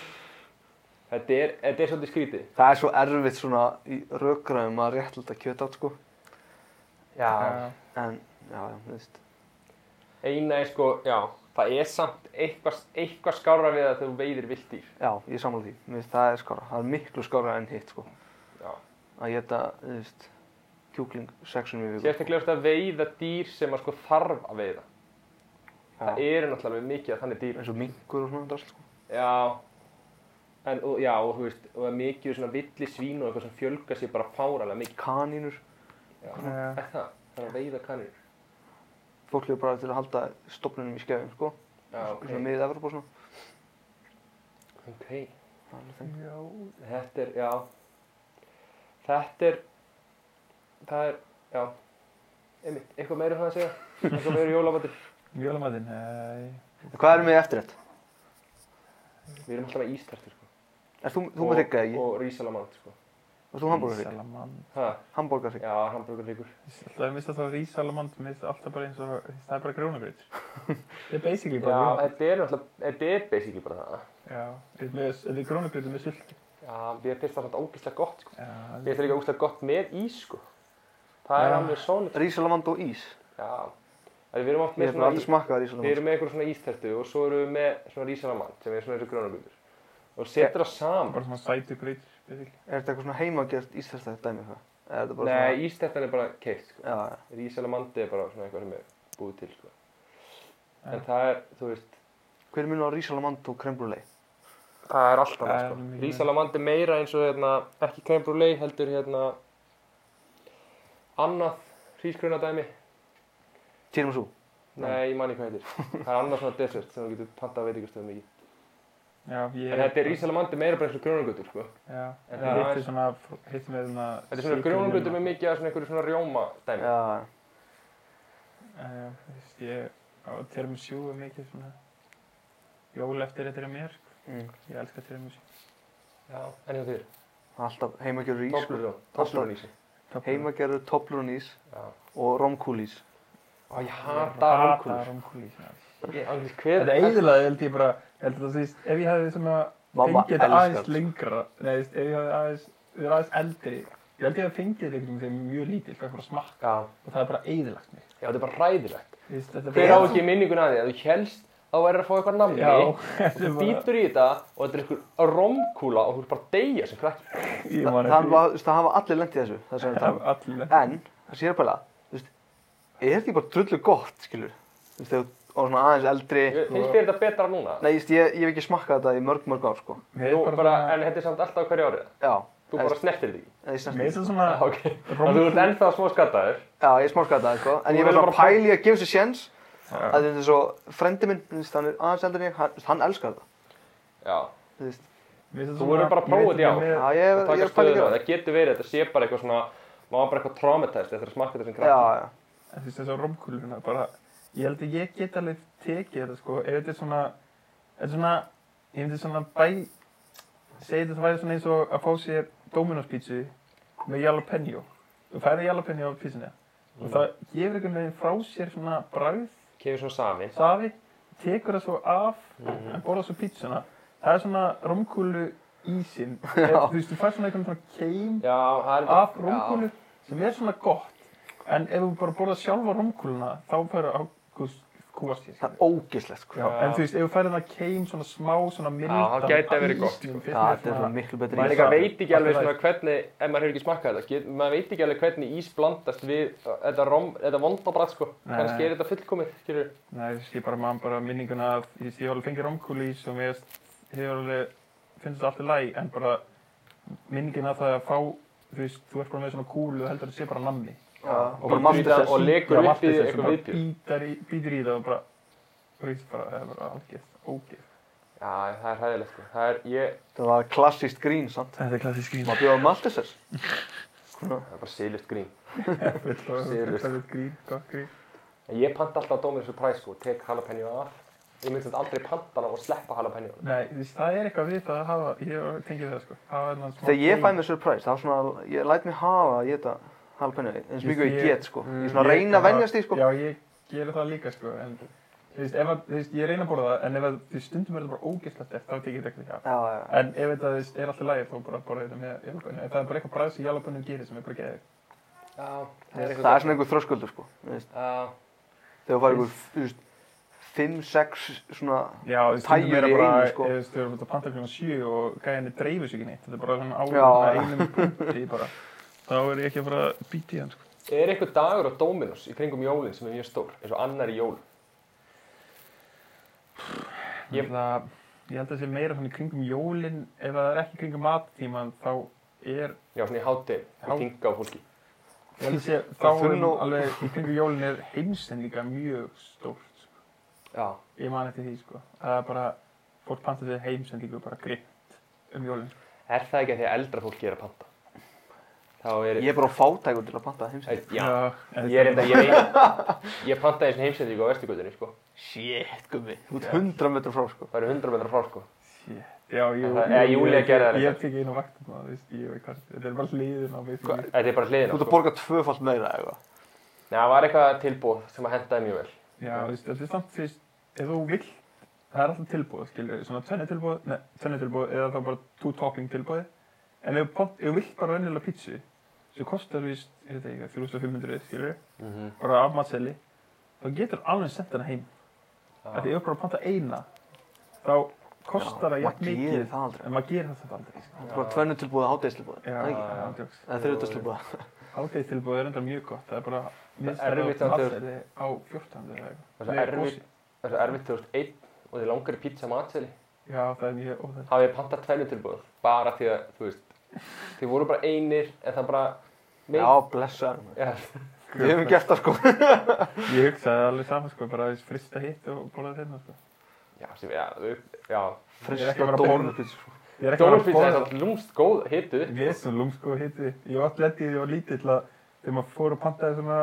S3: þetta er, þetta er svolítið skrítið
S1: Það er svo erfitt svona í rökgræðum að réttlita kjötátt sko.
S3: já.
S1: En, já, já, þú veist.
S3: eina er sko, já það er samt eitthvað, eitthvað skárra við að þú veiðir viltýr
S1: Já, ég samla því. Mér finnst það er skára. Það er miklu skára enn hitt sko.
S3: já.
S1: Að geta, þú veist, kjúkling sexunum í viku.
S3: sérstaklega ertu að veiða dýr sem að sko þarf að veiða það
S1: Já.
S3: eru náttúrulega mikið að þannig dýr
S1: Eins og minkur og svona drasl sko.
S3: Já En, og, já, og þú veist, og það er mikið svona villi svín og eitthvað sem fjölga sér bara fáralega mikið.
S1: Kanínur.
S3: Já.
S2: Já.
S3: Er það? Það er að veiða kannir.
S1: Fólk hefur bara til að halda stofnunum í skefum sko.
S3: Já, ok.
S1: Svona miðið Evropa og svona.
S3: Ok,
S1: Það er alveg þeng.
S2: Já.
S3: þetta er, já. Þetta er, það er, já. Einmitt, eitthvað meira um það að segja? Eitthvað meira um jólamatinn?
S2: Jólamatinn, nei.
S1: Hvað erum við eftir þetta?
S3: Við erum alltaf með ístertur, sko.
S1: Er þú, þú með hrygga ekki?
S3: Og rísalamant, sko.
S1: Er þú hambúrgarhrygg?
S2: Rísalamand.
S3: Ha,
S1: Hambúrgarhrygg.
S3: já, hambúrgar ríkur.
S2: Það er mist alltaf rísalamand, mist alltaf bara eins og, það er bara grjónagrýt. Það er basically
S3: Já,
S2: bara grjónagrýt.
S3: þetta er alltaf, þetta er basically bara það.
S2: Já, þetta er- þetta er grjónagrýt með sulki.
S3: Já, við erum fyrst alltaf ógislega gott, sko.
S2: Já,
S3: Við erum líka ógislega gott með ís, sko. Það er
S2: Já.
S3: alveg sónið,
S1: Rísalamand og ís.
S3: Já, en við erum
S1: Ég
S3: oft með
S1: hef bara
S3: svona,
S1: aldrei
S3: í,
S1: smakkað
S3: við
S1: rísalamand.
S3: erum með einhver svona ístertu og svo erum við með svona rísalamand sem er svona eins og grónagutur og setur það saman.
S2: bara svona sætu grýt, basically.
S1: Er þetta eitthvað svona heimagert íslenska dæmi eitthvað? Er þetta bara
S3: Nei, ístertan er bara keitt, sko.
S1: svona... Já, já.
S3: Rísalamandi er bara svona eitthvað sem er búið til, sko. En
S2: Já.
S3: það er, þú veist,
S1: Hver er munur á rísalamand og krembrulei?
S3: það er alltaf
S2: Það
S3: það,
S2: er
S3: sko.
S2: mikið meira.
S3: Rísalamandi er meira eins og, hérna, ekki krembrúlei, heldur, hérna, annað hrísgrunadæmi.
S1: Týrum svo.
S3: Nei, ég man ekki hvað heitir. Það er annað svona dessert sem þú getur pantað að veitingastöðum í.
S2: Já, ég...
S3: En þetta er rísalamandi meira bara eins og grónagutur, sko.
S2: Já,
S3: En
S2: en
S3: það
S2: hitt
S3: er-
S2: er svona, hitt er með svona...
S3: Þetta er svona grjónuglutur með mikið af svona einhverju svona rjóma dæmi.
S1: Já, já.
S2: Já, þú veist, ég á tiramisjú er mikið svona... Jól eftir þetta er mér, sko.
S1: Mm.
S2: Ég elska tiramisjú.
S3: Já. En hjá þér?
S1: Alltaf heimagerður ís. sko.
S3: Toplurón. Toplurón ísi.
S1: Heimagerður toplurunís
S3: Já.
S1: og romkúlís.
S3: Ó, ég hata
S2: Hata
S3: rúkúlur.
S2: romkúlís, já.
S3: Ég anglis hver...
S2: Þetta er eiginlega, held ég bara, held að það síst, ef ég hefði svona
S1: Mamma
S2: fengið þetta
S1: elskar
S2: aðeins
S1: þetta.
S2: lengra, nei, þú veist, ef ég hefði aðeins, við erum aðeins eldri, ég held ég hefði fengið þetta einhvern veginn þegar ég var mjög lítill, eitthvað smakk,
S3: Já.
S2: og það er bara eiginlegt mig.
S3: Já, þetta er bara ræðilegt.
S2: Þú veist, þetta er
S3: Hver á
S2: bara-
S3: ekki minningun að því að þú helst þá verður að fá eitthvað namni.
S2: Já,
S3: og
S2: þetta
S3: Þú
S2: er bara,
S3: býtur í þetta og þetta er einhver romkúla og þú er bara að deyja sem krakki.
S2: ég
S1: Þa,
S2: man
S1: það,
S2: eftir-
S1: var, þú veist, það hafa allir lent í þessu. Það sem við
S2: Það
S1: tala um.
S2: var allir.
S1: En, það sé að pæla, þú veist, er þetta ekki bara drullu gott, skilur? Þú veist, þegar þú á svona aðeins eldri.
S3: Ég- Finnst þér þetta betra núna?
S1: Nei, ég, veist, ég, ég hef ekki smakkað þetta í mörg, mörg ár, sko.
S2: Mér
S3: Þú
S2: er
S3: bara,
S2: bara
S3: en þetta er samt alltaf á hverju árið.
S1: Já.
S3: Þú bara snertir því.
S1: Nei, ég
S2: svona,
S1: snerti
S2: mér er
S1: því.
S2: þetta svona,
S3: Já, ok.
S2: Rom-
S3: Þannig þú ert ennþá smá skattaður.
S1: Já, ég smakkaði þetta, sko. En
S3: Þú
S1: ég var svona
S3: verður bara að
S1: pæli að gefa sér séns.
S2: Já.
S1: að þetta er svo, frendi minn, þú veist, hann er aðeins eldri en ég, hann, hann elskar þetta,
S3: Já.
S1: þú veist.
S2: mér finnst þetta
S3: Þú
S2: svona-
S3: verður bara að
S2: mér
S3: prófa þetta í
S2: finnst þetta
S3: ár.
S2: með-
S1: Já, ég, ég
S3: að taka
S1: er pæli
S3: stöðuna.
S1: að
S3: Það getur verið, þetta sé bara eitthvað svona, maður var bara eitthvað traumatized eftir að smakka þetta sem
S1: Já,
S3: krakki.
S1: já,
S2: En þú veist þessu romkúluna bara, ég held að ég get alveg tekið þetta sko, ef þetta er svona, þetta er svona, ég myndi svona bæ, segja þetta væri svona eins og að fá sér Domino's pítsu með jalapeno. Þú færði jalapeno á pítsuna og það gefur einhvern veginn frá sér svona bragð,
S3: Kemur svona samin.
S2: safi, tekur það svo af, en borðar svo pítsuna. Það er svona romkúlu ísinn, eða, þú veist, þú fær svona einhvern svona keim
S3: Já, það er
S2: af rúmkúlu sem er svona gott en ef þú bara borðar sjálfa rúmkúluna þá færðu ágúst kúast ég
S1: það
S2: skilur.
S1: er ógeðslegt, sko.
S2: Já, en þú veist, ef þú færðu það keim svona smá, svona mildan
S3: það gæti verið gott, sko.
S1: Já, þetta er svona miklu betri
S3: Maður
S2: Maður
S1: ís.
S3: líka
S2: safi.
S3: veit ekki alveg
S2: Allt í
S3: svona hvernig, ef maður hefur ekki smakkað þetta, get, maður veit ekki alveg hvernig ís blandast við uh, þetta, rom, þetta vondabrætt sko.
S2: Nei.
S3: Kannski er þetta fullkomið, skilur við.
S2: Nei, þú veist, ég bara man bara minninguna að þú veist, ég hef alveg fengið rúmkúlu í sem ég hefur alveg finnst þetta alltaf læg en bara minningina að það að fá þú veist, þú ert bara með svona kúlu og heldur að það sé bara nammi
S1: Já,
S3: bara
S1: bara
S3: master-
S1: master
S3: og lekur upp í
S2: eitthvað
S3: eitthvað
S2: eitthvað
S3: viðbjóð.
S2: viðbjör býtur í það og bara, þú veist, bara, það er bara algjörð, ógeð
S3: Já, það er hæðilegt sko. Það er, ég,
S1: það var klassíst grín, sant?
S2: Þetta er klassísk grín.
S1: Maður bjóða Maltesers.
S3: það er bara silust grín. Serious.
S2: Þetta er grín, gott grín.
S3: En Ég panta alltaf Dominus Surprise sko, tek jalapeno af. Ég myndi þetta aldrei panta hana og sleppa jalapeno.
S2: Nei, þú veist, það er eitthvað við það að hafa, ég tengi það sko. Hafa þennan smá
S1: Þegar ég
S2: keim.
S1: fæ mér surprise, þá svona, ég læt mér hafa að geta halpenni eins mikið og ég
S2: Ég-
S1: get sko ég er
S2: Mm,
S1: svona að reyna að venjast því sko
S2: Já, ég gerir það líka sko, en þú veist, ef að, þú veist, ég reyna að borða það, en ef að, þú veist, stundum er það bara ógeðslegt eftir, þá tekið þetta ekki af.
S1: já, já, já.
S2: En ef þetta, þú veist, er alltaf lægir, þá bara borða þetta með jalapönnu. En það er bara eitthvað bræð sem jalapönnu gerir sem er bara geðið.
S3: Já,
S1: það er svona einhver þröskuldur sko þú veist,
S3: Já,
S1: þegar þú farið einhver þú veist, 5-6 svona
S2: Já, þú veist, stundum
S1: Tægjur
S2: er
S1: í
S2: það bara,
S1: einu, sko.
S2: þú veist, þú erum að panta klukkan sjö og gæðinni dreifur sig ekki neitt. Þetta er bara svona á
S1: Já.
S2: á einum punkti bara. Þá er ég ekki að fara að býta í hann, sko.
S3: er eitthvað dagur á Dominos í kringum jólinn sem er mjög stór, eins og annar í jól Ég-
S2: Ég, það, ég held að það sé meira svona í kringum jólin, ef það er ekki í kringum mattíman, þá er
S3: Já, svona í hátegi,
S2: Já.
S3: og kinga á fólki
S2: Ég held að sé, þá
S1: Það
S2: er
S1: þurfi nú-
S2: alveg í kringu jólin er heimsinn líka mjög stórt. sko.
S3: Já,
S2: Ég man eftir því, sko. Það er bara, fólk panta sér heimsinn líka bara gritt um jólin.
S3: er það ekki að því að eldra fólki er að panta? Þá er
S1: ég er bara fátækur til að panta það heimsæk
S3: Já,
S2: en
S3: ég er enda, ég veit Ég pantaði svona heimsendingu á Vesturgötunni, sko
S1: shit gummi út 100 metrar frá sko
S3: Það eru 100 metrar frá, sko
S2: Shit. Já, jú,
S3: En það- eða Júlía
S2: ég-
S3: gerði það
S2: Ég
S3: reyndar.
S2: tek inn á vaktum það, veist, ég veit hvað. Þetta er bara hliðin á mig. sko.
S3: Þetta er bara
S1: þú
S3: hliðina,
S1: ert að
S3: sko
S1: borga tvöfalt meira eða eitthvað.
S3: Nei, það var eitthvað tilbúð sem að hendaði mjög vel
S2: Já, veist, þetta er samt, þú veist, ef þú vill, það er alltaf tilbúð, skilur. Svona tvenni tilbúð, ne, tvenni tilbúð eða þá bara two topping tilbúði. En ef þú pant- ef þú vill bara venjulega pítsu, sem kostar, víst, ég veit ekki, 3500, skilur.
S3: mm
S1: Mhm.
S3: -hmm.
S2: bara af matseli þá getur alveg sent hana heim ah.
S3: Já,
S2: því ef bara að panta eina þá kostar
S1: Já,
S2: það jafn
S1: maður
S2: mikið
S1: gerir það aldrei
S2: en maður gerir það samt aldrei sko.
S1: bara tvennu tilbúið og hádegistilbúið
S2: já,
S1: eða
S3: já.
S2: ándjóks
S1: þriðutastilbúið
S2: ágæðistilbúð er enda mjög gott það er bara minnst
S3: er erfitt
S2: á
S3: að-
S2: matseli á 14 eða
S3: Það
S2: eitthvað
S3: er
S2: Nei,
S3: erfitt.
S2: Gosi.
S3: það er svo erfitt 2001 og þið langar í pizza matseli
S2: já, það er mjög óþægilegt
S3: hafið pantað tvennu tilbúð bara því að, þú veist þið voru bara einir en það bara
S1: já blessaður maður.
S3: Já,
S1: við hefum gert það sko
S2: ég hugsaði alveg saman sko bara að frista hitt og borða þetta sko.
S3: já, sem, já, upp- já.
S2: Ég er
S1: frist
S2: ekki að
S1: og
S2: vera að borða.
S1: dónupizza sko.
S2: ég er ekki bara að
S3: Dónupizza er
S2: borða
S3: samt lúmst góð hitu
S2: Við erum svona lúmsko hitti. sko, Ég var alltaf lendið því að ég var lítill að þegar maður fór og pantaði svona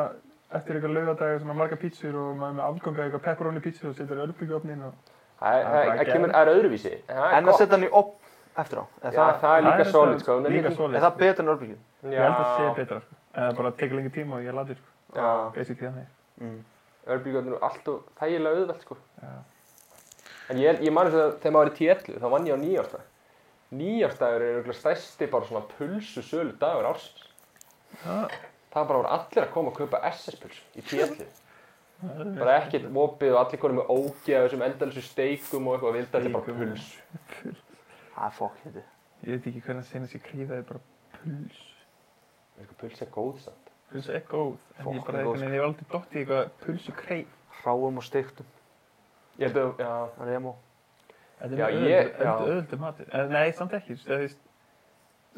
S2: eftir eitthvað laugardaga svona marga pítsur og maður með afganga eitthvað pepperoni pítsur og setur örbyggjofnin og
S3: Það
S2: Það er
S3: það-
S2: bara
S3: það kemur,
S2: geðveikt.
S3: það er öðruvísi En það er
S1: en að
S3: gott
S1: setja hann í op eftir á
S3: Já,
S1: er það,
S3: Það er
S2: Það
S3: líka
S2: er
S3: solid
S2: svona-
S3: sko hún er
S2: líka
S3: líka-
S2: solid.
S1: er það betur en örbyggju
S2: ég held að það sé
S3: Já,
S2: betra sko. En það bara tekur lengi tíma og ég latir sko. Basic því þannig.
S1: Ah. Mm.
S3: örbíkvöldin eru alltaf þægilega auðvelt sko
S2: Já.
S3: En ég, ég man þess að þegar maður er í 11 þá vann ég á nýjárstag Nýjárstagur er auðvitað stærsti bara svona pulsu sölu dagur ársins
S2: Það
S3: Það bara voru allir að koma að kaupa SS-pulsu í 11
S2: það er
S3: Bara ekkert opið og allir konum með ógeða þessum endalsu steikum og eitthvað vildi allir bara
S2: Steikum.
S3: pulsu
S1: það er fokk hérna
S2: Ég veit ekki hvernig að senast ég krífaði bara puls.
S3: Eitthvað pulsa er góð samt
S2: Puls er góð. En ég
S1: Fokkin
S2: bara
S1: góð,
S3: sko.
S2: eitthvað, en ég hef aldrei dótt í eitthvað pulsu kreif.
S1: hráum og steiktum
S3: Ég held að, já,
S1: remo
S2: Þetta
S3: Já,
S2: er
S3: ég-
S2: mjög
S3: já.
S2: öðvöldu matur. En Nei, samt ekki. þú veist, eða þú veist,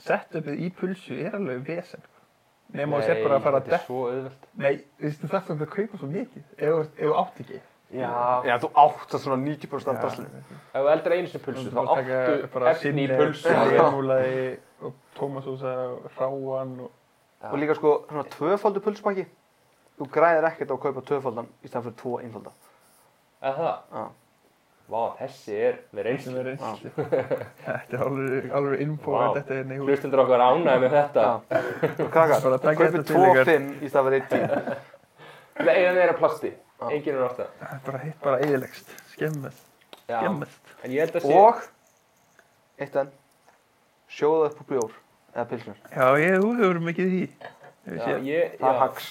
S2: Setupið í pulsu er alveg vesen. sko. Nema þú sér bara að fara að
S3: þetta er svo auðvelt
S2: Nei, þú veist, þú þarft samt að kaupa svo mikið ef þú ert- ef þú átt ekki.
S3: Já,
S1: já þú átt það svona 90% af drasli
S3: ef þú eldir einu sinni pulsu þá áttu efni í pulsu
S2: Rémúlaði og tómasúsa og ráan og...
S1: og líka sko svona tvöfaldu pulsbakki þú græðir ekkert á að kaupa tvöfaldan í stæðan fyrir tvo einfalda Ah.
S3: Eða það?
S1: Já.
S3: Vá, þessi er með
S2: sem
S3: reynslu.
S2: er reynsli. Þetta er alveg, alveg info
S3: Vá.
S2: að þetta hérna er neitt húl.
S3: Hlustundur okkar ánæði með þetta.
S1: Já. Ah. og krakkar
S2: Bara taka
S1: kaupið
S2: þetta til
S1: tvo
S2: ykkar.
S1: fimm í stæðan fyrir eitt tíu
S3: Nei, það er að plasti.
S1: Já.
S3: Engin er átt það.
S2: Það er bara hitt, bara eðilegst. Skemmest, skemmest.
S3: En ég held að sé...
S1: og eitt enn sjóða upp á bjór eða pilsnur
S2: Já, ég, þú hefur mikið í því. Ég
S3: Já,
S2: veist ég.
S3: ég,
S1: það er
S3: já,
S1: hags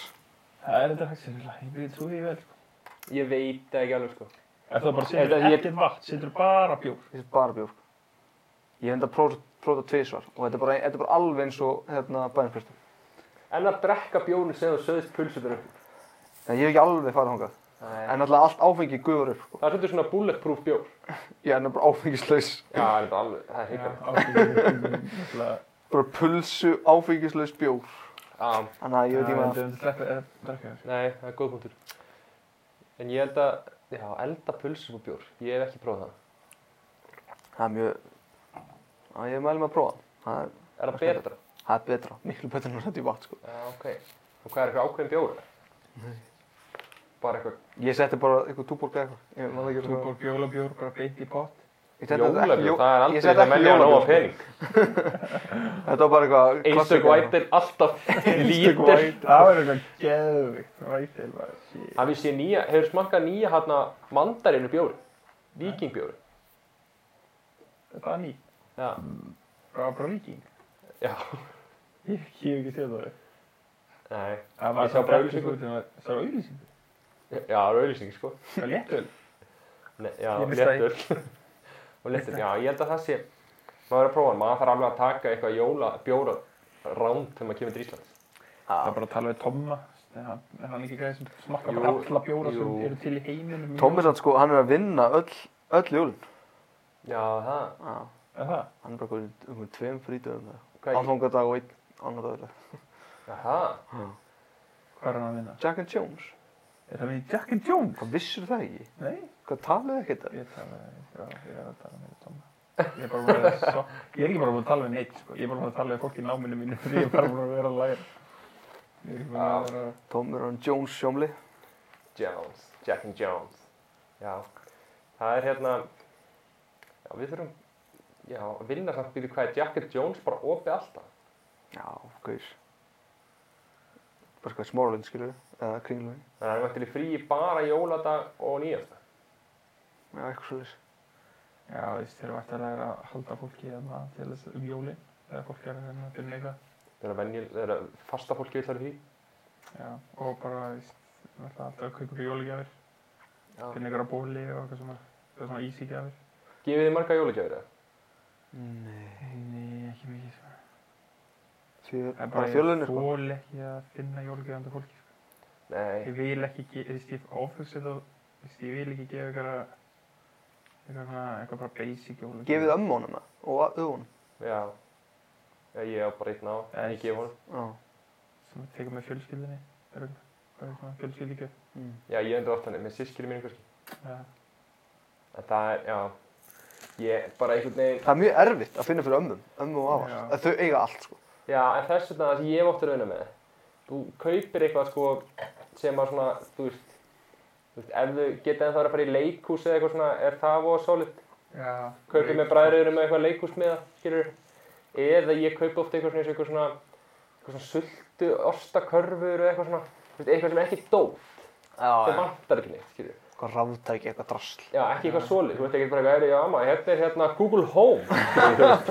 S2: Það er þetta haksinilega. Ég byrði trúið í vel. sko.
S3: ég veit það ekki alveg sko.
S2: Ef það bara
S3: Þetta-
S2: setur
S3: ég-
S2: ekkert vatn, setur bara bjór.
S1: þetta er bara bjór ég hef enda prófað prófað tvísvar og þetta er bara, þetta er bara alveg eins og hérna bænispjörstum
S3: En að drekka bjónu sem þú söðist pulsutur upp.
S1: en ég hef ekki alveg farið þangað
S3: Nei.
S1: en alltaf allt áfengi gufur upp sko.
S3: Það er svolítið svona bulletproof bjór.
S1: ég er enda bara áfengislaus
S3: Já, það er þetta alveg, það er
S2: Já,
S3: hikar.
S2: áfengi.
S1: bara pulsu áfengislaus bjór
S3: Já,
S1: þannig að ég veit ekki
S2: Það er sleppið að drakka þessu.
S3: nei, það er góð punktur. En ég held að, já, elda pulsur og bjór. Ég hef ekki prófað það.
S1: maður það er mjög já ég mæli mig að prófa það er,
S3: Er það betra?
S1: það er betra miklu betra en að þetta í vatn sko
S3: Já, ok. Og hvað er eitthvað ákveðin bjór? Nei. Bara eitthvað
S1: ég setti bara eitthvað túborg eða eitthvað ég maður ekki
S2: Túborg jólabjór, bara beint í pott.
S1: Ég setti þetta ekki-
S3: Jólefni,
S1: jó-
S3: það er
S1: ég
S3: aldrei
S1: setti
S3: það
S1: ekki
S3: menja
S1: jólabjór.
S3: nóga pening.
S1: Þetta var bara eitthvað
S3: Einstök
S1: klassika.
S3: væt er alltaf lítil.
S1: White.
S2: Það var eitthvað geðvikt Vætil bara shit.
S3: Hafið sé nýja, hefur smakkað nýja hérna mandarinu bjóri, vikingbjóri.
S2: Það er ný
S3: Já,
S2: Það var bara viking
S3: já,
S2: Ég ég hef ekki séð það
S3: nei,
S2: Það
S3: Ég
S2: var
S3: sá bara auglýsingu.
S2: Það var auðlýsingu
S3: já, það er auðlýsing, sko.
S2: Það var léttöl
S3: Nei, já,
S2: Ég mista
S3: léttur. og léttur, já, ég held að það sé, maður er að prófa, hann, maður þarf alveg að taka eitthvað jóla, bjóra, ránd þegar maður kemur til Íslands.
S2: Það var bara að tala við Tomma en hann er hann ekki gæði sem smakka
S3: Jú,
S2: bara alla bjóra sem
S3: jú.
S2: eru til í heiminum
S1: Tommi sann sko, hann er að vinna öll, öll jólun.
S3: Já, það,
S1: Já,
S2: Er það?
S1: hann er bara komin um tveim frítöðum það.
S3: hvað er,
S1: Aðfangadag og einn annar dagurlega.
S3: já, það,
S2: Hvað er hann að vinna?
S1: Jack and Jones,
S2: Er það við Jack and Jones?
S1: hvað vissur það ekki?
S2: Nei
S1: Hvað talaðu um ekki þetta?
S2: Ég tala, ég er að- ég er að tala með Tomma. Ég er bara búin að so Ég er ekki bara búin að tala við neitt, sko. Ég er bara búin að tala við fólk í náminu mínu því ég er bara búin að vera að læra. Ég er ekki búin að vera að...
S1: Tommi er hann Jones sjómli.
S3: Jones, Jack and Jones. Já, það er hérna, já, við þurfum, já, að vinna samt býðu hvað er Jack and Jones bara opið alltaf.
S1: Já, gauðis. Bara hvað smóralind skilur, eða kringlunni.
S3: Þannig að hann er til í frí bara jóladag og nýjasta.
S1: Já, eitthvað svolítið.
S2: Já, þú veist, þeir eru væntanlega að halda fólki hérna til þess um jólin. Þegar fólk er hérna að finna eitthvað.
S3: Þeirra venjul, þeirra fasta fólki vill þar í frí.
S2: Já, og bara, þú veist, náttúrulega alltaf að kaupa ykkur jólagjafir.
S3: Já.
S2: Finna ykkur að bóli og eitthvað svona, eitthvað svona ísigjafir.
S3: Gefið þið marga jólagjafir eða?
S1: Nei.
S2: Nei, ekki mikið, sko.
S1: Fjör,
S2: Það er
S1: bara
S2: bara,
S1: fjölunni
S2: ég
S1: sko.
S2: þól ekki að finna jólagjafir handa fólki,
S3: Nei.
S2: Ég vil ekki, ge- þú veist, ég ofugsa þá, þú veist, ég vil ekki gefa ykkur að, eitthvað svona, eitthvað bara basic jólagjöf.
S1: Gefið ömmu honum það og öðunum.
S3: Já. Já, ég á bara einn á.
S2: Nei.
S3: Ég gef honum.
S1: Já.
S2: Sem að teka með fjölskyldinni, er eitthvað, eitthvað svona fjölskyldingjöf.
S1: Mm.
S3: Já, ég endur oft þannig með sískinu mínu kannski.
S2: Já,
S3: En það er, já. Ég bara einhvern veginn.
S1: Það er mjög erfitt að finna fyrir ömmum, ömmu og afar.
S2: Já.
S1: Að Þau eiga allt sko.
S3: Já, en þess vegna það sem ég hef oft að rauna með. Þú kaupir eitthvað sko sem að svona, þú veist, þú veist, ef þú geta en það að fara í leikhús eða eitthvað svona, er það voða solid?
S2: já.
S3: kaupið með bræðriður með eitthvað leikhúsmiða, skilur eða ég kaupi ofta eitthvað svona, eins og eitthvað svona, eitthvað svona sultu, ostakörfur eða eitthvað svona, þú veist, eitthvað sem er ekki dóf, það
S1: Já,
S3: vantar ekki neitt, skilur
S1: Eitthvað ráftæki, eitthvað drasl.
S3: Já, ekki eitthvað svolít, þú veist ekki bara eitthvað, "Heyrðu, já, maður, hérna er hérna Google Home, skilur, þú veist,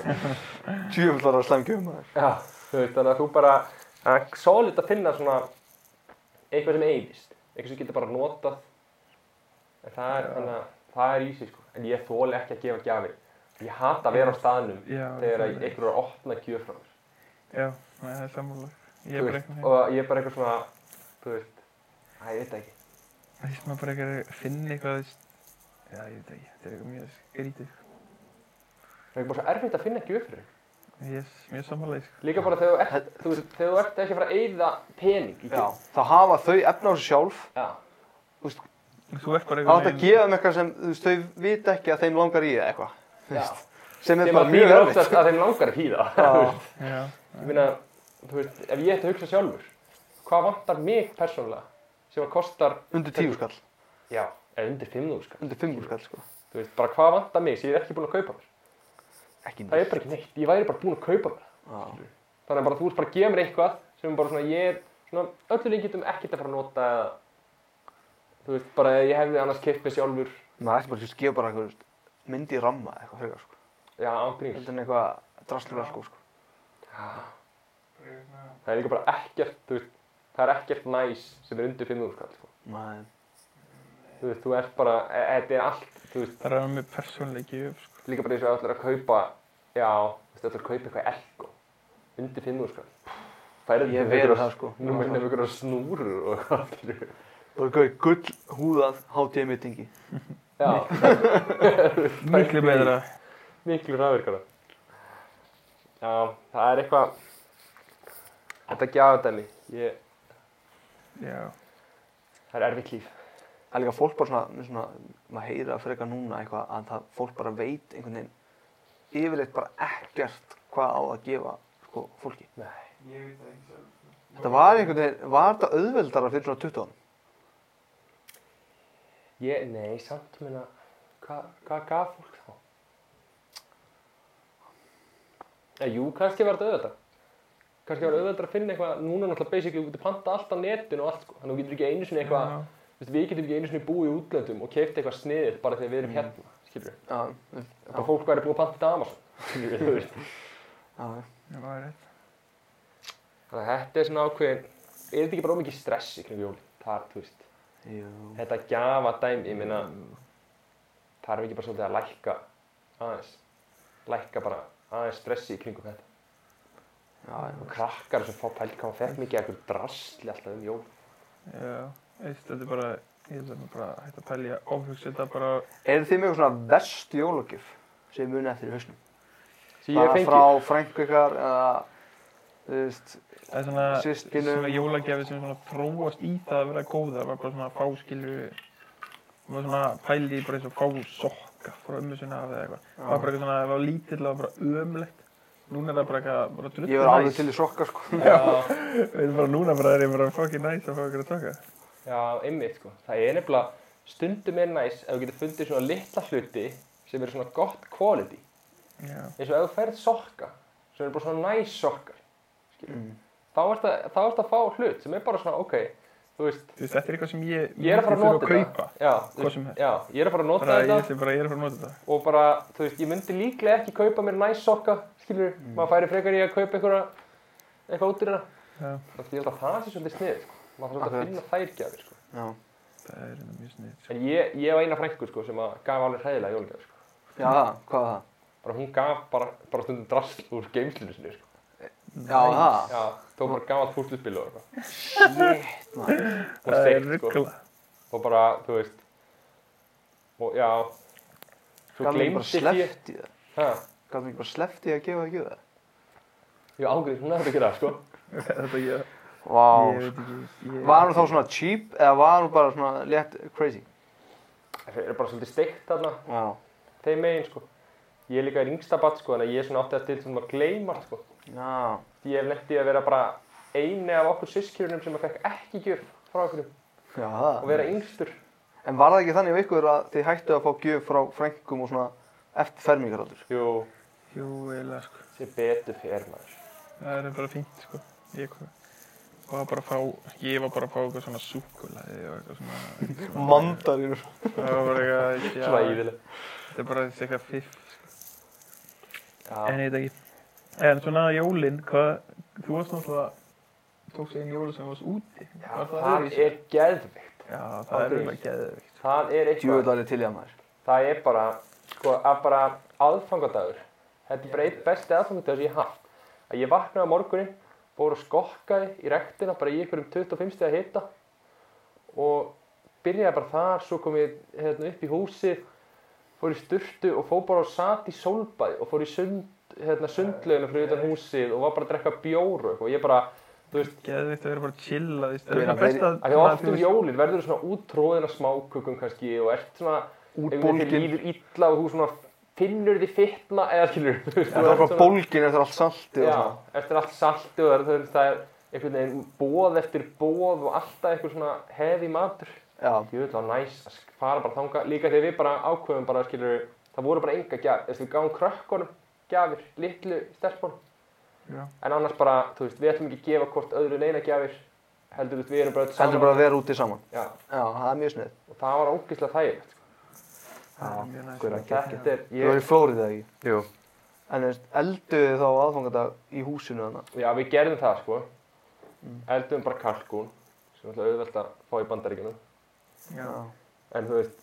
S1: Tjöflar að slæm gjöfum það.
S3: já, þú veist, þannig að þú bara, það er svolít að finna svona eitthvað sem eigist, eitthvað sem getur bara notað, en það er, þannig að það er easy, sko, en ég þóli ekki að gefa gjafir, ég hata að vera á staðnum
S2: Já,
S3: þegar að
S2: það er-
S3: einhver er að opna gjöf frá mér
S2: Já, nei, það er sammála.
S3: Þú
S2: Ég er bara
S3: veist,
S2: eitthvað, hérna.
S3: og ég er bara eitthvað svona þú veist, æ, ég veit það ekki
S2: það er sem að bara eitthvað að finna eitthvað, þú veist, já, ég veit ekki, þetta er eitthvað mjög skrítið, sko.
S3: það er bara svo erfitt að finna gjöf fyrir þig.
S2: Ég er mjög sammála, því, sko.
S3: líka bara þegar þú ert, þú veist, þegar þú ert ekki að fara að eyða pening í
S1: Já,
S3: gjöf
S1: þá hafa þau efna á sig sjálf.
S3: já,
S2: Þú ert bara
S1: Það átt
S2: eitthvað
S1: að gefa þeim eitthvað sem þú veist, þau vita ekki að þeim langar í það eitthvað.
S3: já
S1: Sem er
S3: þeim
S1: bara
S3: að
S1: mjög
S3: þýðir
S1: erfitt.
S3: oftast að þeim langar að hýða
S1: Já,
S2: Já,
S3: ég meina, þú veist, ef ég ætti að hugsa sjálfur hvað vantar mig persónulega sem að kostar,
S1: undir tíu skall,
S3: já, eða undir 5.000 skall
S1: undir fimmur skall sko.
S3: þú veist, bara hvað vantar mig sem ég er ekki búin að kaupa mér
S1: Ekki
S3: það er bara ekki neitt, ég væri bara búin að kaupa mér
S1: Já,
S3: þannig að bara þú veist bara að gefa mér eitthvað sem bara svona ég er svona öllu líkjöndum ekkert að fara að nota eða þú veist bara að ég hefði annars keipt mér sjálfur
S1: maður ætti bara að gefa bara eitthvað mynd í ramma eitthvað frekar sko.
S3: já ángríns
S1: Heldur en eitthvað drastlur sko sko.
S3: það er líka bara ekkert þú veist það er ekkert næs sem er undir 500 skall sko.
S1: Nei,
S3: þú veist þú ert bara e- þetta er allt þú veist
S2: það er að með persónleiki, sko.
S3: líka bara eins og allir að kaupa já þú veist allir að kaupa eitthvað elko undir 500 skall færið
S1: ég verið það sko.
S3: nú minnum ykkur að snúru og eitthvað skilurðu.
S1: Bara eitthvað gull húðað hátíðmyndingi.
S3: já
S2: Miklu betra.
S3: miklu rafvirkara já, það er eitthvað þetta gjafadæmi ég,
S2: Já.
S3: það er erfitt líf
S1: Það er líka fólk bara svona, með svona maður heyra frekar núna eitthvað að það fólk bara veit einhvern veginn yfirleitt bara ekkert hvað á að gefa sko fólki.
S3: Nei.
S2: Ég veit það ekki sjálf.
S1: Þetta var einhvern veginn, var þetta auðveldara fyrir svona 20 árum?
S3: ég, nei, samt minna hvað hva gaf fólk þá? Eða, jú, kannski var þetta auðvitað. Kannski var auðvitað að finna eitthvað, núna náttúrulega basically, þú getur panta allt á netinu og allt, sko. Þannig að þú getur ekki einu sinni eitthvað,
S2: Já.
S3: þú veist, við getum ekki einu sinni búið í útlöndum og keift eitthvað sniðið bara þegar við erum hérna, skilur við.
S1: Já,
S3: Bara fólk væri búið að panta til Amazon, skilur við, þú veist.
S1: já, já.
S2: Já, það er rétt.
S3: Þannig að þetta er svona ákveðin, er þetta ekki bara ómikið stress í kringum jólin? Það er, þú veist,
S1: Jú.
S3: þetta gjafa dæmi, ég meina, þarf ekki bara svolítið að lækka aðeins, lækka bara aðeins stressi í kringum þetta.
S1: Já, já.
S3: Og krakkar sem fá pælt hvað maður fekk mikið eitthvað drasli alltaf um jól.
S2: Já, veist, þetta er bara, ég held að maður bara hægt að pælja, ofhugsa þetta bara,
S1: Er þið með eitthvað svona verst jólagjöf sem muni eftir í hausnum?
S3: Því ég
S1: Bara
S3: fengi,
S1: frá frængu ykkar eða, þú veist,
S2: það er svona,
S1: Systkinum.
S2: svona jólagjafi sem svona þróast í það að vera góða, var bara svona að fá skilur, var svona pæli í bara eins og fá sokka frá ömmu sinna af eða eitthvað. Það var bara eitthvað svona, það var lítill og bara ömlegt. Núna er það bara eitthvað, bara drullu
S1: ég verði alveg til í sokka sko.
S3: já,
S2: Við erum bara núna bara, er ég bara fucking næs að fá ykkur að taka.
S3: já, einmitt sko. Það er nefnilega, stundum er næs ef þú getur fundið svona litla hluti sem eru svona gott quality.
S2: Já,
S3: Eins og ef þú ferð sokka, sem eru bara svona næs sokkar,
S1: Mm.
S3: þá ert að, þá ert að fá hlut sem er bara svona, ok, þú veist,
S2: þú veist, þetta er eitthvað sem ég,
S3: ég er að fara að nota
S2: þurfa kaupa.
S3: Já,
S2: hvað
S3: þú-
S2: sem er.
S3: já, ég er að fara að nota
S2: Bara,
S3: þetta.
S2: ég sé bara, ég er að fara að nota þetta.
S3: og bara, þú veist, ég myndi líklega ekki kaupa mér næs sokka, skilur,
S2: Mm.
S3: maður færi frekar í að kaupa einhverja, eitthvað út í hérna.
S2: Já,
S3: Þannig að ég held að það sé svolítið snið, sko. Maður þarf svolítið
S1: Akkurat.
S3: að finna þær gjafir, sko.
S1: Já.
S2: það er hérna mjög snið.
S3: En ég, ég var eina frængur, sko, sem að gaf alveg hræðilega jólagjafir, sko.
S1: Já, það, hvað var það?
S3: Bara hún gaf bara, bara stundum drasl úr geimslinu sinni, sko.
S1: Já, það.
S3: Já, tók
S2: Mm.
S3: bara gammalt fúrstuspil og eitthvað.
S1: Shit, maður.
S3: Hún
S2: Það er
S3: steikt,
S2: ruggla.
S3: sko. Og bara, þú veist, og já, svo
S1: Gaf mér bara
S3: gleymdi ég,
S1: sleft í það.
S3: hæ,
S1: Gaf mér bara sleft í að gefa það gjöða.
S3: ég ágrið, hún hefði ekki það, sko.
S2: Þetta ég,
S1: Vá.
S2: ég veit ekki. Ég,
S1: Var hún þá svona cheap eða var hún bara svona létt crazy?
S3: Það er bara svolítið steikt þarna,
S1: Já.
S3: þeim megin sko. Ég er líka yngstabatt sko, en ég er svona áttið til sem maður gleymar sko.
S1: Já.
S3: Ég hef lendið að vera bara eini af okkur sískjörunum sem að fekk ekki gjöf frá okkur og
S1: Já, það.
S3: vera yngstur.
S1: En var það ekki þannig við ykkur að þið hættu að fá gjöf frá frængum og svona eftir fermingaraldur?
S3: Jú,
S2: Jú, eiginlega, sko.
S3: sem betur fyrir maður.
S2: Það er bara fínt, sko. Ég kom- var bara að fá, ég var bara að fá eitthvað svona súkulaði og eitthvað svona... eitthvað svona-
S1: Mandarínur.
S2: Það var bara eitthvað, já,
S3: Svona íðileg.
S2: þetta er bara þessi eitthvað fiff, sko.
S3: Já,
S2: En ég veit ekki. En svona jólinn, hvað, þú varst náttúrulega, tókst einn jóla sem varst úti.
S3: já
S2: Var
S3: það,
S2: öðruvísi?
S3: er geðvikt.
S2: Já, það er
S3: Aldrei.
S2: eiginlega geðvikt.
S3: Það er eitthvað,
S1: Djúvel árið til ég að maður.
S3: það er bara, sko, að bara aðfangadagur. Þetta er bara einn besti aðfangadagur sem ég hef haft. Að ég vaknaði á morgunin, fór og skokkaði í rektina, bara í einhverjum 25 steg að hita. og byrjaði bara þar, svo kom ég hérna, upp í húsið, fór í sturtu og fór bara og sat í sólbæði og fór í sund, hérna, sundlaugina fyrir utan húsið og var bara að drekka bjóru og ég bara, þú veist,
S2: Geðvikt að vera bara chillað í
S1: Ég
S2: stöðum.
S1: meina,
S2: Það er best að...
S3: að því oft um jólin verður þú svona útróðin af smákökum kannski og ert svona, einhvern veginn þér
S1: Útbólgin.
S3: líður illa og þú svona finnur því fitna eða skilur, þú veist,
S1: Það
S3: þú
S1: var
S3: ert
S1: bara bólgin eftir allt salti og
S3: Já,
S1: svona.
S3: eftir allt salti og það er, það er, það er einhvern veginn bóð eftir bóð og alltaf einhver svona hefi matur.
S1: Já.
S3: Ég veit það var næs að sk- fara bara þanga, líka þegar við bara ákveðum bara, skilur, það voru bara enga gjafir, þess að við gáum krökkunum gjafir, litlu stelpunum,
S2: Já.
S3: en annars bara, þú veist, við ætlum ekki að gefa hvort öðru neina gjafir, heldur þú veist, við erum bara öll saman.
S1: Heldur bara að vera úti saman.
S3: Já,
S1: Já, það er mjög snið.
S3: og það var ógeðslega þægilegt, sko.
S2: Það er mjög næst.
S1: Gaur,
S3: Þetta er,
S1: Þú var
S3: ég,
S1: í Flórið eða ekki?
S3: jú,
S1: En þú veist, elduðu þið þá aðfangadag í húsinu þarna?
S3: já, við gerðum það, sko, eldum bara kalkún, sem er alltaf auðvelt að fá í bandaríkjunum.
S2: Já.
S3: en þú veist,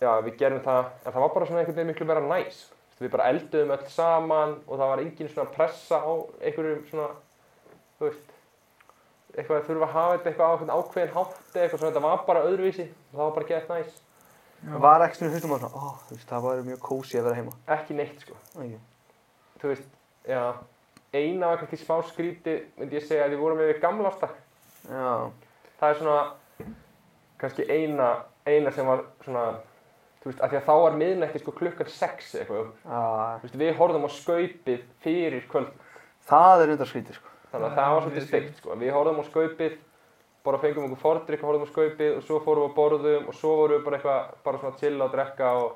S3: já, við gerum það, en það var bara svona einhvern veginn miklu meira næs. Þú veist, Við bara elduðum öll saman og það var engin svona pressa á einhverjum svona, þú veist, eitthvað að þurfa að hafa þetta eitthvað á einhvern ákveðin hátti eitthvað svona, þetta var bara öðruvísi og það var bara gett næs.
S1: Var ekki svona hlustum að svona, ó, þú veist, það var mjög kósi að vera heima.
S3: Ekki neitt, sko.
S1: Æ,
S3: Þú veist, já, eina var kannski smá skríti, myndi ég segja, að við vorum með við gamla ástæk.
S1: Já,
S3: það er svona kannski eina, eina sem var svona, þú veist, af því að þá var miðnætti sko klukkan 6 eitthvað,
S1: já,
S3: Þú veist, við horfðum á skaupið fyrir kvöld,
S1: það er undar skrítið, sko.
S3: þannig að það var svolítið steikt, sko. Við horfðum á skaupið, bara fengum okkur fordrykk og horfðum á skaupið og svo fórum við að borðum og svo vorum við bara eitthvað, bara svona chill að drekka og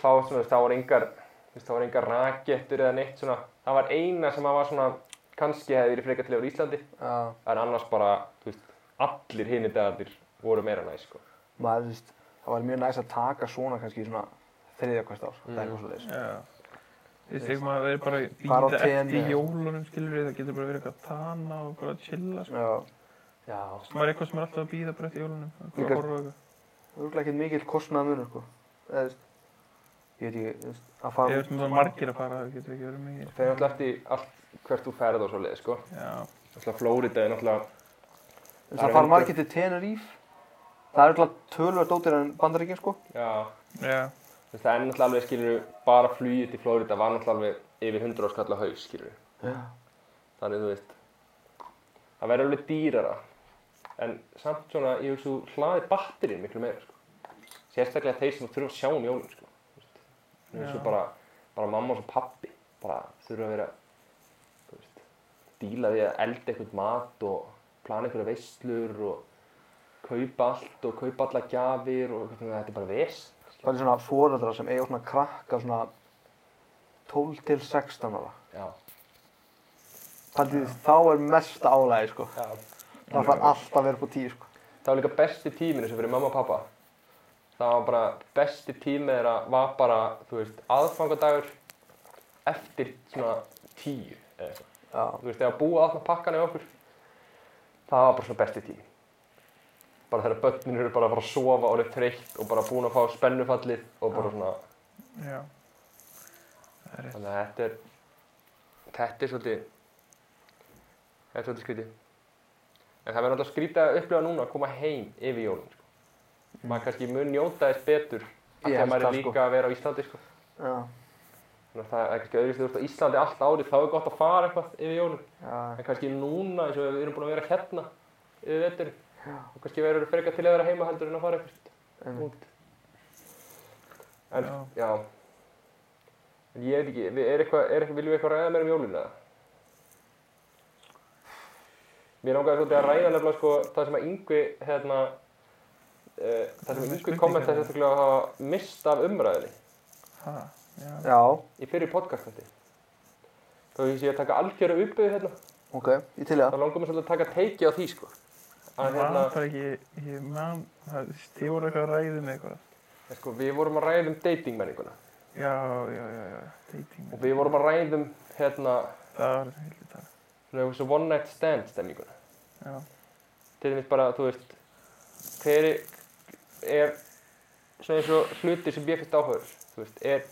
S3: þá, svona, þú veist, þá var engar, Þvist, það var enga rakettur eða neitt svona. Það var eina sem að var svona, kannski hefði verið frekar til yfir Íslandi.
S1: Já,
S3: En annars bara, þú veist, allir hinni dagarnir voru meira næs, sko.
S1: maður, þú veist, það var mjög næst að taka svona kannski í svona þriðja hvert ár, það er eitthvað svo leiðis.
S2: Já. Ég þegar maður verið bara að
S1: Bara á
S2: býta
S1: TN,
S2: eftir
S1: já.
S2: jólunum, skilur við, það getur bara verið eitthvað að tana og bara að chilla, sko.
S1: Já,
S3: Já.
S2: Það er eitthvað sem er alltaf að býða bara eftir jólunum, eitthvað
S1: Líka-
S2: að horfa á eitthvað.
S1: það er örugglega ekkert mikill kostnað munur, sko. Eða, þú veist, ég veit ekki, þú veist, að
S2: Ég
S1: fara
S2: veist maður margir að fara, það getur ekki verið mikið.
S3: Það er alltaf eftir allt hvert þú ferð og svo leið, sko.
S2: Já,
S3: Alltaf Flórida er náttúrulega,
S1: þú veist, að fara margir til Tenerife, það er örugglega tölvöld ótir en bandaríkinn, sko.
S3: já,
S2: já,
S3: þú veist, það er náttúrulega alveg, skilur bara flugið til Flórida var náttúrulega alveg yfir 100 skall á haus, skilur
S1: Já.
S3: Þannig, þú veist, það verður alveg dýrara. En samt svona, ég hugsa, þú hlaðir batterinn miklu meira, sko. Sérstaklega þeir sem þurfa að sjá um jólum, sko. Þú veist, Nú er
S2: Já.
S3: svo bara, bara mamma og svo pappi, bara þurfa að vera, þú veist, díla því að elda eitthvað mat og plana einhverja veislur og kaupa allt og kaupa alla gjafir og eitthvað, þetta er bara ves.
S1: Það er svona fóröldra sem eiga svona krakka svona 12 til 16 ára.
S3: sko. Já.
S1: Paldið, þá er mesta álægi, sko.
S3: Já.
S1: Það far alltaf að vera upp á 10, sko.
S3: það var líka besti tíminu sem fyrir mamma og pappa það var bara besti tími þeirra var bara, þú veist, aðfangadagur eftir svona tíu eða eitthvað,
S1: Já.
S3: þú veist, þegar búið alltaf pakkana í okkur það var bara svona besti tími bara þegar börnin eru bara að fara að sofa og eru þreytt og bara búin að fá spennufallið og bara svona,
S2: já. Það er rétt.
S3: þannig að þetta er þetta er svolítið þetta er svolítið skrítið en það verður alltaf skrítið að upplifa núna að koma heim yfir jólum sko. maður kannski mun njóta þess betur af því
S1: Ég
S3: að
S1: held
S3: maður er
S1: það,
S3: líka
S1: sko.
S3: að vera á Íslandi sko.
S1: Já.
S3: þannig að það er kannski öðru þú ert á Íslandi allt árið þá er gott að fara eitthvað yfir jólum
S1: Já.
S3: en kannski núna eins og við erum búin að vera hérna yfir vettur og kannski verður þú frekar til að vera heima heldur en að fara eitthvað
S1: einmitt.
S3: út en já,
S2: Já.
S3: En ég veit ekki, við- er eitthvað, er eitthvað, viljum við eitthvað ræða meira um jólina? Mér langaði svolítið að ræða nefnilega sko það sem að yngvi hérna uh, það sem
S2: Með
S3: yngvi
S2: spurningar,
S3: kommenta
S2: eða?
S3: sérstaklega að hafa mist af umræðinni
S2: Ha, já.
S1: Já,
S3: í fyrir podcastandi. Þá ég sé að taka algjöru uppbyðu hérna,
S1: ok, ég til í
S3: þá
S1: það.
S3: langar mér svolítið að taka teiki á því sko.
S2: Ég
S3: Að
S2: man
S3: hérna,
S2: bara ekki, ég man, það þið voru eitthvað að ræða með eitthvað.
S3: sko, við vorum að ræða um datingmenninguna
S2: Já, já, já, já, dating.
S3: og við vorum að ræða um hérna,
S2: Það var heilir dag.
S3: svona þessu one night stand stemninguna.
S2: Já,
S3: til dæmis bara, þú veist, hver er svona eins og hluti sem ég finnst áhugur, þú veist, er,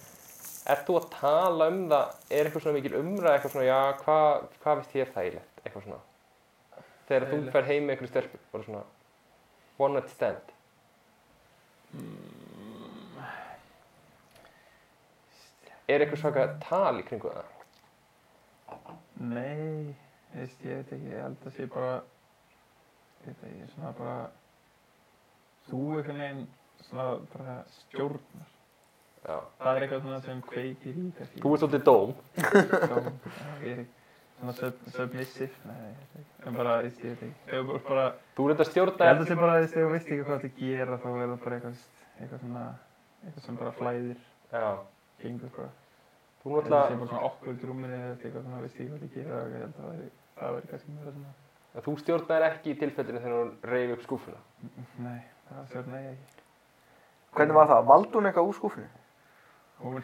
S3: er þú að tala um það, er eitthvað svona mikil umræð, eitthvað svona, já, hvað hva finnst þér þægilegt, eitthvað svona, þegar
S2: Þægilegt.
S3: þú fer heim með einhverju stelpu, bara svona, one night stand, er eitthvað svaka tal í kringu það?
S2: nei, þú veist, ég veit ekki, ég held að sé bara, ég veit ekki, svona bara, þú einhvern veginn, svona bara stjórnar.
S3: Já.
S2: Það er eitthvað svona sem kveikir í þessi.
S3: Þú ert svolítið dóm.
S2: Já, ég veit ekki, svona sub- submissive, nei, ég veit ekki, en bara, þú veist, ég veit ekki, ég hef bara,
S3: Þú ert að
S2: ég
S3: stjórna
S2: held að sé bara, þú veist, ef þú veist ekki hvað það gera, þá er það bara eitthvað, eitthvað svona, eitthvað sem bara flæðir,
S3: Já.
S2: gengur bara.
S3: Þú
S2: Ég held að það sé
S3: náttúrulega,
S2: bara svona okkur drúminni eða eitthvað svona, veist ég hvað þið gera og ég held að það væri- það væri kannski meira svona,
S3: að þú stjórnar ekki í tilfellinu þegar hún reyfi upp skúfuna.
S2: nei, það var sérna ég ekki.
S1: Hvernig var það? Valdi hún eitthvað úr skúfinu?
S2: Hún,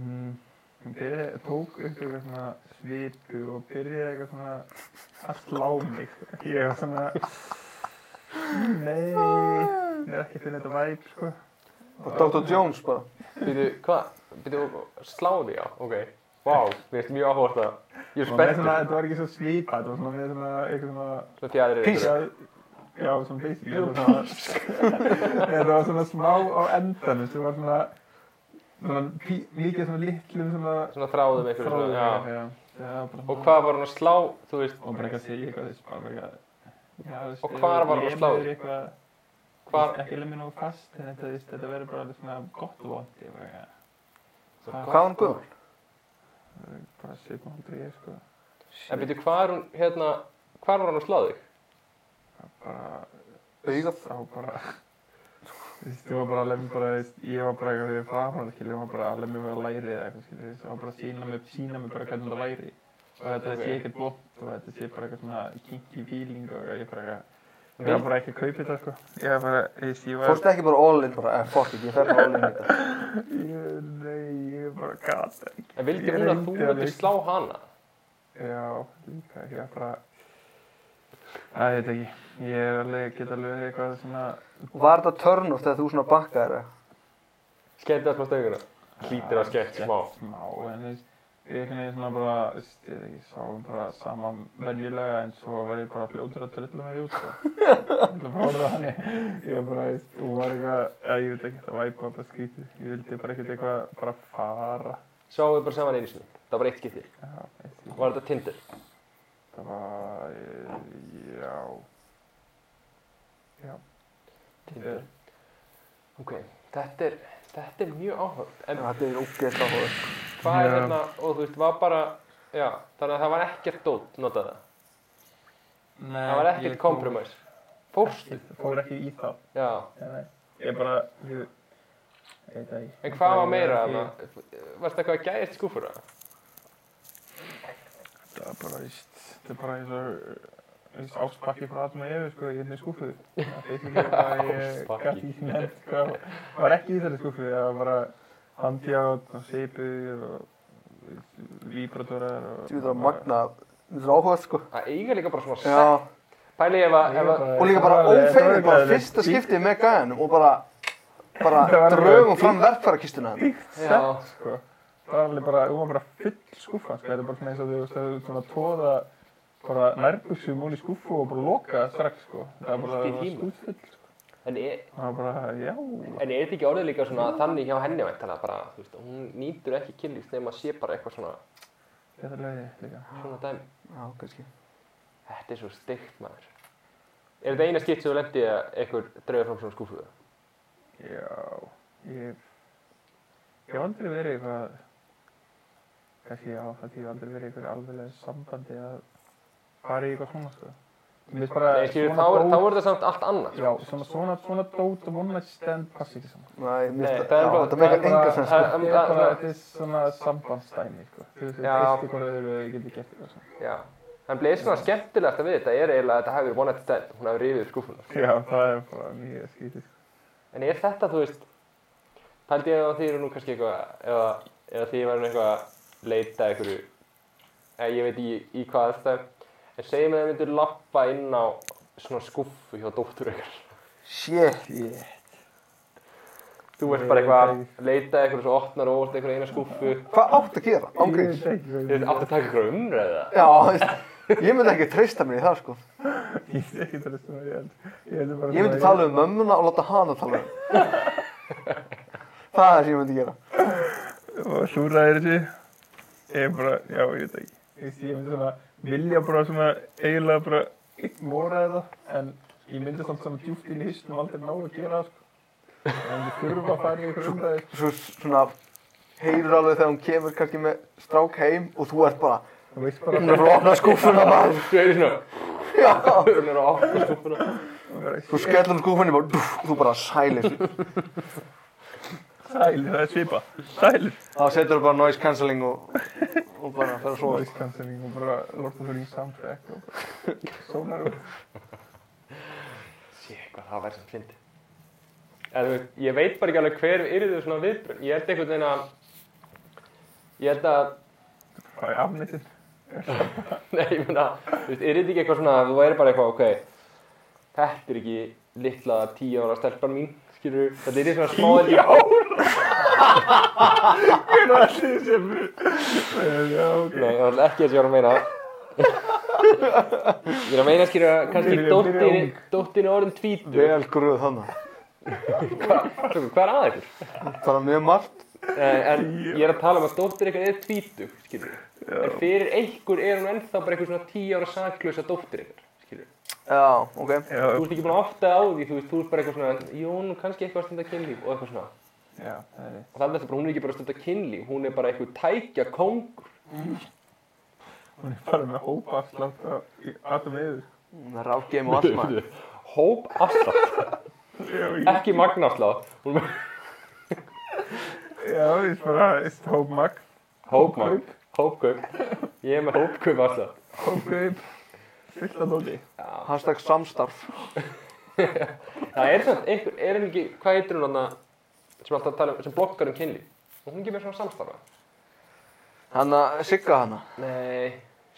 S2: mm, hún byrjaði, tók upp eitthvað svona svipu og byrjaði eitthvað svona að slá mig. Ég var svona, nei, ég er ekki að finna þetta væp, sko.
S1: Og Dr. Jones bara.
S3: Býtu, hvað? Býtu, sláðu þig á, ok. Vá, wow, mér finnst mjög áhugað það. Ég er
S2: Og með
S3: spenntur.
S2: svona, þetta var ekki svo svipa, þetta var svona með svona, eitthvað svona,
S3: Svona fjæðir er
S1: Pís.
S3: ykkur.
S2: Já, já, svona basically þetta var svona, þetta var svona smá á endanum sem var svona, svona pí, líka svona litlum svona
S3: Svona þráðum ykkur.
S2: þráðum,
S3: Svona, já.
S2: já, já, bara
S3: Og hvað var hann að slá, þú veist,
S2: og bara ekki að segja eitthvað, þess bara ekki að, já, þú veist,
S3: Og hvar var hann að
S2: lemur
S3: slá þig?
S2: eitthvað,
S3: Hvar-
S2: ekki lemur nógu fast, en þetta, þú veist, þetta verður bara svona gott og vond, ég bara ekki að,
S1: Hvað var hún guðum?
S2: bara svipum hún drýja, sko,
S3: en býtu, hvað er hún, hérna, hvað var hann að slá þig?
S2: bara,
S1: Auga.
S2: sá bara, Þú var bara að lemja bara, veist, ég var bara eitthvað fyrir framhann, skilur, var bara að lemja mig að læri eða eitthvað, skilur, það var bara að sína mig, sína mig bara hvernig það væri. Og þetta sé ekkert bótt og þetta sé bara eitthvað svona kinky feeling og ég bara eitthvað, ég var bara ekki að kaupa þetta, sko. Ég var bara, þú veist, ég var,
S1: Fórstu ekki bara all in bara, eh, fuck it, ég fer bara all in í þetta.
S2: ég, nei, ég bara gata ekki.
S3: En vildi
S2: Ég
S3: hún að
S2: reyndi
S3: þú
S2: að
S3: myndir
S2: leika.
S3: slá hana?
S2: Já, líka, ég var bara, að ég veit ekki, ég er alveg, get alveg verið eitthvað svona,
S1: Var þetta törnur þegar þú svona bakkaðir eh? það?
S3: Skemmti að smá stönguna? Hlýtir að skemmt smá.
S2: smá, en þú veist, ég einhvern veginn svona bara, þú veist, ég veit ekki, sáum bara sama venjulega en svo var ég bara fljótur að drilla mig út, sko. Ég ætla bara að orða þannig. Ég var bara, þú veist, þú var eitthvað, eða ég veit ekki, það var eitthvað bara skrítið. Ég vildi bara ekkert eitthvað, bara fara.
S3: Sjáum við bara saman einu sinni. Það var eitt skipti.
S2: Já, veit ég,
S3: Var þetta Tinder?
S2: það var, eh, já, já, eh,
S3: Tinder. Ok, þetta er, þetta er mjög áhugað. En
S1: Þetta er ógeðst áhugað.
S3: hvað er
S2: Já.
S3: hérna, og þú veist, var bara, já, þannig að það var ekkert dót, notaði það.
S2: Nei,
S3: Það var
S2: ég
S3: ekkert
S2: fór-
S3: kompromis. Fórstu?
S2: Ég fór ekki í það.
S3: Já.
S2: Nei, nei. Ég bara, ég, ég veit það ekki.
S3: En hvað var meira
S2: Ég-
S3: þarna? Varst eitthvað að gæðist skúfur það?
S2: Það er bara, veist, þetta er bara eins og eins áspakki frá Adam og Efi, sko, í henni skúfu. Það er ekki hvað ég
S3: Ástpakki.
S2: gæti í nefnd, hvað var- sko. var ekki í þessari skúfu. Það var bara handjátt og seipu og víbratorar og...
S1: Þú veit að magna, þetta er áhugað sko.
S3: Það eiga líka bara svona
S1: Já.
S3: sett. Pæli ef að, ef að,
S1: Og líka bara ófeyrið, bara fyrsta skiptið með gæðanum og bara,
S2: Það
S1: bara
S2: var
S1: drögum
S2: alveg-
S1: fram verðfærakistuna hann.
S3: já,
S2: Líkt, sko. Það var alveg bara, þú var bara full skúfa, sko. Þetta er bara svona eins og þú veist, það er svona tóða bara nærbuxum úr í skúfu og bara loka strax, sko. Það var
S3: Allt í
S2: bara
S3: hímu.
S2: skúfull.
S3: en er,
S2: Það var bara, já,
S3: En er þetta ekki orðið líka svona þannig hjá henni væntanlega bara, þú veist, hún nýtur ekki kynlífs nema að sé bara eitthvað svona,
S2: þetta er leiðið líka.
S3: svona dæmi.
S1: Já, kannski.
S3: Þetta er svo stygt maður. Er þetta eina skipt sem þú lemdi að einhver draugur fram svona skúfuðu?
S2: Já, ég, ég hef aldrei verið eitthvað, kannski já, það ég hef aldrei verið eitthvað alveglega sambandi að fara í eitthvað svona, sko. Mér finnst bara
S3: Nei, skilur, þá, er- þá er þetta samt allt annað.
S2: já, svona, svona, svona dót og one night stand passi ekki saman.
S1: Nei, mér
S3: Nei,
S1: finnst
S3: það
S1: það,
S3: er
S1: já,
S3: bara-
S1: þetta
S3: það
S1: meikar
S3: er bara-
S1: enga sens sko.
S3: það-
S2: Ég er bara, þetta er svona sambandsdæmi, sko. Þú veist,
S3: Já.
S2: þú veist eitthvað öðru og ég geti gert eitthvað svona.
S3: Já. En bleið svona skemmtilegast að við þetta er eiginlega að þetta hafi verið one night stand, hún hafi rifið skúfuna.
S2: Já, það er bara mjög skítið, sko.
S3: En er þetta, þú veist, pældi ég að þið eru nú kannski eitthvað, eða, eða þið verður eitthvað að leita einhverju, eða ég veit í, í hvað aðstæðum, en segjum að þið myndur lappa inn á svona skúffu hjá dóttur ykkar.
S1: Shit.
S2: Yeah.
S3: Þú ert
S2: Nei,
S3: bara eitthvað
S2: ég
S3: að leita eitthvað svo opnar og óvart eitthvað eina skúffu.
S1: Hvað átt að gera? Ángríns.
S2: Ég veit ekki,
S3: Þið ert
S2: ég
S3: aftur að taka eitthvað umræða.
S1: Já, veist, ég myndi ekki treysta mér í það sko.
S2: ég veit ekki það er svona, ég held, ég held bara
S1: Ég myndi
S2: svona-
S1: tala um mömmuna og láta hana tala um. Það er það sem ég myndi gera.
S2: og hlúraði þessu ég bara, já, ég veit ekki ég veist, ég myndi svona, vilja bara svona eiginlega bara ignora þetta en ég myndi samt svona djúpt inn í hýstum aldrei ná að gera það sko. en ég þurfa að fara í sko. ykkur umræði
S1: Svo svona heyrir alveg þegar hún kemur kannski með strák heim og þú ert bara
S2: þú veist bara,
S1: Hún er að opna skúfuna maður.
S3: Þú eru svona,
S1: Já.
S3: hún er að opna skúffuna.
S2: bara
S1: Þú skellir hún skúfunni bara, dúf, þú bara sælir.
S2: sælir, það er svipa sælir
S1: Þá setur þú bara noise cancelling og, og bara fer að
S2: og
S1: sofa.
S2: ískansinning og bara lortu fyrir í soundtrack og bara sónar og
S3: Sér, hvað það væri sem fyndi. En þú veist, ég veit bara ekki alveg hver yrðu svona viðbröð. Ég held einhvern veginn að, ég held að,
S2: það er afnýttin
S3: nei, ég meina, þú veist, yrðu ekki eitthvað svona, þú væri bara eitthvað, ok, þetta er ekki litla tíu ára stelpan mín, skilur þú, þetta yrðu svona smá
S2: já hvernig var þetta sem já, ok
S3: Nei, það var ekki það sem ég var að meina Ég er að meina skýra kannski
S2: Byrja- byrja
S3: dóttin,
S2: ung.
S3: dóttin er orðin tvítur
S1: Vel gruð þannig.
S3: Hvað er að ykkur?
S1: Bara mjög margt.
S3: Eh, En ég er að tala um að dóttir ykkur er tvítur, skilur En fyrir einhver er hún ennþá bara eitthvað svona tíu ára saklösa dóttir ykkur, skilur
S1: Já, ok.
S2: já,
S3: Þú ert ekki búin að átta þig á því, þú veist, þú ert bara eitthvað svona Jón, kannski eitthvað að stunda kynlíf og eitthvað svona
S2: já, það er
S3: Og þannig að hún er ekki bara að stunda kynlíf, hún er bara eitthvað tækja kongur
S2: Hún er bara með hópa afslátt á Adam Eður.
S1: Það er rafgeim og allt maður.
S3: Hóp afslátt ekki magnafslátt, hún er með
S2: Já, ég bara, stópmagn,
S3: hópmagn, hópkaup, ég er með hópkaup afslátt.
S2: hópkaup, fullt að dóti.
S1: Hashtag samstarf.
S3: Það er svona, einhver, er henni ekki, hvað heitir hún þarna sem alltaf tala um, sem blokkar um kynlíf? Og hún er ekki með svona samstarfa.
S1: Hanna, Sigga hanna.
S3: Nei,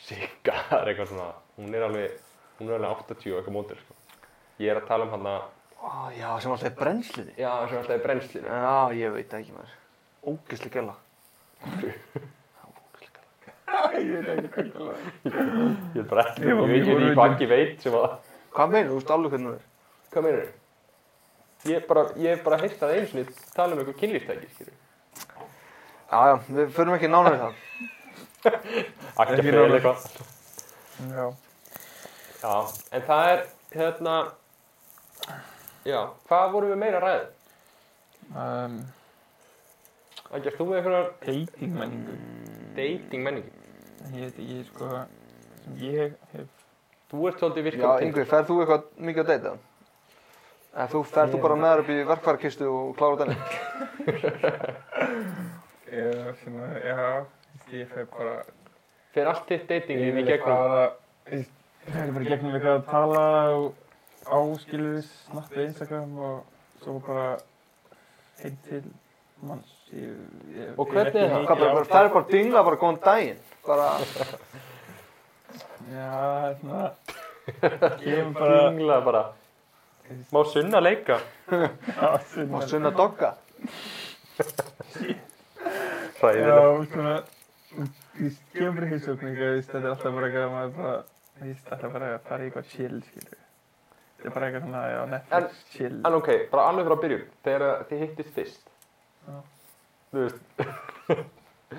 S3: Sigga er eitthvað svona, hún er alveg, hún er alveg 80 og eitthvað mótil, sko. Ég er að tala um hann að,
S1: Ó, já, sem alltaf er brennsluði.
S3: já, sem alltaf er brennslinu.
S1: Já, ég veit það ekki maður. Ógislega gæla.
S2: Ég veit ekki hvað ég talaði.
S3: Ég veit bara ekki,
S2: Ég
S3: ég
S2: var
S3: veit
S2: mjög
S3: ég veit
S2: forvitin.
S3: ekki veit sem að,
S1: Hvað meina, þú veist alveg hvernig það er?
S3: hvað meinar þau? Ég bara, ég hef bara heyrt það einu sinni tala um eitthvað kynlíftæki, skilju.
S1: Já, já, við förum ekki nánar í það.
S3: Akkja
S2: Ekki
S3: fyrir
S2: nánar.
S3: eitthvað.
S2: Já.
S3: Já, en það er, hérna, já, hvað vorum við meira að ræða?
S2: Um,
S3: Akkja, þú með einhverjar
S2: dating menningu.
S3: dating menningi.
S2: Ég veit ekki, sko, sem ég hef,
S3: Þú ert svolítið
S1: Já,
S3: virkað
S1: Yngvi, ferð þú eitthvað mikið að deyta? Eða þú ferð þú bara með þar upp í verkfærakistu og klára þenni?
S2: ég, svona, já, ég hef bara
S3: Fyrir allt þitt dating í
S2: Ég
S3: gegnum.
S2: er bara í gegnum eitthvað að tala og áskilvis, snakka Instagram og svo bara heim til manns. Ég, ég,
S3: Og hvernig
S2: ég
S3: er það?
S2: ekki
S1: Hvað bara,
S2: mikið
S1: bara ferð bara dingla, bara góðan daginn? Bara,
S2: á- Já, svona, kemur bara
S3: Dingla bara. Má sunna leika.
S2: á
S1: má
S2: sunna.
S1: sunna dogga?
S2: Já,
S3: Hræðilega.
S2: svona, ég kemur bara í heimsókn eitthvað, þú veist, þetta er alltaf bara eitthvað að maður bara, þú veist, alltaf bara að fara í eitthvað chill, skilju. Þetta er bara eitthvað svona, já, Netflix, chill.
S3: En ok, bara alveg frá byrjun, þegar þið hittist fyrst.
S2: Já.
S3: Þú veist,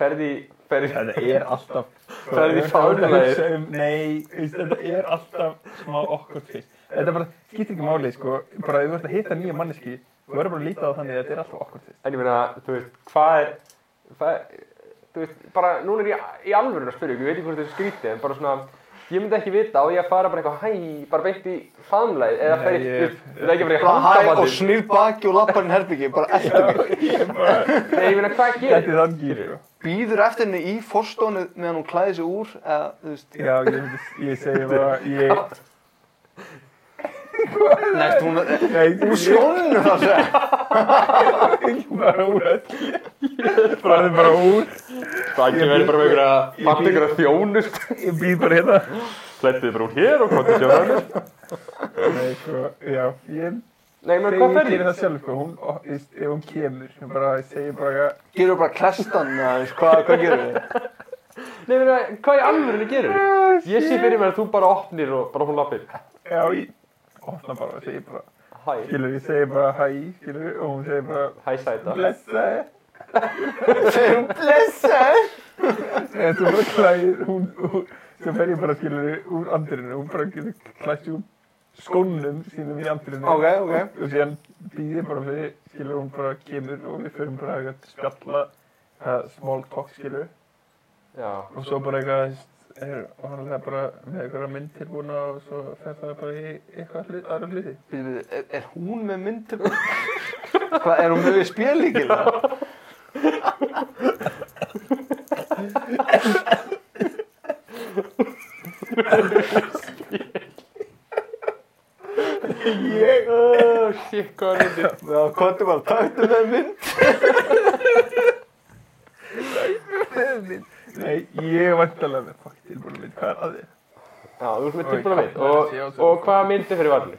S3: ferði, ferði,
S2: Þetta er alltaf
S3: Það er því fáránlegir.
S2: um, Nei, þú veist, þetta er alltaf smá okkur fyrst Þetta er bara, skiptir ekki máli, sko Bara ef þú ert að hitta nýja manneski Þú verður bara að líta á þannig að þetta er alltaf okkur fyrst
S3: en ég meina, þú veist, hvað er, hvað er, þú veist, bara, núna er ég í alvörun að spyrja ykkur, ég veit ekki hvort þetta er skrítið, en bara svona, ég myndi ekki vita á ég að fara bara eitthvað hæ, bara beint í faðmlæð, eða
S2: Nei,
S3: ferði, þú
S2: ég-
S3: veist, þetta ekki bara í
S1: Bara hæ og
S3: handabandi.
S1: snýr baki og lappar inn herbyggi, bara elda mig.
S3: Nei, ég meina, hvað
S2: Þetta
S3: gerir?
S2: er þann gýr, sko
S1: Býður eftir henni í forstónu meðan hún klæði sig úr, eða, þú veist,
S2: Já, ég, myndi- ég segi bara Ég,
S1: next, hún er,
S2: nei,
S1: úr sjónu það segja.
S2: ég bara úr öll Farðu bara út
S3: Það ekki verið bara með ykkur að, fatta ykkur að þjónust,
S2: Ég býð bara hérna
S3: hlættið bara úr hér og hvað þetta sjónar.
S2: Nei, sko, já Ég,
S3: Nei, menn,
S2: þegar
S3: hvað
S2: ég
S3: ferði?
S2: gerir það sjálf, sko Hún, ó, þú veist, ef hún kemur Ég bara, ég segi bara
S1: Gerur bara klestan, aðeins, hvað, hvað gerum við?
S3: Nei, meina, hvað í alvörinu gerir? Ég sé fyrir mér að þú bara opnir og bara hún lappir.
S2: Já, ég Opna bara, og segi bara
S3: Hæ,
S2: Skilur, ég segi bara hæ, skilur, og hún segi bara
S3: hæ sæta.
S2: blessaði.
S1: Segum, blessa!
S2: En svo bara klæðir, hún, hún, svo fer ég bara, skilur, úr andrinu, hún bara getur klætt sig úr skónum sínum í andrinu.
S1: Ok, ok.
S2: Og síðan býð ég bara fyrir, skilur, hún bara kemur og við förum bara eitthvað að spjalla, það small talk, skilur,
S3: Já,
S2: og svo bara eitthvað, er, og hann er bara með eitthvað mynd tilbúna og svo fer það bara í eitthvað hlut, aðra hluti.
S1: Býtu, býtu, er, er hún með myndum? Hvað, er hún með við spjölíkil?
S2: Ég,
S3: Oh, shit, hvað er þetta?
S1: Já, hvað er bara, taktu með mynd?
S2: nei, ég vantalega með fokk tilbúna mynd, hvað er að þér?
S3: Já, þú ert með
S2: Oj,
S3: tilbúin að veit.
S2: hvað er
S3: Og,
S2: þessi ásökun?
S3: og hvaða myndi fyrir varnir?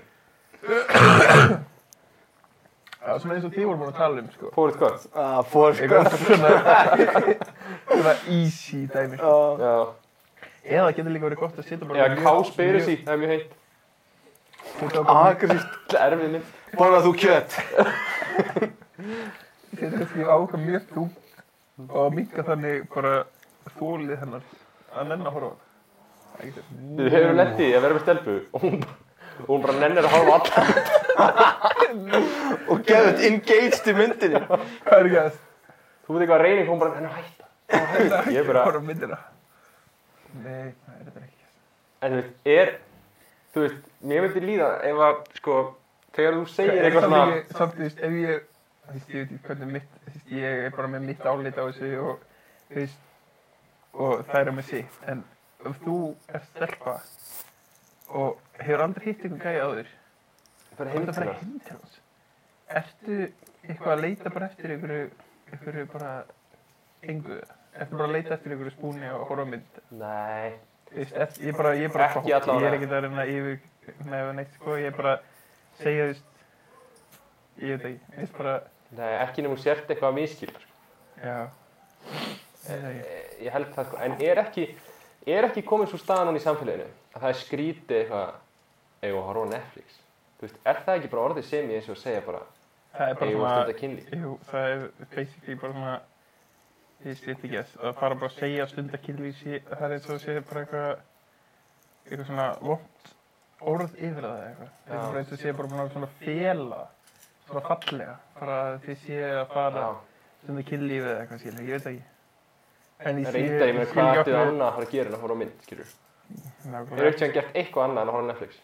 S2: Já, svona eins og þið voru búin að tala um, sko.
S3: Fórið hvað?
S1: Ah, fór, sko.
S2: Eitthvað svona, svona easy dæmi,
S1: Já.
S2: sko.
S3: Já,
S2: Eða það getur líka verið gott að sitja bara...
S3: já, káspyrisi, það er mjög heitt.
S2: Sitja bara,
S1: Agrist,
S3: Erfið mynd.
S1: borða þú kjött
S2: sitja kannski á okkar mjög þúmt og minka þannig bara þólið hennar að nenn að horfa á það. Það er ekki þess.
S3: Við hefur lett í því að vera með stelpu og hún, og hún bara nennir að horfa alla.
S1: og geðið engaged í myndinni.
S2: Hvað er ekki að
S3: Þú veit eitthvað að reyning, hún bara hennar hætta.
S2: þetta?
S3: Ég bara-
S2: Horfa á myndina. Nei, það er þetta ekki.
S3: En þú veist, er, þú veist, mér myndi líða ef að, sko, Þegar þú segir eitthvað
S2: Samt
S3: svona
S2: ekki- Samt, þú veist, ef ég, þú veist, ég veit ekki hvernig mitt, þú veist, ég er bara með mitt álít á þessu og, þú veist, og það er með sitt. En ef þú er stelpa og hefur aldrei hitt einhvern gæja áður,
S3: Bara
S2: þá er
S3: heim
S2: það
S3: til
S2: bara
S3: það
S2: heim til hans. Ertu eitthvað að leita bara eftir einhverju, einhverju bara engu? Ertu bara að leita eftir einhverju spúni og horfa á mynd?
S3: Nei
S2: Þú veist, eft- ég bara, ég bara,
S3: Ekki allavega.
S2: ég er ekki að reyna yfir með neitt, sko, ég bara segja, þú veist, ég veit ekki, ég veist bara,
S3: Nei, ekki nefnum sért eitthvað að miskilur
S2: já, ég veit ekki,
S3: Ég held það sko En er ekki Er ekki komin svo staðan hann í samfélaginu Að það er skrítið eitthvað Egu að horfa á Netflix Þú veist, er það ekki bara orðið sem ég eins og að segja bara
S2: það er bara
S3: Egu að stunda
S2: svona,
S3: kynlíf
S2: jú, það er basically bara svona, þú veist, ég veit ekki, að að fara bara að segja stundakilvi, það er eins og að segja bara eitthvað, eitthvað svona vond orð yfir það eitthvað, það
S3: Já.
S2: er bara eins og segja bara búin að svona fela, svona fallega, bara að þið sé að fara,
S3: Já
S2: svona kynlífið eða eitthvað skilur, ég veit það ekki. En ég
S3: En reyndar ég með hvað ættu
S2: það
S3: annað að fara að gera en að horfa á mynd, skilur Hefur
S2: Nákvæmlega,
S3: ekki hann gert eitthvað annað en að horfa á Netflix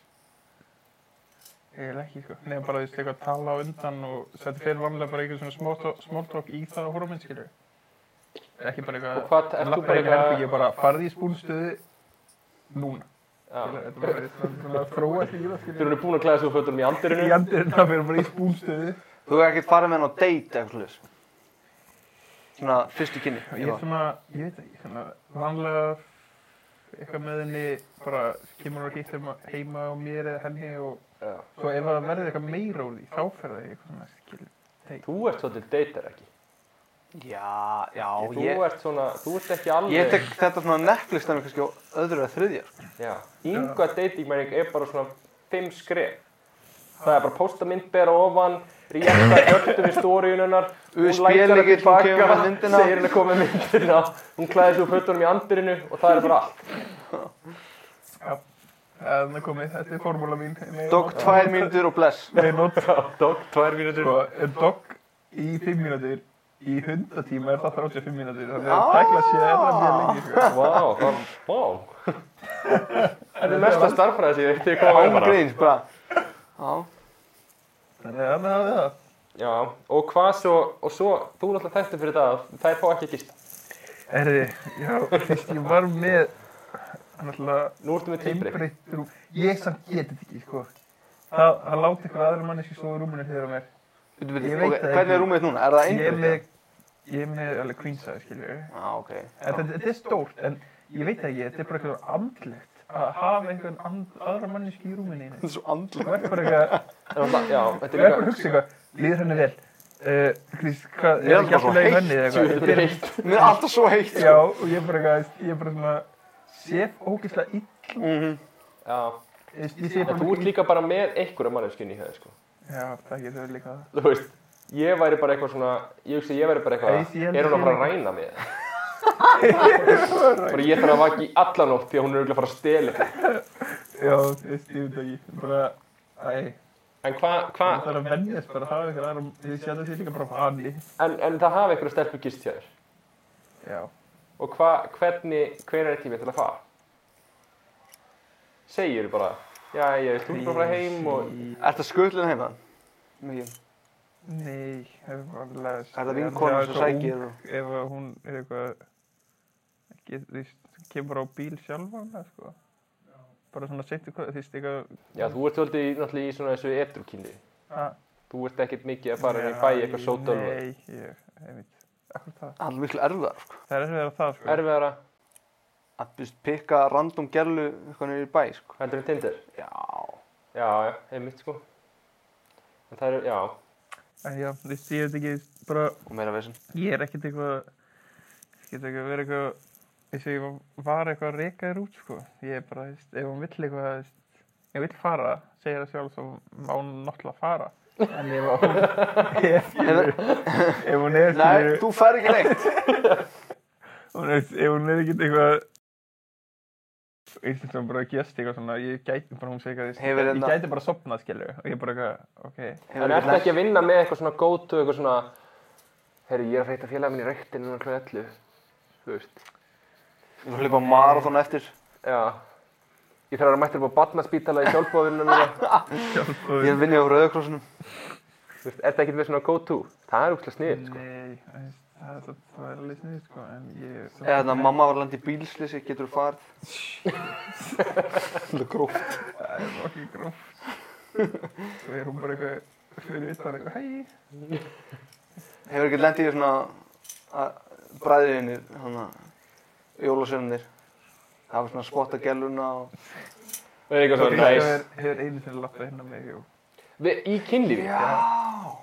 S2: ég er ekki, sko. Nefn bara, þú veist, eitthvað að tala á undan og þetta fer vanlega bara eitthvað svona smóltók í það að horfa á minn, skilur. Ekki bara eitthvað...
S3: Og hvað, ert þú bara eitthvað-
S2: Eh, Ég bara farði í spúnstöðu núna. Skilur,
S3: Já
S2: Þetta er bara þetta er svona þróa til í það,
S3: Þeir
S2: skilur.
S3: eru búin að klæða svo fötunum í
S2: Í
S3: andirinu
S2: andirinn það fer bara í spúnstöðu.
S1: Þú hefur ekkert farið með hann á date eitthvað slags. Svona fyrstu kynni.
S2: Ég er svona, ég veit ekki, svona vanlega eitthvað með henni bara kemur hún og hittir heima á mér eða henni og
S3: Já.
S2: svo ef það verður eitthvað meira úr því þá fer það í eitthvað svona skil.
S3: Þú ert svolítið deytar ekki
S1: Já, já,
S3: Þú
S1: ég,
S3: ert svona, þú ert ekki alveg
S1: ég tek þetta svona Netflix dæmi kannski á öðru eða þriðja. sko.
S3: Já, yngva datingmæning er bara svona fimm skref Það er bara að posta mynd bera ofan Ríkta hjörtum í stóriununar
S1: USB lykill, hún kemur með myndina.
S3: Segir henni að koma með myndina Hún klæði svo fötunum í andirinu Og það er bara allt
S2: Þannig komið, þetta er formúla mín.
S1: Dog tvær mínútur og bless.
S2: Nei, not.
S3: Dog, tvær mínútur
S2: Sko, en dog í fimm mínútur, í hundatíma er það 35 mínútur. Þannig
S1: Ah.
S2: að tækla sér er það mjög lengi, sko.
S3: Vá, það- vá Þetta er mesta starffræði sem ég veit ég koma
S1: Án
S3: með bara
S1: gríns, bara. Já,
S2: Þannig að þannig hafið það.
S3: Já, og hvað svo, og svo, þú er alltaf þættu fyrir það að þær fá ekki að gista
S2: Erði, já, fyrst ég var með, náttúrulega,
S3: Nú ertu með tíbreyk
S2: Einbreytt rúm. Ég samt geti þetta ekki, sko. Það, það láti eitthvað aðra manneski svo í rúminu þegar mér.
S1: Bíddu, bíddu,
S2: Ég
S1: ok,
S2: veit það
S1: hvernig er
S2: ekki.
S1: rúmið núna? Er það
S2: Ég er
S1: einbjörn?
S2: með, ég er með alveg queen size, skiljið við.
S1: Já, ok.
S2: En þetta, þetta er stórt, en ég veit það ekki, þetta er bara eitthvað andlegt. Að hafa einhvern and, aðra manneski í rúminu einu.
S1: Þetta er svo andl.
S2: Þú verður bara eitthvað,
S3: Já, þetta
S2: þú
S3: er
S2: verður bara að
S3: líka
S2: hugsa eitthvað, líður henni vel. Uh, Krís, hvað,
S1: Ég er
S2: er ekki
S1: bara svo
S2: alltaf leið
S1: heitt,
S2: henni eða eitthvað? Þetta
S3: Þetta
S2: er-
S3: er heitt
S1: Mér er alltaf svo heitt. sko.
S2: Já, og ég er bara eitthvað, ég er bara svona, sé ógeðslega ill,
S1: Mhm.
S3: Já,
S2: ég ég sé
S3: En
S2: bara
S3: þú ert
S2: svona ill.
S3: líka bara með einhverja manneskjunni í höðu, sko.
S2: Já, það getur verið líka það.
S3: Þú veist, ég væri bara eitthvað svona, ég hugsa, ég væri bara
S2: Nei, ég
S3: eitthvað,
S2: held
S3: er hún að
S2: ég
S3: fara að
S2: líka.
S3: ræna mig? Bara ég þarf að vaki í allan nótt því að hún er auðvitað að fara að stela eitthvað.
S2: Já, þú veist, ég veit ekki, bara, æ,
S3: En hvað, hva,
S2: það þarf að vennjast bara að hafa ykkur aðra, ég sé að það sé líka bara vani.
S3: en, en það hafa einhverja stelpur gist hjá þér.
S2: Já.
S3: Og hvað, hvernig, hver er tímið til að fara? Segir bara, já, ég veist, þú ert bara að fara heim og...
S1: Er það skutlinn heima? Mikið.
S2: Nei, það er bara læs.
S1: Er það vinkonan sem sækir? og-
S2: Ef að hún er eitthvað, get, þú veist, kemur á bíl sjálfanlega, sko. Bara svona setja hvað, þú veist, eitthvað,
S3: Já, þú ert svolítið í- náttúrulega í svona þessu etrukynni.
S2: að...
S3: Þú ert ekkert mikið að fara inn í bæ í eitthvað sótölva.
S2: Nei, ég, ég veit, akkur það.
S1: Það er miklu erfiðar, sko.
S2: Það er erfiðar það, sko.
S3: Erfiðara,
S1: Að byrst pikka random gerlu eitthvað niður í bæ, sko.
S3: heldur en Tinder.
S1: Já.
S3: Já, já, einmitt sko. En það eru, já,
S2: En já, þú veist, ég veit ekki, þú veist, bara...
S1: Og meira vesen.
S2: Ég er ekkert eitthvað, ekkert eitthvað verið eitthvað, eins og ég var- var eitthvað að reka þér út, sko. Ég er bara, þú veist, ef hún vill eitthvað, þú veist, ef hún vill fara, segir það sjálf, þá má hún náttúrulega fara. En ef hún, ef ef hún er,
S1: Nei,
S2: skilur,
S1: þú fær ekki neitt.
S2: hún er, ef hún er ekkert eitthvað, ég finnst hún bara að gesta eitthvað svona, ég gæti bara, hún segir eitthvað, þú
S1: Hefur
S2: veist, ég
S1: hérna-
S2: gæti bara að sopna, skilur, og ég bara eitthvað, ok,
S3: en ertu ekki að vinna með eitthvað svona gótu, eitthvað svona, herru, ég er að freyta félaga minn í reyktin núna kl. 11, þú veist.
S1: Þú hlipar marathon eftir.
S3: Já, Ég þarf að mættir upp á badnarspítala í sjálfbóðinu mína.
S1: Ég er vinnið á Rauðakrossinu.
S3: Þú veist, er það ekkert með svona go-to? Það er úkslega sniðið, sko.
S2: Nei, þú veist, það það- það er alveg sniðið, sko, en ég...
S1: Eða þannig að mamma var landið bílslýsi, getur þú farið. Það er gróft.
S2: Það er okkur gróft. Svo er hún bara eitthvað fyrir utan eitthvað, hei.
S1: Hefur ekkert landið í svona að bræðinir, hann að jólasönunir. Það var svona að spotta gæluna og...
S3: Það er eitthvað svona
S2: Ég
S3: næs.
S2: hefur- Hefur einu sinni lappað hérna mig og...
S3: Við- Í kynlífi?
S1: Já,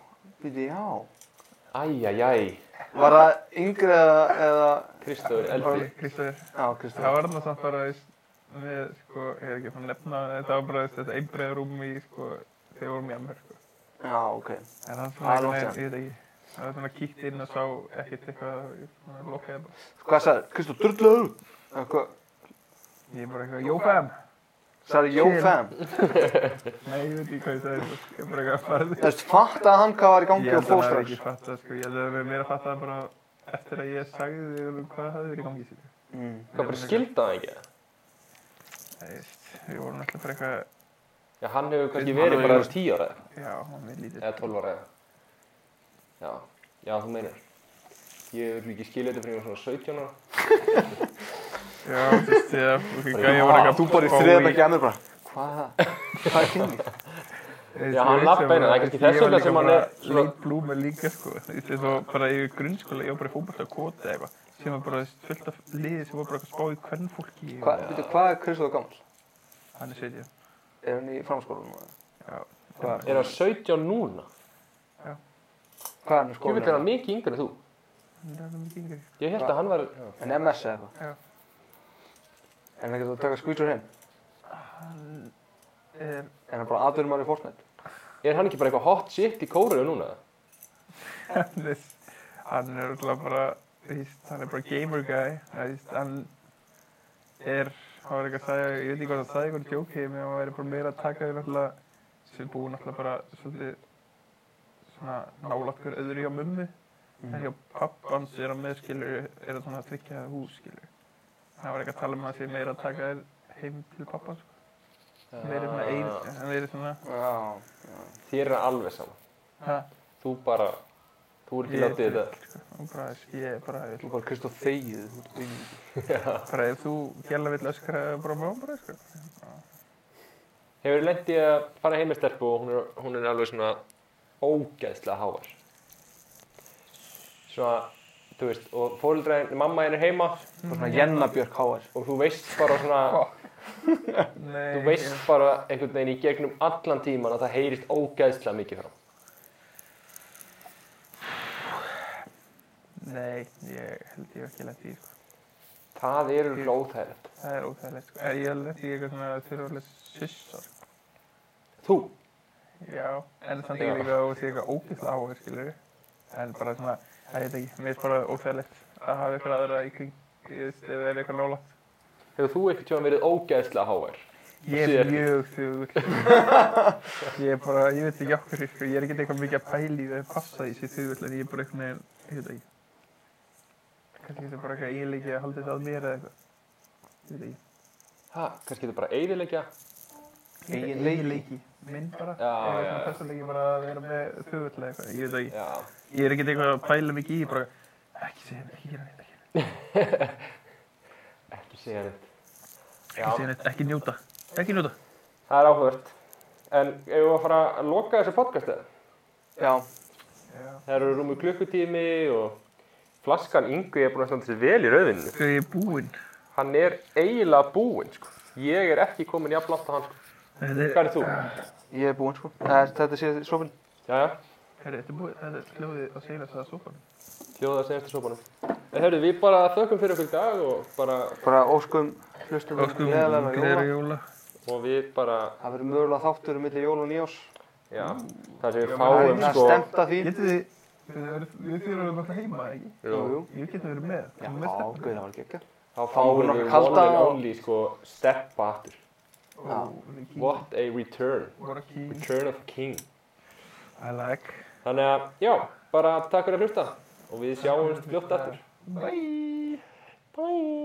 S1: býti, já.
S3: Æjæjæj.
S1: Var það yngri eða, eða...
S3: Kristóður, eldi.
S2: Kristofur,
S1: Já, Kristof.
S2: það var þarna samt bara, veist, við, sko, ég er ekki fann að nefna, þetta var bara, veist, þetta einbreiðarúm í, sko, þegar við vorum í Amherku.
S1: Já, ok.
S2: En
S1: Það
S2: hann
S1: er
S2: svona,
S1: langt
S2: ég,
S1: síðan.
S2: ég veit ekki, það var svona kíkt inn og sá ekkert eitthvað, ég svona lokaði bara.
S1: Hvað sagði? Kristof, drulluður út? Eða hvað?
S2: Ég bara eitthvað, jó fam!
S1: Sagði Jó
S2: Chill.
S1: Fem.
S2: Nei, ég veit ekki hvað ég sagði, sko. ég bara eitthvað farði.
S1: Þú veist, fattaði hann hvað var í
S2: Ég
S1: gangi og
S2: held að hann hafi
S1: fóstrax?
S2: ekki fattað, sko, ég held að við meira fattað bara eftir að ég sagði þig um hvað hafði verið í gangi, sko.
S1: Mm.
S3: Hvað bara skildaði hann ekki?
S2: Nei, þú veist, við vorum alltaf bara eitthvað,
S3: Já, hann hefur kannski
S1: Hann
S3: verið
S1: hefur
S3: bara
S1: verið-
S3: 10 ára eða-
S2: já, hann er lítið.
S3: eða 12 ára eða. Já, já, þú meinar. Ég hef ekki skiljaði þetta fyrir mig svona 17 ára.
S2: Já, þú veist, ég, ég, ég var eitthvað
S1: Þú bara í þriðan ekki annir bara. Hvað er það? Hvað er kynlíf?
S2: Ég
S3: Já, hann
S2: vissi
S3: labbaði inn,
S2: bara-
S3: það er kannski þess
S2: ég var
S3: vegna
S2: líka
S3: sem hann
S2: bara
S3: er svona-
S2: late bloomer líka sko Þetta var bara í grunnskóla, ég var bara í fókbalta kota eða eitthvað sem var bara fullt af liði sem var bara eitthvað spá í hvern fólki
S1: Hva, veitu, hvað er Kristóð gammal?
S2: Hann er 70
S1: Er hann í framskólanum? eða?
S2: Já,
S1: Hvað,
S3: Er hann 17 núna?
S1: hvað er hann í
S3: Ég veit að hann
S1: skólanum?
S3: er mikið yngri en þú.
S2: hann er alveg yngri
S3: Ég held að hann var... Já.
S1: En MS eða
S2: Já.
S1: eitthvað? Er hann ekkert að taka skvítur heim?
S2: Er,
S1: Er hann bara aðverjum í Fortnite?
S3: Er hann ekki bara eitthvað hot shit í kóruðu núna?
S2: hann er hann er alltaf bara víst, hann er bara gamer guy Það víst, hann er hann var eitthvað að segja, ég veit ekki hvað það sagði eitthvað djók heim, en hann væri bara meira að taka því náttúrulega sem búin alltaf bara svolítið svona nálægt hver öðru hjá mummu en hjá pappans er hann með skilur er það svona að tryggja hús skilur hann var eitthvað að tala um að sé meira að taka þér heim til pappans sko. verið svona eins, hann verið svona
S1: Já.
S3: Ah. Þér er alveg sama.
S2: ha,
S3: Þú bara... Þú er ekki
S2: Ég-
S3: látið þetta.
S2: og bara, ég er bara, ég
S1: Þú bara Kristóð þegið. þú ert bíl.
S2: bara ef þú gæla vill öskra bara má bara öskra
S3: Hefur lent í að fara heim með stelpu og hún er, hún er alveg svona ógeðslega hávar. Svona, þú veist, og fóreldræðin, mamma henn er heima
S1: Bara svona
S2: Mm-hmm.
S1: Jenna Björk Háar.
S3: og þú veist bara svona,
S2: Nei,
S3: þú veist bara einhvern veginn í gegnum allan tíman að það heyrist ógeðslega mikið frá.
S2: ég- Nei, ég held ég hef ekki lett í sko.
S3: Það eru glóðhæðilegt.
S2: Það er óþægilegt sko. Ég hef lett í eitthvað svona þurfalega syssa sko.
S3: Þú,
S2: Já, en samt ekki
S3: Já.
S2: líka að þú sé eitthvað ógæsla áhuga skilur En bara svona, það heit ekki, mér er bara óþægilegt að hafa eitthvað aðra í kring Ég veist, ef það er eitthvað nálægt
S3: hefur þú einhvern tíma verið ógeðslega hávar?
S2: Ég
S3: Sér.
S2: er mjög þugull Ég er bara, ég veit ekki okkur sko. Ég er ekki eitthvað mikið að pæli það passa í sér þugull En ég er bara eitthvað neginn, ég veit ekki Kannski þetta er bara eitthvað eiginleiki að halda þetta að mér eða eitthvað Ég veit ekki
S3: Ha, kannski þetta bara eiginleikja?
S1: Eiginleiki.
S2: minn bara
S3: Já,
S2: Ég er
S3: já, já.
S2: svona persónleiki bara að vera með þugull eða eitthvað Ég veit ekki
S3: Já.
S2: Ég er ekkert eitthvað að pæla mikið í, bara ekki segja neitt, ekki gera neitt, ekki, gera
S3: Ekki segja þetta.
S2: neitt, ekki segja neitt, ekki njóta, ekki njóta.
S3: Það er áhugavert. En ef við að fara að loka þessu podcastið,
S1: Já.
S3: það eru rúmur klukkutími og flaskan Yngvi er búin að standa sér vel í rauðinu.
S2: Þegar ég er búinn,
S3: Hann er eiginlega búinn, sko. Ég er ekki komin jafn langt á hann, sko.
S2: þetta er,
S3: Hvað er þú?
S1: Ég er búinn sko. Eh, Þetta sé sopin.
S3: Jæja,
S2: herri, þetta er búið, þetta er hljóðið að segja þess að sofanum.
S3: hljóða senast í sopanum. En hörru, við bara þökkum fyrir okkur í dag og bara,
S1: Bara óskum hlustum
S2: Óskum,
S1: gleðilega
S2: gleðra
S1: jóla.
S2: jóla.
S3: og við bara,
S1: Það verður mögulega þáttur um milli jól og nýjós.
S3: já, það sem við
S1: Það
S3: fáum,
S1: er
S3: sko.
S1: stemta því.
S2: Getið þið, þið verið- við þurfum að vera alltaf heima, ekki?
S1: Jú,
S3: Jú,
S1: jú.
S2: Ég getur verið með,
S1: Já,
S2: þú veist
S1: gauð, það var geggja.
S3: þá fáum
S1: Fáum
S3: við
S1: nokkuð
S3: one
S1: kalda
S3: and
S1: og-
S3: only, sko, steppa aftur.
S1: Já.
S2: þetta.
S3: What a return.
S2: What a king,
S3: Return of a king.
S2: I like.
S3: Þannig að, já, bara takk fyrir að hlusta og við sjáumst fljótt aftur.
S2: Bye.
S3: Bye!